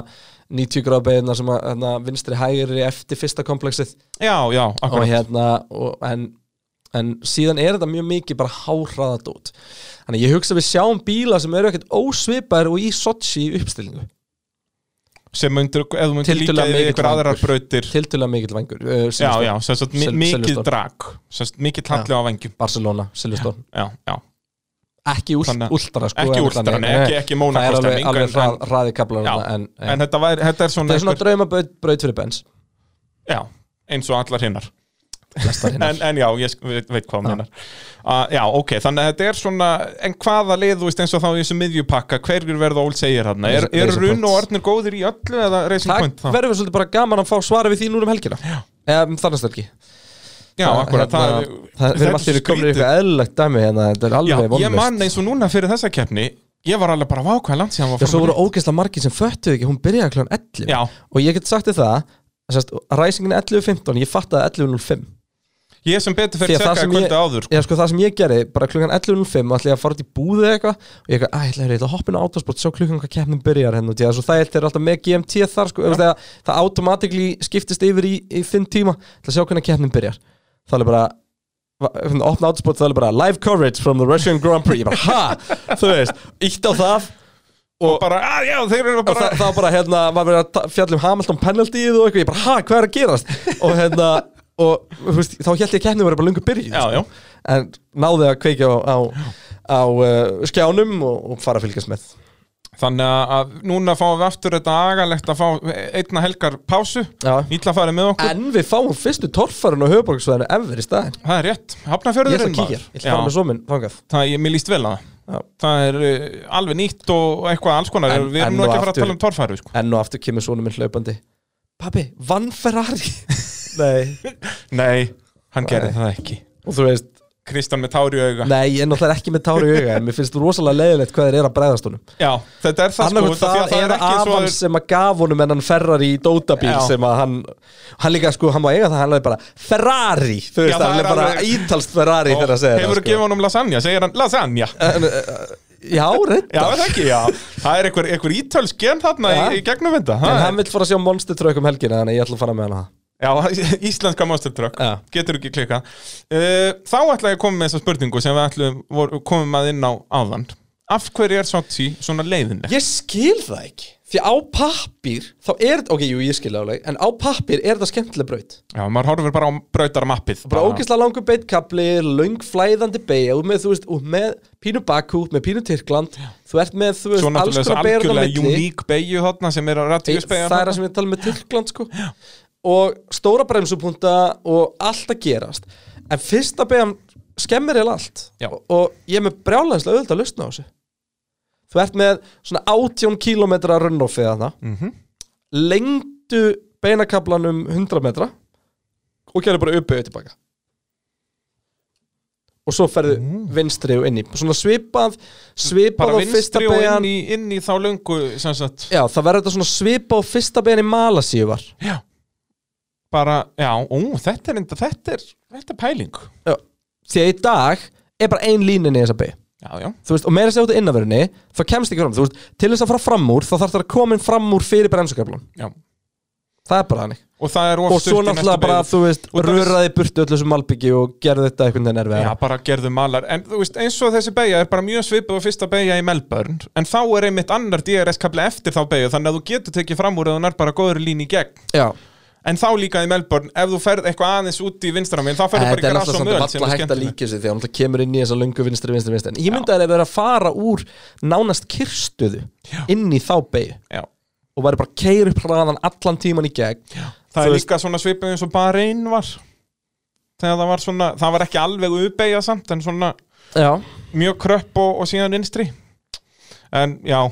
A: 90 gráð beigurnar sem að hérna, vinstri hægri eftir fyrsta kompleksið
B: Já, já,
A: og
B: akkurat
A: hérna og, en, en síðan er þetta mjög mikið bara háhraðadót þannig að ég hugsa að við sjáum bíla sem eru ekkert ósvipaðir og í Sochi í uppstillingu
B: sem myndir, ef þú myndir líka
A: Tiltölulega
B: við
A: mikill
B: ykkur aðrar
A: vangur.
B: brautir
A: tiltölulega mikill vangur uh,
B: já, já, sem sagt, mi- mikið
A: Silverstone.
B: drag sem sagt, mikið halli
A: Já.
B: á vengjum
A: Barcelona, Silveston
B: já, já,
A: ekki úl,
B: Þannig að-
A: últra sko,
B: ekki
A: en
B: últra,
A: þannig-
B: nei, ekki- ekki Monaco
A: það er alveg,
B: stemming, en-
A: alveg
B: en-
A: hrað, hraði kaplar
B: Já,
A: Hérna, en, en,
B: en þetta, væri, þetta er sko- svona,
A: það er svona draumabraut braut fyrir Benz
B: Já, eins og allar hinnar
A: Flestar hinnar.
B: en, en já, ég sk- veit, veit hvað hann hinnar uh, Já, ok, þannig að þetta er svona En hvaða lið, þú veist, eins og þá í þessu miðjupakka Hverjur verða ól segir hann Er,
A: Racing-
B: er
A: Racing
B: Run og
A: Point.
B: Arnur góðir í öllu eða Racing
A: það
B: Point? þá?
A: verður svolítið bara gaman að fá svara við því núna um helgina eða um þannig stölki
B: Já, akkurat, það er-
A: Hérna, það
B: þetta
A: verður
B: er
A: allir
B: svo
A: komin í eitthvað eðlilegt dæmi hérna, þetta er
B: Já,
A: alveg
B: ég
A: vonlust
B: man eins og núna fyrir þessa keppni Ég var alveg bara vákvæð langt síðan var
A: Já, svo
B: Formúlu
A: voru ógeðslega margir sem föttuðu ekki, hún byrjaði kl. 11
B: Já.
A: og ég get sagt þér það, sérst, ræsingin 11.15, ég fattaði 11.05
B: eitt. Ég sem betur
A: Því
B: fyrir
A: að það
B: sekkaði
A: sem ég-
B: kvöldi áður
A: Já, sko, það sem ég gerði, bara klukkan 11.05 ætla ég að fara út í búðu eitthvað og ég eitthvað, "Æ, ætla, heyrðu, ég ætla að hoppa inn á autosport sjá klukkan hvað keppnin byrjar henn og tíða svo það er alltaf með GMT þar, sko, ja. það, það automatikli skiptist yfir í, í þinn tíma ætla að sjá hvernig keppnin byrjar þá er bara va- hérna, opna autosport, það er bara live coverage from the Russian Grand Prix, ég bara, ha þú veist, ítt á það
B: Og bara, að já, þeir eru
A: og
B: bara
A: það, það var bara hérna, var verið að ta- fjalla um Hamilton penaltyið og eitthvað, ég bara, ha, hvað er að gerast og hérna, og þú veist, þá held ég að keppnið verið bara lungu byrjuð sko.
B: Já, já.
A: en náði að kveikja á, á, á uh, skjánum og, og fara að fylgjast með
B: Þannig að- að núna fáum við aftur þetta agalegt að fá einna helgar pásu
A: Já.
B: Ítla farið með okkur
A: en við fáum fyrstu torfarinn á höfuborgsvæðinu efver í staðin
B: Það er rétt,
A: ég ætla
B: hafnafjörðurinn
A: að kíkja, ég ætla að fara með svo minn þangað
B: það, ég, mér líst vel að
A: Já.
B: það það er uh, alveg nýtt og eitthvað alls konar
A: En-
B: við
A: en
B: erum nú
A: og
B: ekki að fara að
A: aftur-
B: tala um torfæru sko.
A: enn og aftur kemur svona minn hlaupandi Pappi, vann Ferrari? Nei
B: nei, hann gerði það ekki
A: Og þú veist
B: Kristján með tári auga
A: Nei, ég er náttúrulega ekki með tári í auga en mér finnst rosalega leiðilegt hvað þeir eru að bregðast honum
B: já, þetta er það
A: Annarkvæmt
B: sko,
A: það,
B: það, það er
A: eða
B: ekki svo
A: afan
B: að
A: sem að gaf honum en hann ferrar í dótabíl
B: Já.
A: sem að hann, hann líka sko, hann má eiga það, hann er bara Ferrari, þú veist,
B: það
A: hann
B: er
A: er bara
B: alveg-
A: ítalst Ferrari þegar að segja
B: hefur
A: það sko. eh,
B: þú gefið honum lasagna, segir hann lasagna
A: Já,
B: já,
A: reyndar
B: er það ekki, já það er einhver, einhver ítölsk gen þarna í,
A: Já.
B: í gegnum þetta
A: En
B: það er-
A: hann vill fara að sjá Monster Truck um helgina, þannig að ég ætla að fara með hann að það
B: já, íslenska monstertrökk
A: Já.
B: getur ekki klika uh, þá ætla ég að koma með þessa spurningu sem við ætlum vor- komum að inn á áðan af hverju er Sochi svona leiðinleg
A: Ég skil það ekki, því á pappir þá er, ok, jú, ég skil það alveg en á pappir er þetta skemmtileg braut
B: Já, maður horfir bara á brautarmappið
A: bara ógeðslega langur beitkabli, löng flæðandi beigja og með, þú veist, og með pínu Bakú, með pínu Tyrkland þú ert með, þú
B: Svo
A: veist, alls
B: náttúrulega þessu
A: konar beigur á
B: algjörlega
A: milli
B: uník beigju þarna sem er að
A: Ei,
B: radíusbeigja
A: það er það sem ég tala með um Tyrkland sko. og stóra bremsupunta og allt að gerast en fyrsta beigam skemmir eða allt
B: Já.
A: og, og ég er með brjálæðislega auðvitað að lustna á þessu þú ert með svona 18 km runnoffi þarna
B: Mhm.
A: lengdu beinakablan um 100 metra og gerðu bara uppeyðu tilbaka og svo ferðu vinstri og inn í svona svipað svipað
B: Mm. bara
A: á fyrsta
B: vinstri og
A: beigan
B: inn í, inn í þá löngu sem sagt,
A: já það verður þetta svona svipað á fyrsta beigan í Malasíu var
B: já bara, já, ú, þetta er enda, þetta er þetta er pæling
A: Já, því að í dag er bara ein línin í þessa beig
B: já, já,
A: Þú veist, og meira sér út í innavörunni þá kemst ekki fram, þú veist, til þess að fara fram úr þá þarf það að koma inn fram úr fyrir bremsuköflun
B: já
A: það er bara þannig
B: og það er of
A: og
B: stutt
A: svo
B: í næstu
A: náttúrulega bara,
B: beygju.
A: þú veist,
B: Og það er-
A: röraði burtu öllu sem malbyggi og gerði þetta einhvern veginn erfið
B: Já, bara gerðu malar En þú veist, eins og þessi beigja er bara mjög svipuð á fyrsta beigja í Melbourne En þá er einmitt annar DRS-kabli eftir þá beigja Þannig að þú getur tekið fram úr eða hún er bara góður lín í gegn
A: Já.
B: En þá líka í Melbourne, ef þú ferð eitthvað aðeins út í vinstramil Þá ferðu bara í
A: þetta er
B: gras og
A: náttúrulega
B: möl
A: samt valla
B: sem
A: hægt að
B: er skemmtileg.
A: líka sig því að hann kemur inn í þessa löngu vinstri, vinstri, vinstri en ég myndi að það er að fara úr nánast kyrstuðu inn í þá beigju
B: Já.
A: og væri bara keir upp hraðan allan tíman í gegn Já.
B: Það er líka svona svipuð eins og bara einn var Þegar það var svona, það var ekki alveg uppbeigja samt En svona
A: Já.
B: mjög kröpp og, og síðan innstri En já,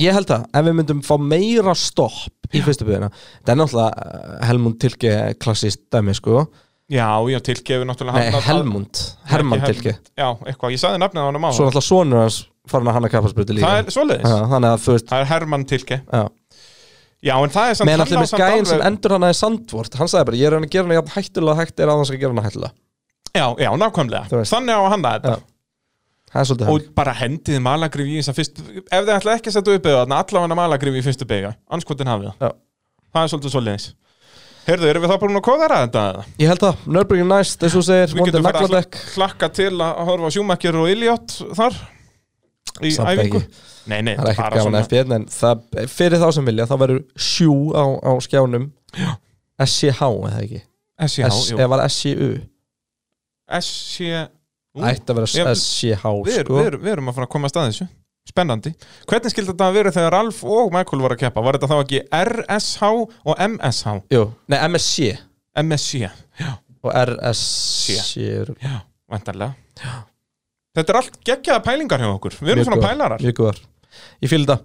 A: Ég held að ef við myndum fá meira stopp í fyrstu byggðina Það er náttúrulega eh, Helmund Tilke klassist dæmi sko
B: já, já, tilgefi náttúrulega
A: Nei,
B: hann-
A: Helmund, Hermann
B: Ekki
A: Tilke
B: Já, eitthvað, ég sagði nafnið á hann á
A: Svo náttúrulega sonur hans farin að hanna kapparsbyrti líka
B: Það er svoleiðis.
A: Já, Þannig að þú veist
B: Það er Hermann Tilke
A: Já.
B: Já, en það er samt
A: Meðan
B: hann
A: allir
B: á
A: með
B: samt
A: gæinn sem
B: alveg-
A: endur hann aðeins sandvort Hann sagði bara, ég er að reyna að gera hana jafn hættulega hægt er að hann skal gera hana hættulega
B: Já, já, nákvæmlega Þannig á að hanna þetta
A: Það er svolítið
B: Og bara hendið malagrif í þess að fyrst Ef þið ætla ekki að setja upp eða þarna Allavega malagrif í fyrstu beiga Anskotin hafið það
A: Já.
B: Það er svolítið svoleiðis Heyrðu, erum við þá búin að kóðara þetta? eða?
A: hann Ég held að, Nörbjörgjum næst, eins og þú segir,
B: Við
A: vondir
B: getum farið að
A: nagladekk
B: hla- hlakka til að horfa á sjúmakir og Iliot þar Í
A: Samt
B: æfingu
A: ekki.
B: Nei,
A: það
B: nei,
A: er ekkert
B: bara
A: gaman
B: svona
A: FBN en það, fyrir þá sem vilja þá verður sjú á, á skjánum SCH eða ekki
B: SCH, E jú. E
A: eða var SCU
B: SC Ú,
A: ætti að
B: ég-
A: vera SCH
B: við,
A: sko.
B: við, við erum að fara að koma að stað þessu Spennandi Hvernig skildi þetta að vera þegar Ralf og Michael var að keppa? Var þetta þá ekki RSH og MSH?
A: Jú, nei MSC
B: MSC Já,
A: og RSC eru-
B: vantarlega Þetta er allt geggjaða pælingar hjá okkur Við erum
A: Mjög
B: svona
A: góðar,
B: pælarar
A: mjög góðar ég fylg það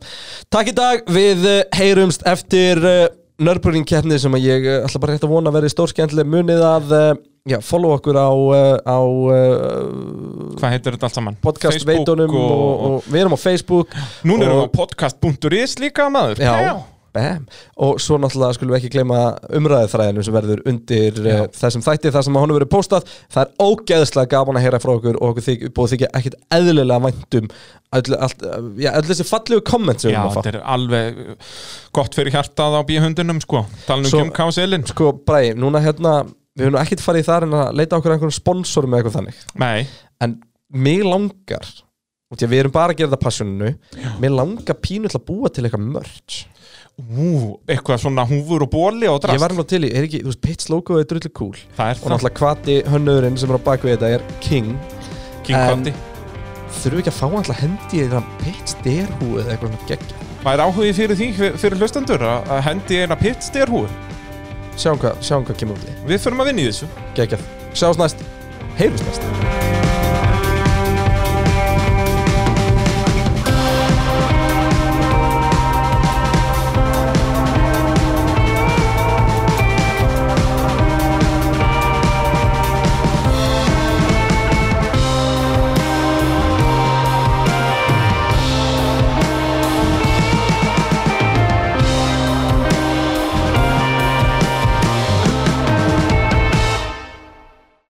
A: takk í dag við eh, heyrumst eftir uh, nörbjörning keppni sem að ég eh, ætla bara rétt að vona að vera stórskendli munið að uh, já, follow okkur á, uh, á uh,
B: Hvað heitir þetta allt saman?
A: podcast
B: Facebook
A: veitunum og, og, við erum á Facebook
B: Núna erum
A: og-
B: við á podcast.is líka maður
A: Já, Bam. og svo náttúrulega skulum við ekki gleyma umræðiþræðinum sem verður undir uh, þessum þætti, þar sem honum verður postað það er ógeðslega gaman að heyra frá okkur og okkur þyk, búið þykja ekkert eðlilega væntum öll, allt, eh, já, öll þessi fallegu komment sem
B: Já,
A: við erum að
B: þetta er alveg uh, gott fyrir hjartað á bíhundunum sko Talnum
A: Svo-
B: ekki um káselin
A: fá sko, bræði, núna hérna við höfum nú ekkert farið í það en að leita okkur einhvern sponsor með eitthvað þannig
B: Nei,
A: en mig langar út í að við erum bara að gera þetta passioninu mig langar pínu til að búa til eitthvað merch
B: ú, eitthvað svona húfur og bóli og
A: ég
B: drast
A: var alveg til í, er ekki, þú veist, Pits logo er drullu cool
B: Það er
A: og
B: það,
A: náttúrulega kvati hönnurinn sem er á bakvið þetta er King
B: King
A: en-
B: Kondi
A: þurfum við ekki að fá alltaf hendi í það Pits derhú eða eitthvað svona geggja
B: Það er áhugi fyrir því, fyrir hlustendur að að hendi eina pittstýr húi
A: sjáum hvað, sjáum hvað kemur út í
B: Við förum að vinna í þessu
A: geggjað, sjáum næst heyrjum næst